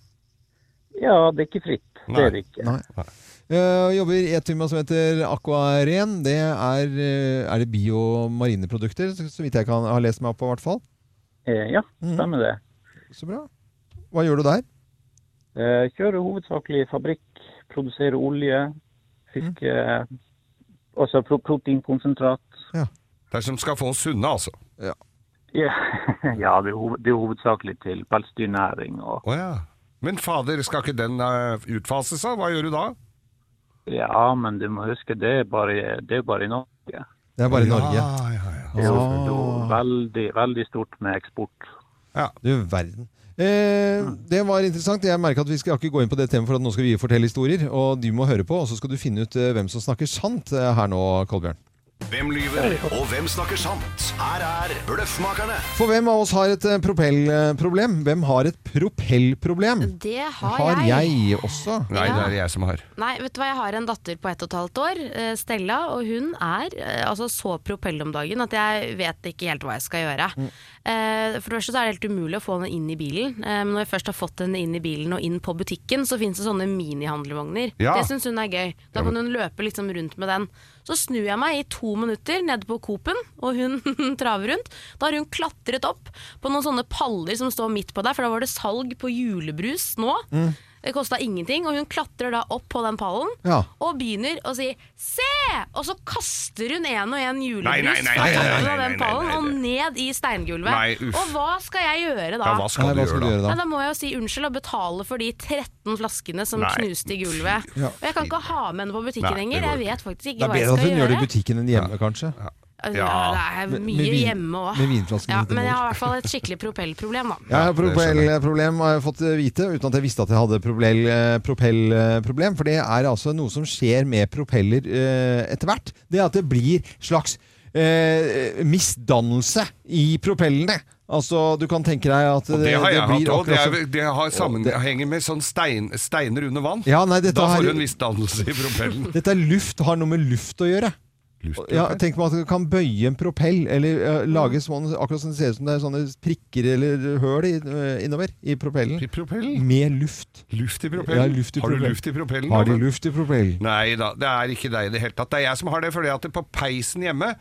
S23: Ja, det er ikke fritt. Det er det ikke.
S1: Nei. Eh, jobber i et firma som heter Aquaren. Det er, eh, er det biomarineprodukter, så så vidt jeg kan ha lest meg opp på, i hvert fall. Mhm.
S23: Eh, Ja, stemmer det.
S1: Så bra. Hva gjør du der?
S23: Eh, Kjører hovedsakelig fabrikk, produserer olje, fiske, altså pro proteinkonsentrat.
S2: Det er som skal få oss sunne, altså.
S1: Ja.
S23: Ja, ja det, er hoved, det er hovedsakelig til pelsdyrnæring. Og,
S2: Men fader, skal ikke den eh, utfases, da? Hva gjør du da?
S23: ja, men du må huske, det er bare, det er bare i Norge.
S1: Det er bare i
S23: Ja,
S1: Norge.
S23: Det er jo
S1: Ah.
S23: det er jo veldig, veldig stort med eksport.
S1: Du verden. Eh, det var interessant. Jeg merker at Vi skal ikke gå inn på det temaet, for at nå skal vi fortelle historier. Og du må høre på, og så skal du finne ut eh, hvem som snakker sant eh, her nå, Kolbjørn.
S21: Hvem lyver, og hvem snakker sant? Her er Bløffmakerne.
S1: For hvem av oss har et eh, propellproblem? Hvem har et propellproblem?
S3: Det har,
S1: har
S3: jeg.
S1: jeg også.
S2: Nei, det er det jeg som har.
S3: Nei, vet du hva, jeg har en datter på ett og et halvt år, eh, Stella, og hun er eh, altså så propell om dagen at jeg vet ikke helt hva jeg skal gjøre.
S1: Mm.
S3: Eh, For det første så er det helt umulig å få henne inn i bilen, Eh, men når jeg først har fått henne inn i bilen og inn på butikken, så finnes det sånne minihandlevogner.
S24: Ja.
S3: Det syns hun er gøy.
S24: Ja,
S3: Da kan
S24: men-
S3: hun løpe liksom rundt med den. Så snur jeg meg i to minutter nede på Coop-en, og hun traver rundt. Da har hun klatret opp på noen sånne paller som står midt på der, for da var det salg på julebrus nå.
S24: Mm.
S3: Det kosta ingenting, og hun klatrer da opp på den pallen
S24: Ja.
S3: og begynner å si 'se!' Og så kaster hun en og en
S2: Nei, nei,
S3: julebrus
S2: nei,
S3: fra
S2: nei, nei, nei,
S3: toppen av
S2: nei,
S3: den
S2: nei,
S3: pallen
S2: nei,
S3: og ned i steingulvet.
S2: Nei, uff.
S3: og hva skal jeg gjøre da?
S2: Ja, hva skal Nei, du hva skal gjøre du da? gjøre da?
S3: Nei, da må jeg jo si unnskyld og betale for de 13 flaskene som
S2: Nei.
S3: knuste i gulvet.
S1: Ja.
S3: Og jeg kan ikke ha med henne på
S1: Nei,
S3: butikken
S1: det
S3: lenger.
S1: går
S3: Jeg vet faktisk
S1: Det
S3: ikke
S1: er
S3: hva jeg
S1: bedre at
S3: skal
S1: hun gjør det i
S3: gjøre.
S1: butikken enn hjemme, kanskje.
S3: Altså,
S1: Ja.
S3: Det er
S1: Med- med
S3: mye
S1: vin-
S3: hjemme òg.
S1: Med vinflasken
S3: Ja,
S1: til
S3: men jeg
S1: bords.
S3: har i hvert fall et skikkelig propellproblem, da.
S1: Jeg har propellproblem, har jeg fått vite, uten at jeg visste at jeg hadde propell- eh, propellproblem. For det er altså noe som skjer med propeller eh, etter hvert. Det er at det blir slags eh, misdannelse i propellene. Altså, du kan tenke deg at
S2: Og det har jeg hatt
S1: blir
S2: òg. Det,
S1: akkurat
S2: er-
S1: som-
S2: det har sammenhenger med sånn stein, steiner under vann.
S1: Ja, nei, dette
S2: da
S1: her-
S2: får du en viss dannelse i propellen.
S1: Dette er luft, har noe med luft å gjøre. Ja, tenk på at du kan bøye en propell, eller eh, lage sånn, akkurat som det ser ut som det er sånne prikker eller høl i, eh, innover i propellen. Med luft.
S2: Luft i
S1: Ja,
S2: propellen?
S1: luft i
S2: har du
S1: propellen.
S2: luft i propellen?
S1: Har
S2: da,
S1: de
S2: men-
S1: luft i propellen?
S2: Nei da, det er ikke deg i det hele tatt. Det er jeg som har det, fordi at på peisen hjemme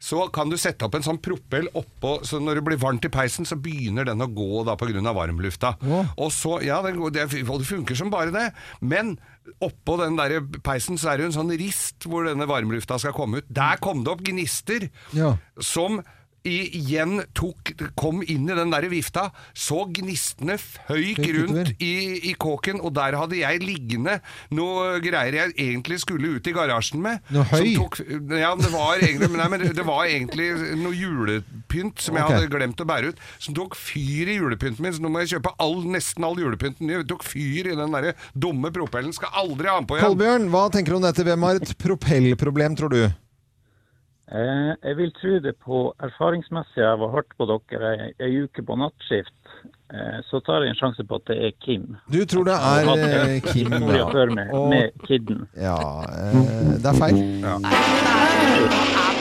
S2: så kan du sette opp en sånn propell oppå, så når det blir varmt i peisen, så begynner den å gå da pga. varmlufta. Og så, ja, den går, det, og det funker som bare det, men oppå den der peisen så er det jo en sånn rist hvor denne varmlufta skal komme ut. Der kom det opp gnister
S1: Ja.
S2: som igjen tok, kom inn i den der vifta, så gnistene
S1: Føyk
S2: føyk
S1: utover.
S2: rundt i, i kåken, og der hadde jeg liggende noe greier jeg egentlig skulle ut i garasjen med.
S1: Noe
S2: som
S1: høy?
S2: Tok, ja, det var egentlig, men nei, men det var egentlig noe julepynt som jeg
S1: Ok.
S2: hadde glemt å bære ut, som tok fyr i julepynten min, så nå må jeg kjøpe all, nesten all julepynten. Jeg tok fyr i den der dumme propellen, skal aldri ha den på igjen.
S1: Kolbjørn, hva tenker du om dette? Hvem har et propellproblem, tror du?
S23: Eh, jeg vil tro det på erfaringsmessig. Jeg var hardt på dere ei, ei uke på nattskift. Eh, så tar jeg en sjanse på at det er Kim.
S1: Du tror det er eh, Kim
S23: Historia før med,
S1: og-
S23: med kidden.
S1: Ja, eh, det er feil.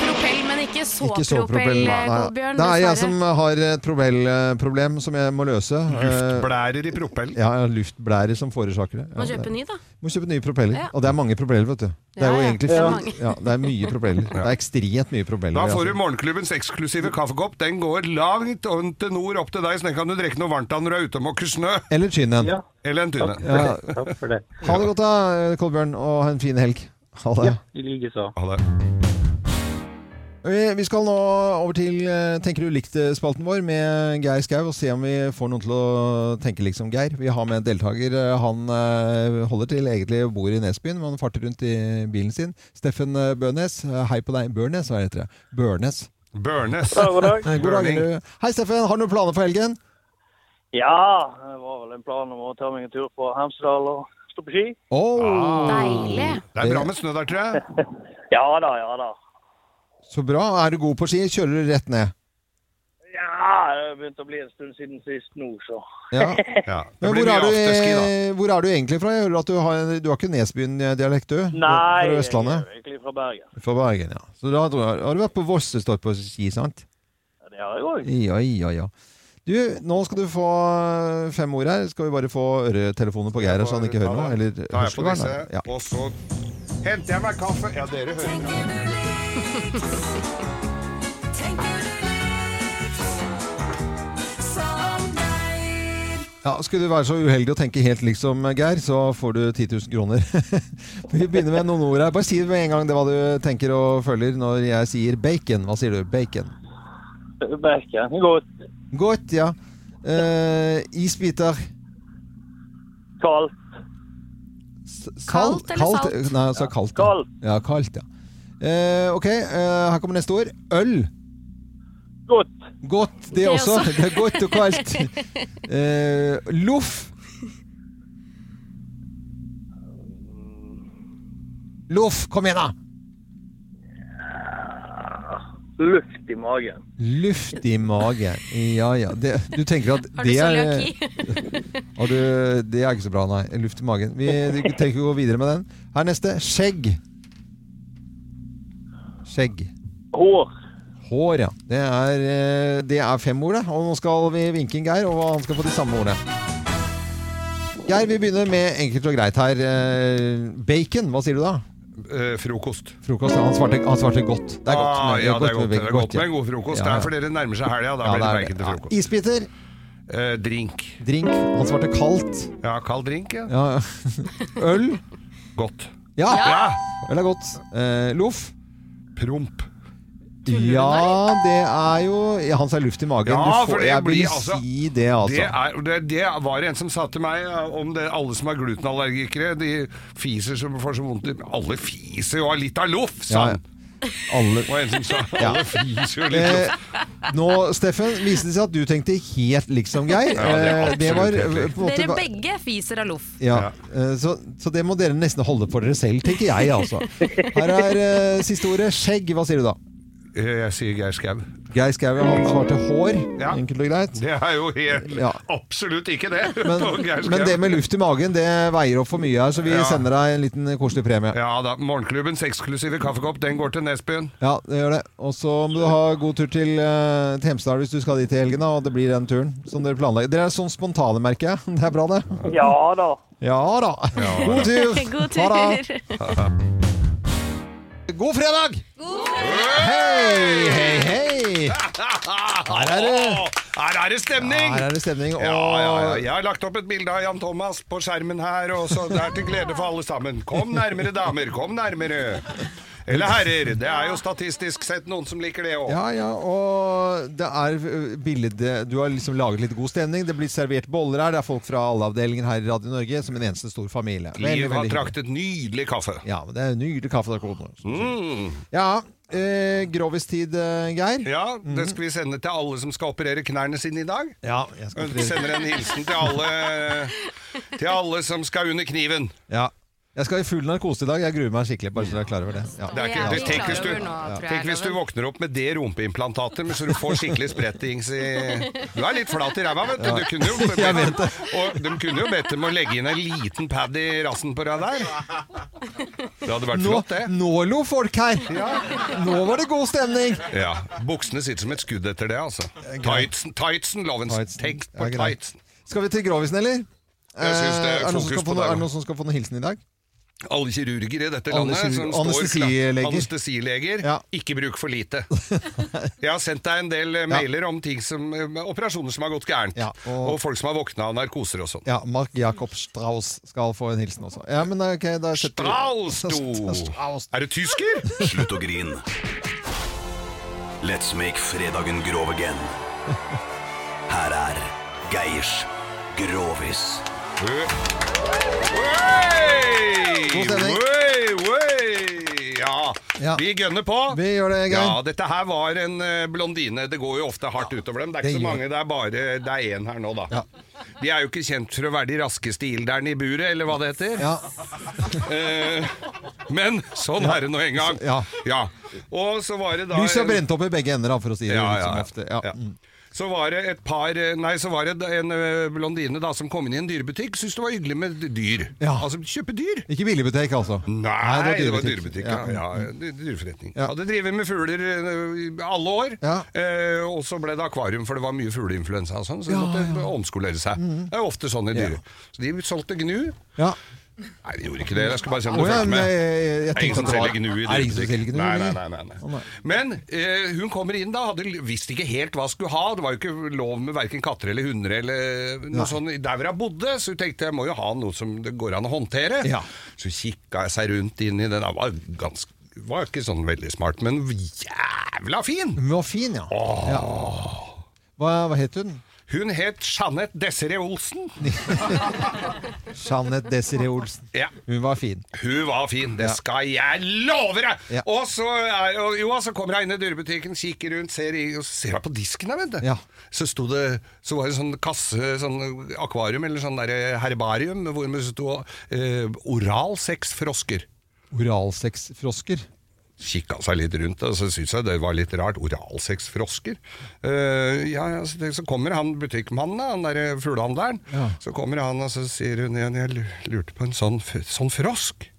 S3: Propell, men ikke så,
S1: Ikke så propell,
S3: propell,
S1: nei.
S3: Kolbjørn.
S1: Det er jeg
S3: dessverre.
S1: som har et propellproblem som jeg må løse.
S2: Luftblærer i propell?
S1: eh, Ja, ja, luftblærer som forårsaker det. Ja,
S3: Må kjøpe ny, da.
S1: Må kjøpe nye propeller.
S3: Ja.
S1: Og det er mange propeller, vet du. Det
S3: Ja,
S1: er jo
S3: ja.
S1: egentlig
S3: Det er mange.
S1: ja, det er mye propeller. Det er ekstremt mye propeller.
S2: Da får
S1: altså.
S2: du morgenklubbens eksklusive kaffekopp. Den går langt om til nord opp til deg, så den kan du drikke noe varmt av når du er ute og måker snø.
S1: Eller chinnen.
S2: Eller en tune.
S1: Ja. Ha det godt da, Kolbjørn, og ha en fin helg. Ha det.
S23: I likeså.
S2: Ha det.
S1: Vi vi skal nå over til eh, Tenker du likt-spalten vår med Geir Skau, og se om vi får noen til å tenke likt som Geir. Vi har med en deltaker. eh, Han eh, holder til egentlig og bor i Nesbyen, men han farter rundt i bilen sin. Steffen eh, Bønes. Eh, Hei på deg. Børnes, hva heter det? Børnes.
S2: Børnes.
S5: Ja, god dag.
S1: Eh, God dag.
S5: Børning.
S1: du. Hei, Steffen. Har du noen planer for helgen?
S5: Ja, det var vel en plan om å ta meg en tur på Hemsedal og stå på ski.
S1: Oh.
S5: Deilig.
S2: Det er bra med snø der, tror jeg.
S5: Ja da, ja da.
S1: Så bra. Er du god på ski, kjører du rett ned.
S5: Ja, det begynte å bli en stund siden sist nå, så.
S1: Ja.
S5: Det
S1: Men
S5: blir
S1: hvor
S5: mye
S1: er, du,
S5: afterski,
S1: eh, hvor er du egentlig fra? Jeg hører at du har, du har ikke Nesbyen-dialekt, du? Du er
S5: Nei,
S1: Fra
S5: jeg er
S1: Østlandet?
S5: egentlig fra Bergen.
S1: Fra Bergen, ja. Så da drar- har du vært på Voss og stått på ski, sant?
S5: Ja, Det har jeg òg.
S1: Ja, ja, ja. Du, nå skal du få fem ord her. Skal vi bare få øretelefoner på Geir her, så han sånn ikke hører noe? Eller
S2: Da er jeg på
S1: hørselvern?
S2: disse,
S1: da? Ja.
S2: og så henter jeg meg kaffe. Ja, dere hører.
S1: ja, Skulle du være så uheldig å tenke helt liksom Geir, så får du 10 000 kroner. vi begynner med noen ord her. Bare si med en gang det hva du tenker og føler når jeg sier bacon. Hva sier du? Bacon.
S5: Bergen. Godt.
S1: Godt, ja. Eh, isbiter.
S5: Kaldt.
S1: S-
S5: Kaldt eller salt?
S1: Nei, jeg sa kaldt. ja. Ja, kaldt, ja. Eh, ok, eh, her kommer neste ord. Øl.
S5: Godt.
S1: Godt, det,
S5: Det
S1: også.
S5: også.
S1: Det er godt og kaldt. Eh, loff. Loff, kom igjen da!
S5: Luft i magen.
S1: Luft i magen. Ja, ja. Det, du tenker at
S5: Har du
S1: det er
S5: cøliaki?
S1: Har du Det er ikke så bra, nei. Luft i magen. Vi trenger ikke å gå videre med den. Her neste. Skjegg. Skjegg.
S5: Hår.
S1: Hår, ja. Det er, eh, det er fem ord, det. Og nå skal vi vinke inn Geir, og han skal få de samme ordene. Geir, vi begynner med enkelt og greit her. Eh, Bacon, hva sier du da?
S2: Eh, frokost.
S1: Frokost. ja. Han svarte, han svarte godt. Det er godt.
S2: Ah,
S1: med-
S2: ja, det er
S1: med
S2: godt, det
S1: bacon.
S2: er godt med en god
S1: ja.
S2: frokost.
S1: Ja,
S2: Det
S1: ja.
S2: er fordi det nærmer seg helga, da
S1: Ja,
S2: blir det
S1: det er
S2: bacon til
S1: det.
S2: frokost.
S1: Isbiter.
S2: Eh, drink.
S1: Drink. Han svarte kaldt.
S2: Ja, kald drink, ja.
S1: Ja. Øl.
S2: Godt.
S1: Ja!
S2: Ja!
S1: Øl er godt. Eh, loff.
S2: Promp.
S1: Ja, det er jo ja, Han sa luft i magen.
S2: Ja,
S1: Du får,
S2: for det
S1: jeg
S2: blir
S1: vil
S2: altså-
S1: si det, altså.
S2: Det, er, det, det var en som sa til meg eh, om det, alle som er glutenallergikere, de fiser som får så vondt i Alle fiser jo av litt av loff, sa
S1: Ja,
S2: han.
S1: Alle...
S2: Og en som sa
S1: Ja.
S2: alle fiser jo litt
S1: Eh,
S2: loff.
S1: nå, Steffen, viste det seg at du tenkte helt liksom Geir.
S2: Ja, det er
S1: Eh, det var
S2: absolutt
S1: eh,
S2: helt
S1: på en måte
S19: Dere
S1: ba-
S19: begge fiser av loff.
S1: ja, eh, så, så det må dere nesten holde for dere selv, tenker jeg altså. Her er eh, siste ordet. Skjegg. Hva sier du da?
S2: Eh, Jeg sier Geir Skau.
S1: Geir Skau han svarte hår. Enkelt og greit.
S2: Det er jo helt
S1: Ja.
S2: Absolutt ikke det.
S1: Men,
S2: på Geir
S1: men
S2: Skau.
S1: det med luft i magen, det veier opp for mye her, så vi
S2: Ja.
S1: sender deg en liten koselig premie.
S2: Ja da. Morgenklubbens eksklusive kaffekopp, den går til Nesbyen.
S1: Ja, det gjør det. Og så må du ha god tur til, eh, til Hemsedal hvis du skal dit i helgen, da, og det blir den turen som dere planlegger. Dere er sånn spontane, merker jeg. Det er bra, det.
S5: Ja da.
S1: Ja da. God tur!
S5: God
S1: Ha det.
S5: tur.
S1: God fredag! Hei, hei, hei! Her er det
S2: Her er det stemning!
S1: Her er det stemning. Og
S2: Ja, ja, ja. Jeg har lagt opp et bilde av Jan Thomas på skjermen her, og så det er til glede for alle sammen. Kom nærmere, damer. Kom nærmere. Eller herrer. Det er jo statistisk sett noen som liker det òg.
S1: Ja, ja, og det er ø, bilde Du har liksom laget litt god stemning. Det blir servert boller her. Det er folk fra alle avdelinger her i Radio Norge som en eneste stor familie. Veldig,
S2: Liv har
S1: veldig hyggelig.
S2: traktet nydelig kaffe.
S1: Ja, men det er nydelig kaffe der kommer.
S2: Mm.
S1: Ja, eh, grovistid, eh, Geir.
S2: Ja, det skal vi sende til alle som skal operere knærne sine i dag.
S1: Ja, jeg skal
S2: Vi sender en hilsen til alle, til alle som skal under kniven.
S1: Ja. Jeg skal i full narkose i dag. Jeg gruer meg skikkelig. bare så dere er klar over det. Ja.
S2: Det er ikke, det, tenk, hvis du, tenk hvis du våkner opp med det rumpeimplantatet, men så du får skikkelig sprettings i Du er litt flat i ræva, vet du.
S1: Ja.
S2: du kunne jo,
S1: Jeg vet
S2: Og de kunne jo bedt dem å legge inn en liten pad i rassen på deg der. Det hadde vært
S1: Nå,
S2: flott, det.
S1: nå lo folk her! Nå var det god stemning!
S2: Ja, Buksene sitter som et skudd etter det, altså. Tightsen, tightsen Loven. Tenk
S1: Ja,
S2: på
S1: greit.
S2: tightsen.
S1: Skal vi til grovisen, eller?
S2: Jeg synes det er
S1: Eh, det noen som
S2: fokus
S1: skal
S2: på
S1: få noe-
S2: deg,
S1: er det
S2: da.
S1: noen som skal få noen hilsen i dag?
S2: Alle kirurger i dette
S1: Alle
S2: landet
S1: kirurger-
S2: som står
S1: anestesileger.
S2: Anestesileger. Ikke bruk for lite. Jeg har sendt deg en del eh, mailer om ting som, eh, operasjoner som har gått gærent. og... folk som har våkna av narkoser og sånn.
S1: Ja, Mark Jakob Strauss skal få en hilsen også. Ja, men eh, ok, da setter vi-
S2: Strauss, du! Er du tysker?
S21: Slutt å grine. Let's make fredagen grov again. Her er Geirs Grovis.
S2: Hey!
S21: God stemning.
S2: Wey, wey! Ja. vi gønner på.
S1: Vi gjør det, Geir.
S2: Ja, dette her var en eh, blondine. Det går jo ofte hardt utover dem. Det er
S1: det
S2: ikke så
S1: gjør
S2: mange, det er bare det er én her nå, da. De er jo ikke kjent for å være de raskeste ilderne i buret, eller hva det heter. Eh, men sånn er det nå en gang.
S1: Ja.
S2: Ja. Og så var det da
S1: Lyset
S2: en-
S1: er brent opp i begge ender, da, for å si det
S2: Ja,
S1: litt
S2: ja,
S1: som
S2: ja.
S1: ofte. Ja. Mm.
S2: Så var det et par eh, Nei, så var det en ø, blondine da som kom inn i en dyrebutikk. Syntes det var hyggelig med dyr. Altså kjøpe dyr.
S1: Ikke billigbutikk, altså.
S2: Nei, det var dyrebutikk. Ja, ja,
S1: Mm.
S2: dy- dyreforretning.
S1: Ja.
S2: Hadde drevet med fugler ø, i alle år. Eh, og så ble det akvarium, for det var mye fugleinfluensa og sånn. Så
S1: Ja,
S2: de måtte
S1: ja.
S2: omskolere seg.
S1: Mhm.
S2: Det er jo ofte sånn i dyr. Så de solgte gnu.
S1: Ja.
S2: Nei, de gjorde ikke det. Jeg skal bare se om du
S1: Å, ja,
S2: fulgte
S1: men
S2: med.
S1: jeg- jeg- jeg
S2: Det er ingen
S1: tenkte
S2: som
S1: at det var-
S2: selger
S1: Er
S2: gnu i
S1: det ingen som selger
S2: dyrebutikk.
S1: gnu?
S2: Nei, nei,
S1: lenger?
S2: nei, nei, nei. Men eh, hun kommer inn da, hadde visste ikke helt hva hun skulle ha. Det var jo ikke lov med verken katter eller hunder eller
S1: Nei.
S2: noe sånn der hvor hun bodde, så hun tenkte jeg må jo ha noe som det går an å håndtere. Så kikka jeg seg rundt inn i den, den var ganske var ikke sånn veldig smart, men jævla fin!
S1: Hun var fin, ja. ja. Hva, hva het hun?
S2: Hun het Jeanette Desiree Olsen.
S1: Jeanette Desiree Olsen.
S2: Ja.
S1: Hun var fin.
S2: Hun var fin, det
S1: Ja.
S2: skal jeg love deg!
S1: Ja.
S2: Og så, er, og, jo, så kommer jeg inn i dyrebutikken, kikker rundt, ser, i, og så ser jeg på disken her, vet du. Så, sto det, så var det sånn kasse, sånn akvarium eller sånn der herbarium, hvor det sto eh, oral sex for osker.
S1: Oralsexfrosker.
S2: Kikka seg litt rundt, og så syntes jeg det var litt rart. Oralsex for osker? Eh, ja, ja, så, tenk- så kommer han butikkmannen, da, han der eh, fuglehandleren.
S1: Ja.
S2: Så kommer han, og så sier hun igjen, jeg lurte på en sånn, f- sånn frosk.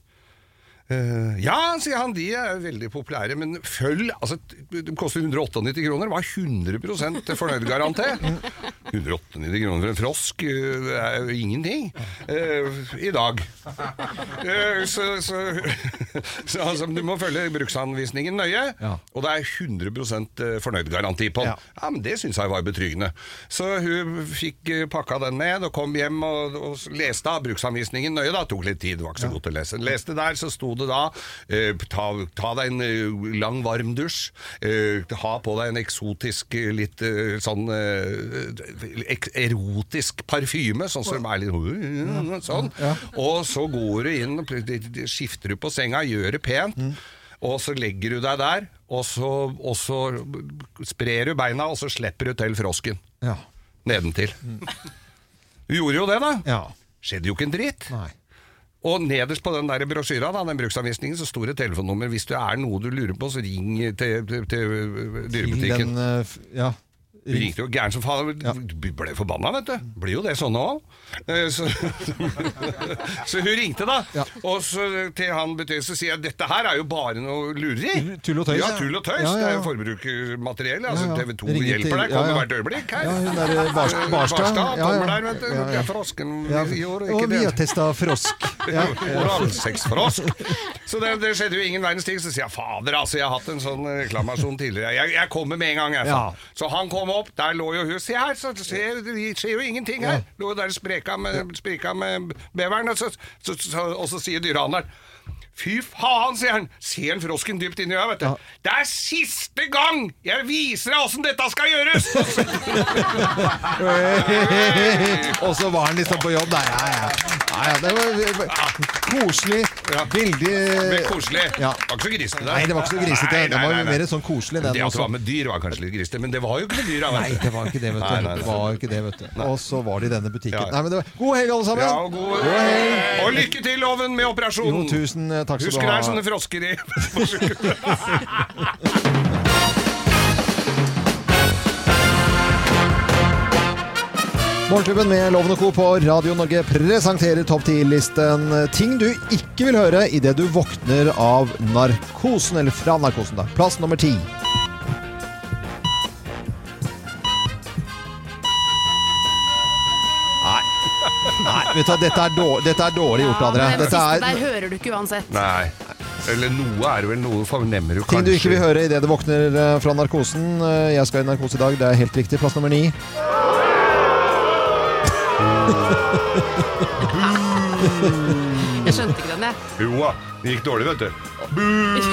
S2: Eh, ja, sier han, de er veldig populære, men følg altså, De koster 198 kroner, var 100 fornøyd garanté. 198 kroner for en frosk eh, er jo ingenting eh, i dag. Eh, så, så, så altså, du må følge bruksanvisningen nøye, og det er 100 fornøyd garanti på den. Ja. men Det syns jeg var betryggende. Så hun fikk eh, pakka den ned og kom hjem og, og leste av bruksanvisningen nøye. da, tok litt tid, det var ikke så godt å lese. Leste der, så sto det da eh, ta, ta deg en eh, lang, varm dusj. eh, ha på deg en eksotisk, eh, litt eh, sånn eh, ek erotisk parfyme, sånn som er litt sånn. Og så går du inn, og pl- de- de- skifter du på senga, gjør det pent, og så legger du deg der, og så, og så sprer du beina, og så slipper du til frosken
S1: Ja.
S2: nedentil. Du gjorde jo det, da. Skjedde jo ikke en dritt. Og nederst på den der brosjyra, da, den bruksanvisningen, så sto det telefonnummer. Hvis det er noe du lurer på, så ring til, til, til dyrebutikken.
S1: Den, eh, f- ja.
S2: Vi ringte jo gæren som faen. Vi Ble forbanna, vet du. Blir jo det sånne òg. Så, så hun ringte, da. Og så til han betyr, så sier jeg dette her er jo bare noe lureri.
S1: Tull og tøys,
S2: Ja,
S1: ja.
S2: tull og tøys.
S1: Ja, ja,
S2: Det er
S1: ja.
S2: jo forbrukermateriell. Altså,
S1: Ja, ja.
S2: TV 2
S1: Ringer
S2: hjelper
S1: til-
S2: deg.
S1: ja,
S2: Kommer
S1: ja.
S2: hvert øyeblikk. her.
S1: Ja, hun der, eh, Barst-
S2: Eh,
S1: Barstad. Ja, ja.
S2: kommer der, vet du.
S1: Ja, ja.
S2: Frosken
S1: Ja,
S2: gjorde
S1: og
S2: ikke
S1: vi
S2: det.
S1: har testa frosk. Ja.
S2: Oralsexfrosk. Så det, det skjedde jo ingen verdens ting. Så sier jeg fader, altså, jeg har hatt en sånn reklamasjon tidligere. Jeg, jeg kommer med en gang, jeg. sa.
S1: Ja.
S2: Så han kom opp, der lå jo hun. Se her, så skjer, det skjer jo ingenting her. Lå jo der og spreka med, spreka med beveren, og så, så, så, og så sier dyrehandleren Fy faen, sier han. Ser han frosken dypt inn i øyet, vet du. Det er siste gang jeg viser deg åssen dette skal gjøres!
S1: Og så var han liksom på jobb. Nei, ja, ja. Nei, ja, det var koselig. Veldig
S2: Men koselig.
S1: Ja.
S2: Det var ikke så grisete.
S1: Nei, det var ikke så grisete.
S2: Nei,
S1: Det var jo
S2: nei, nei.
S1: mer sånn koselig, den
S2: Det at
S1: også.
S2: det var med dyr, var kanskje litt grisete, men det var jo ikke med dyr. da, vet
S1: Nei,
S2: du.
S1: det var ikke det, vet
S2: Nei,
S1: du.
S2: nei, nei.
S1: Det var ikke det, vet du. Og så var det i denne butikken.
S2: Ja, ja.
S1: Nei, men det var God helg, alle sammen!
S2: Ja, og, god, og lykke til, Loven, med operasjonen!
S1: Jo, tusen eh, takk skal du
S2: Husker
S1: ha.
S2: det er sånne frosker i på sjukehuset.
S1: Morgenklubben med Loven og Co. på Radio Norge presenterer topp 10-listen ting du ikke vil høre idet du våkner av narkosen, eller fra narkosen, da. Plass nummer ti. Nei. Nei, vet du, hva, dette er dårlig, dette er dårlig gjort av dere.
S3: Den
S1: Dette
S3: siste der
S1: er
S3: hører du ikke uansett.
S2: Nei. Eller noe er det vel noe fornemmer du kanskje.
S1: ting du ikke vil høre idet du våkner eh, fra narkosen. Eh, Jeg skal i narkose i dag, det er helt riktig. Plass nummer ni.
S19: Jeg skjønte ikke den, jeg.
S2: Jo da, det gikk dårlig, vet du. Buh!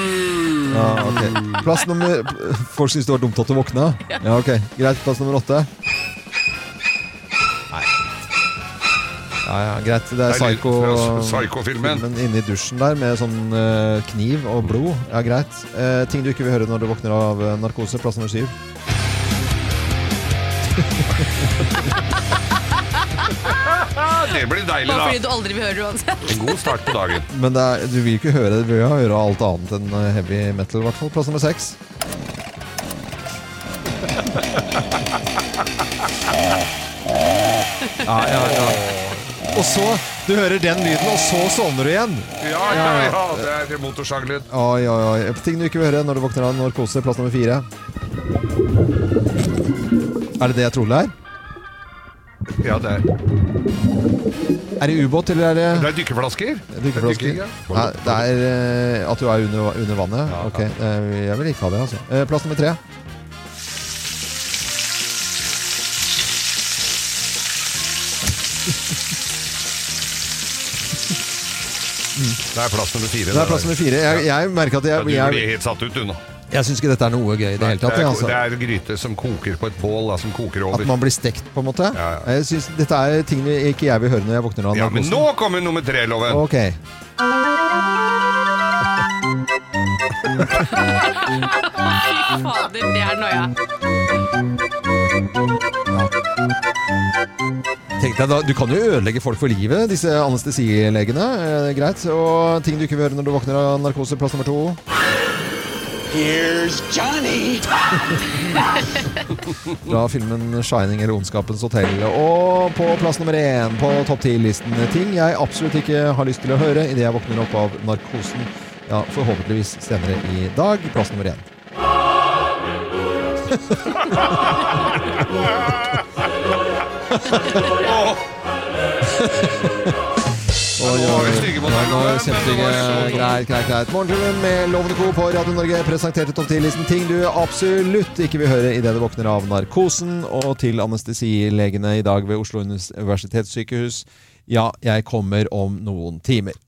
S1: Ja, Ah, ok. Mm. Plass nummer Folk syns det var dumt at du våkna? Ja, ok. Greit. Plass nummer åtte. Nei. Ja, ja, greit. Det er
S2: Det er lyd
S1: psycho,
S2: fra Psycho-filmen.
S1: filmen inni dusjen der med sånn eh, kniv og blod. Ja, greit. Eh, ting du ikke vil høre når du våkner av eh, narkose. Plass nummer syv.
S2: Det blir deilig,
S19: Bare fordi
S2: da.
S19: du aldri vil høre det uansett.
S2: En god start på dagen.
S1: Men det er, du vil ikke høre det. Du vil jo høre alt annet enn eh, heavy metal, i hvert fall. Plass nummer seks. Ja, ja, ja. Og så Du hører den lyden, og så sovner du igjen.
S2: Ja, ja, ja. Det er motorsaglyd.
S1: Oi, oi, oi. Ting du ikke vil høre når du våkner av narkose. Plass nummer fire. Er det det jeg tror det er?
S2: Ja, det er
S1: Er det ubåt, eller er det
S2: Det er dykkeflasker.
S1: Dykkeflasker?
S2: Dykking, ja.
S1: Nei, det er eh, at du er under, under vannet? Ok, eh, jeg vil ikke ha det, altså. Eh, Plass nummer tre.
S2: Det er plass nummer fire.
S1: Det er plass nummer fire. Jeg, jeg merker at
S2: Ja,
S1: jeg,
S2: du blir
S1: jeg,
S2: helt satt ut, du nå.
S1: jeg syns ikke dette er noe gøy i det hele tatt.
S2: Det
S1: jeg,
S2: er,
S1: Altså.
S2: det er gryte som koker på et bål, da, som koker
S1: At
S2: over.
S1: man blir stekt, på en måte. Jeg synes Dette er ting vi- ikke jeg vil høre når jeg våkner av
S2: Ja, men
S1: narkosen.
S2: nå kommer nummer tre, Loven!
S1: Ok.
S19: Fy fader, det er noia.
S1: Tenk deg da, Du kan jo ødelegge folk for livet, disse anestesilegene. Eh, greit. Og ting du ikke vil høre når du våkner av narkose. Plass nummer to.
S7: Here's Johnny!
S1: Fra filmen 'Shining' eller 'Ondskapens hotell'. Og på plass nummer én på topp ti-listen ting jeg absolutt ikke har lyst til å høre idet jeg våkner opp av narkosen. Ja, Forhåpentligvis senere i dag. Plass nummer én. Oi, oi, oi. Ja, nå er vi kjempestygge. Greit, greit, greit. Morgenklubben med Lovende Co på Radio Norge presenterte topp 10-listen ting du absolutt ikke vil høre idet du våkner av narkosen, og til anestesilegene i dag ved Oslo universitetssykehus. Ja, jeg kommer om noen timer.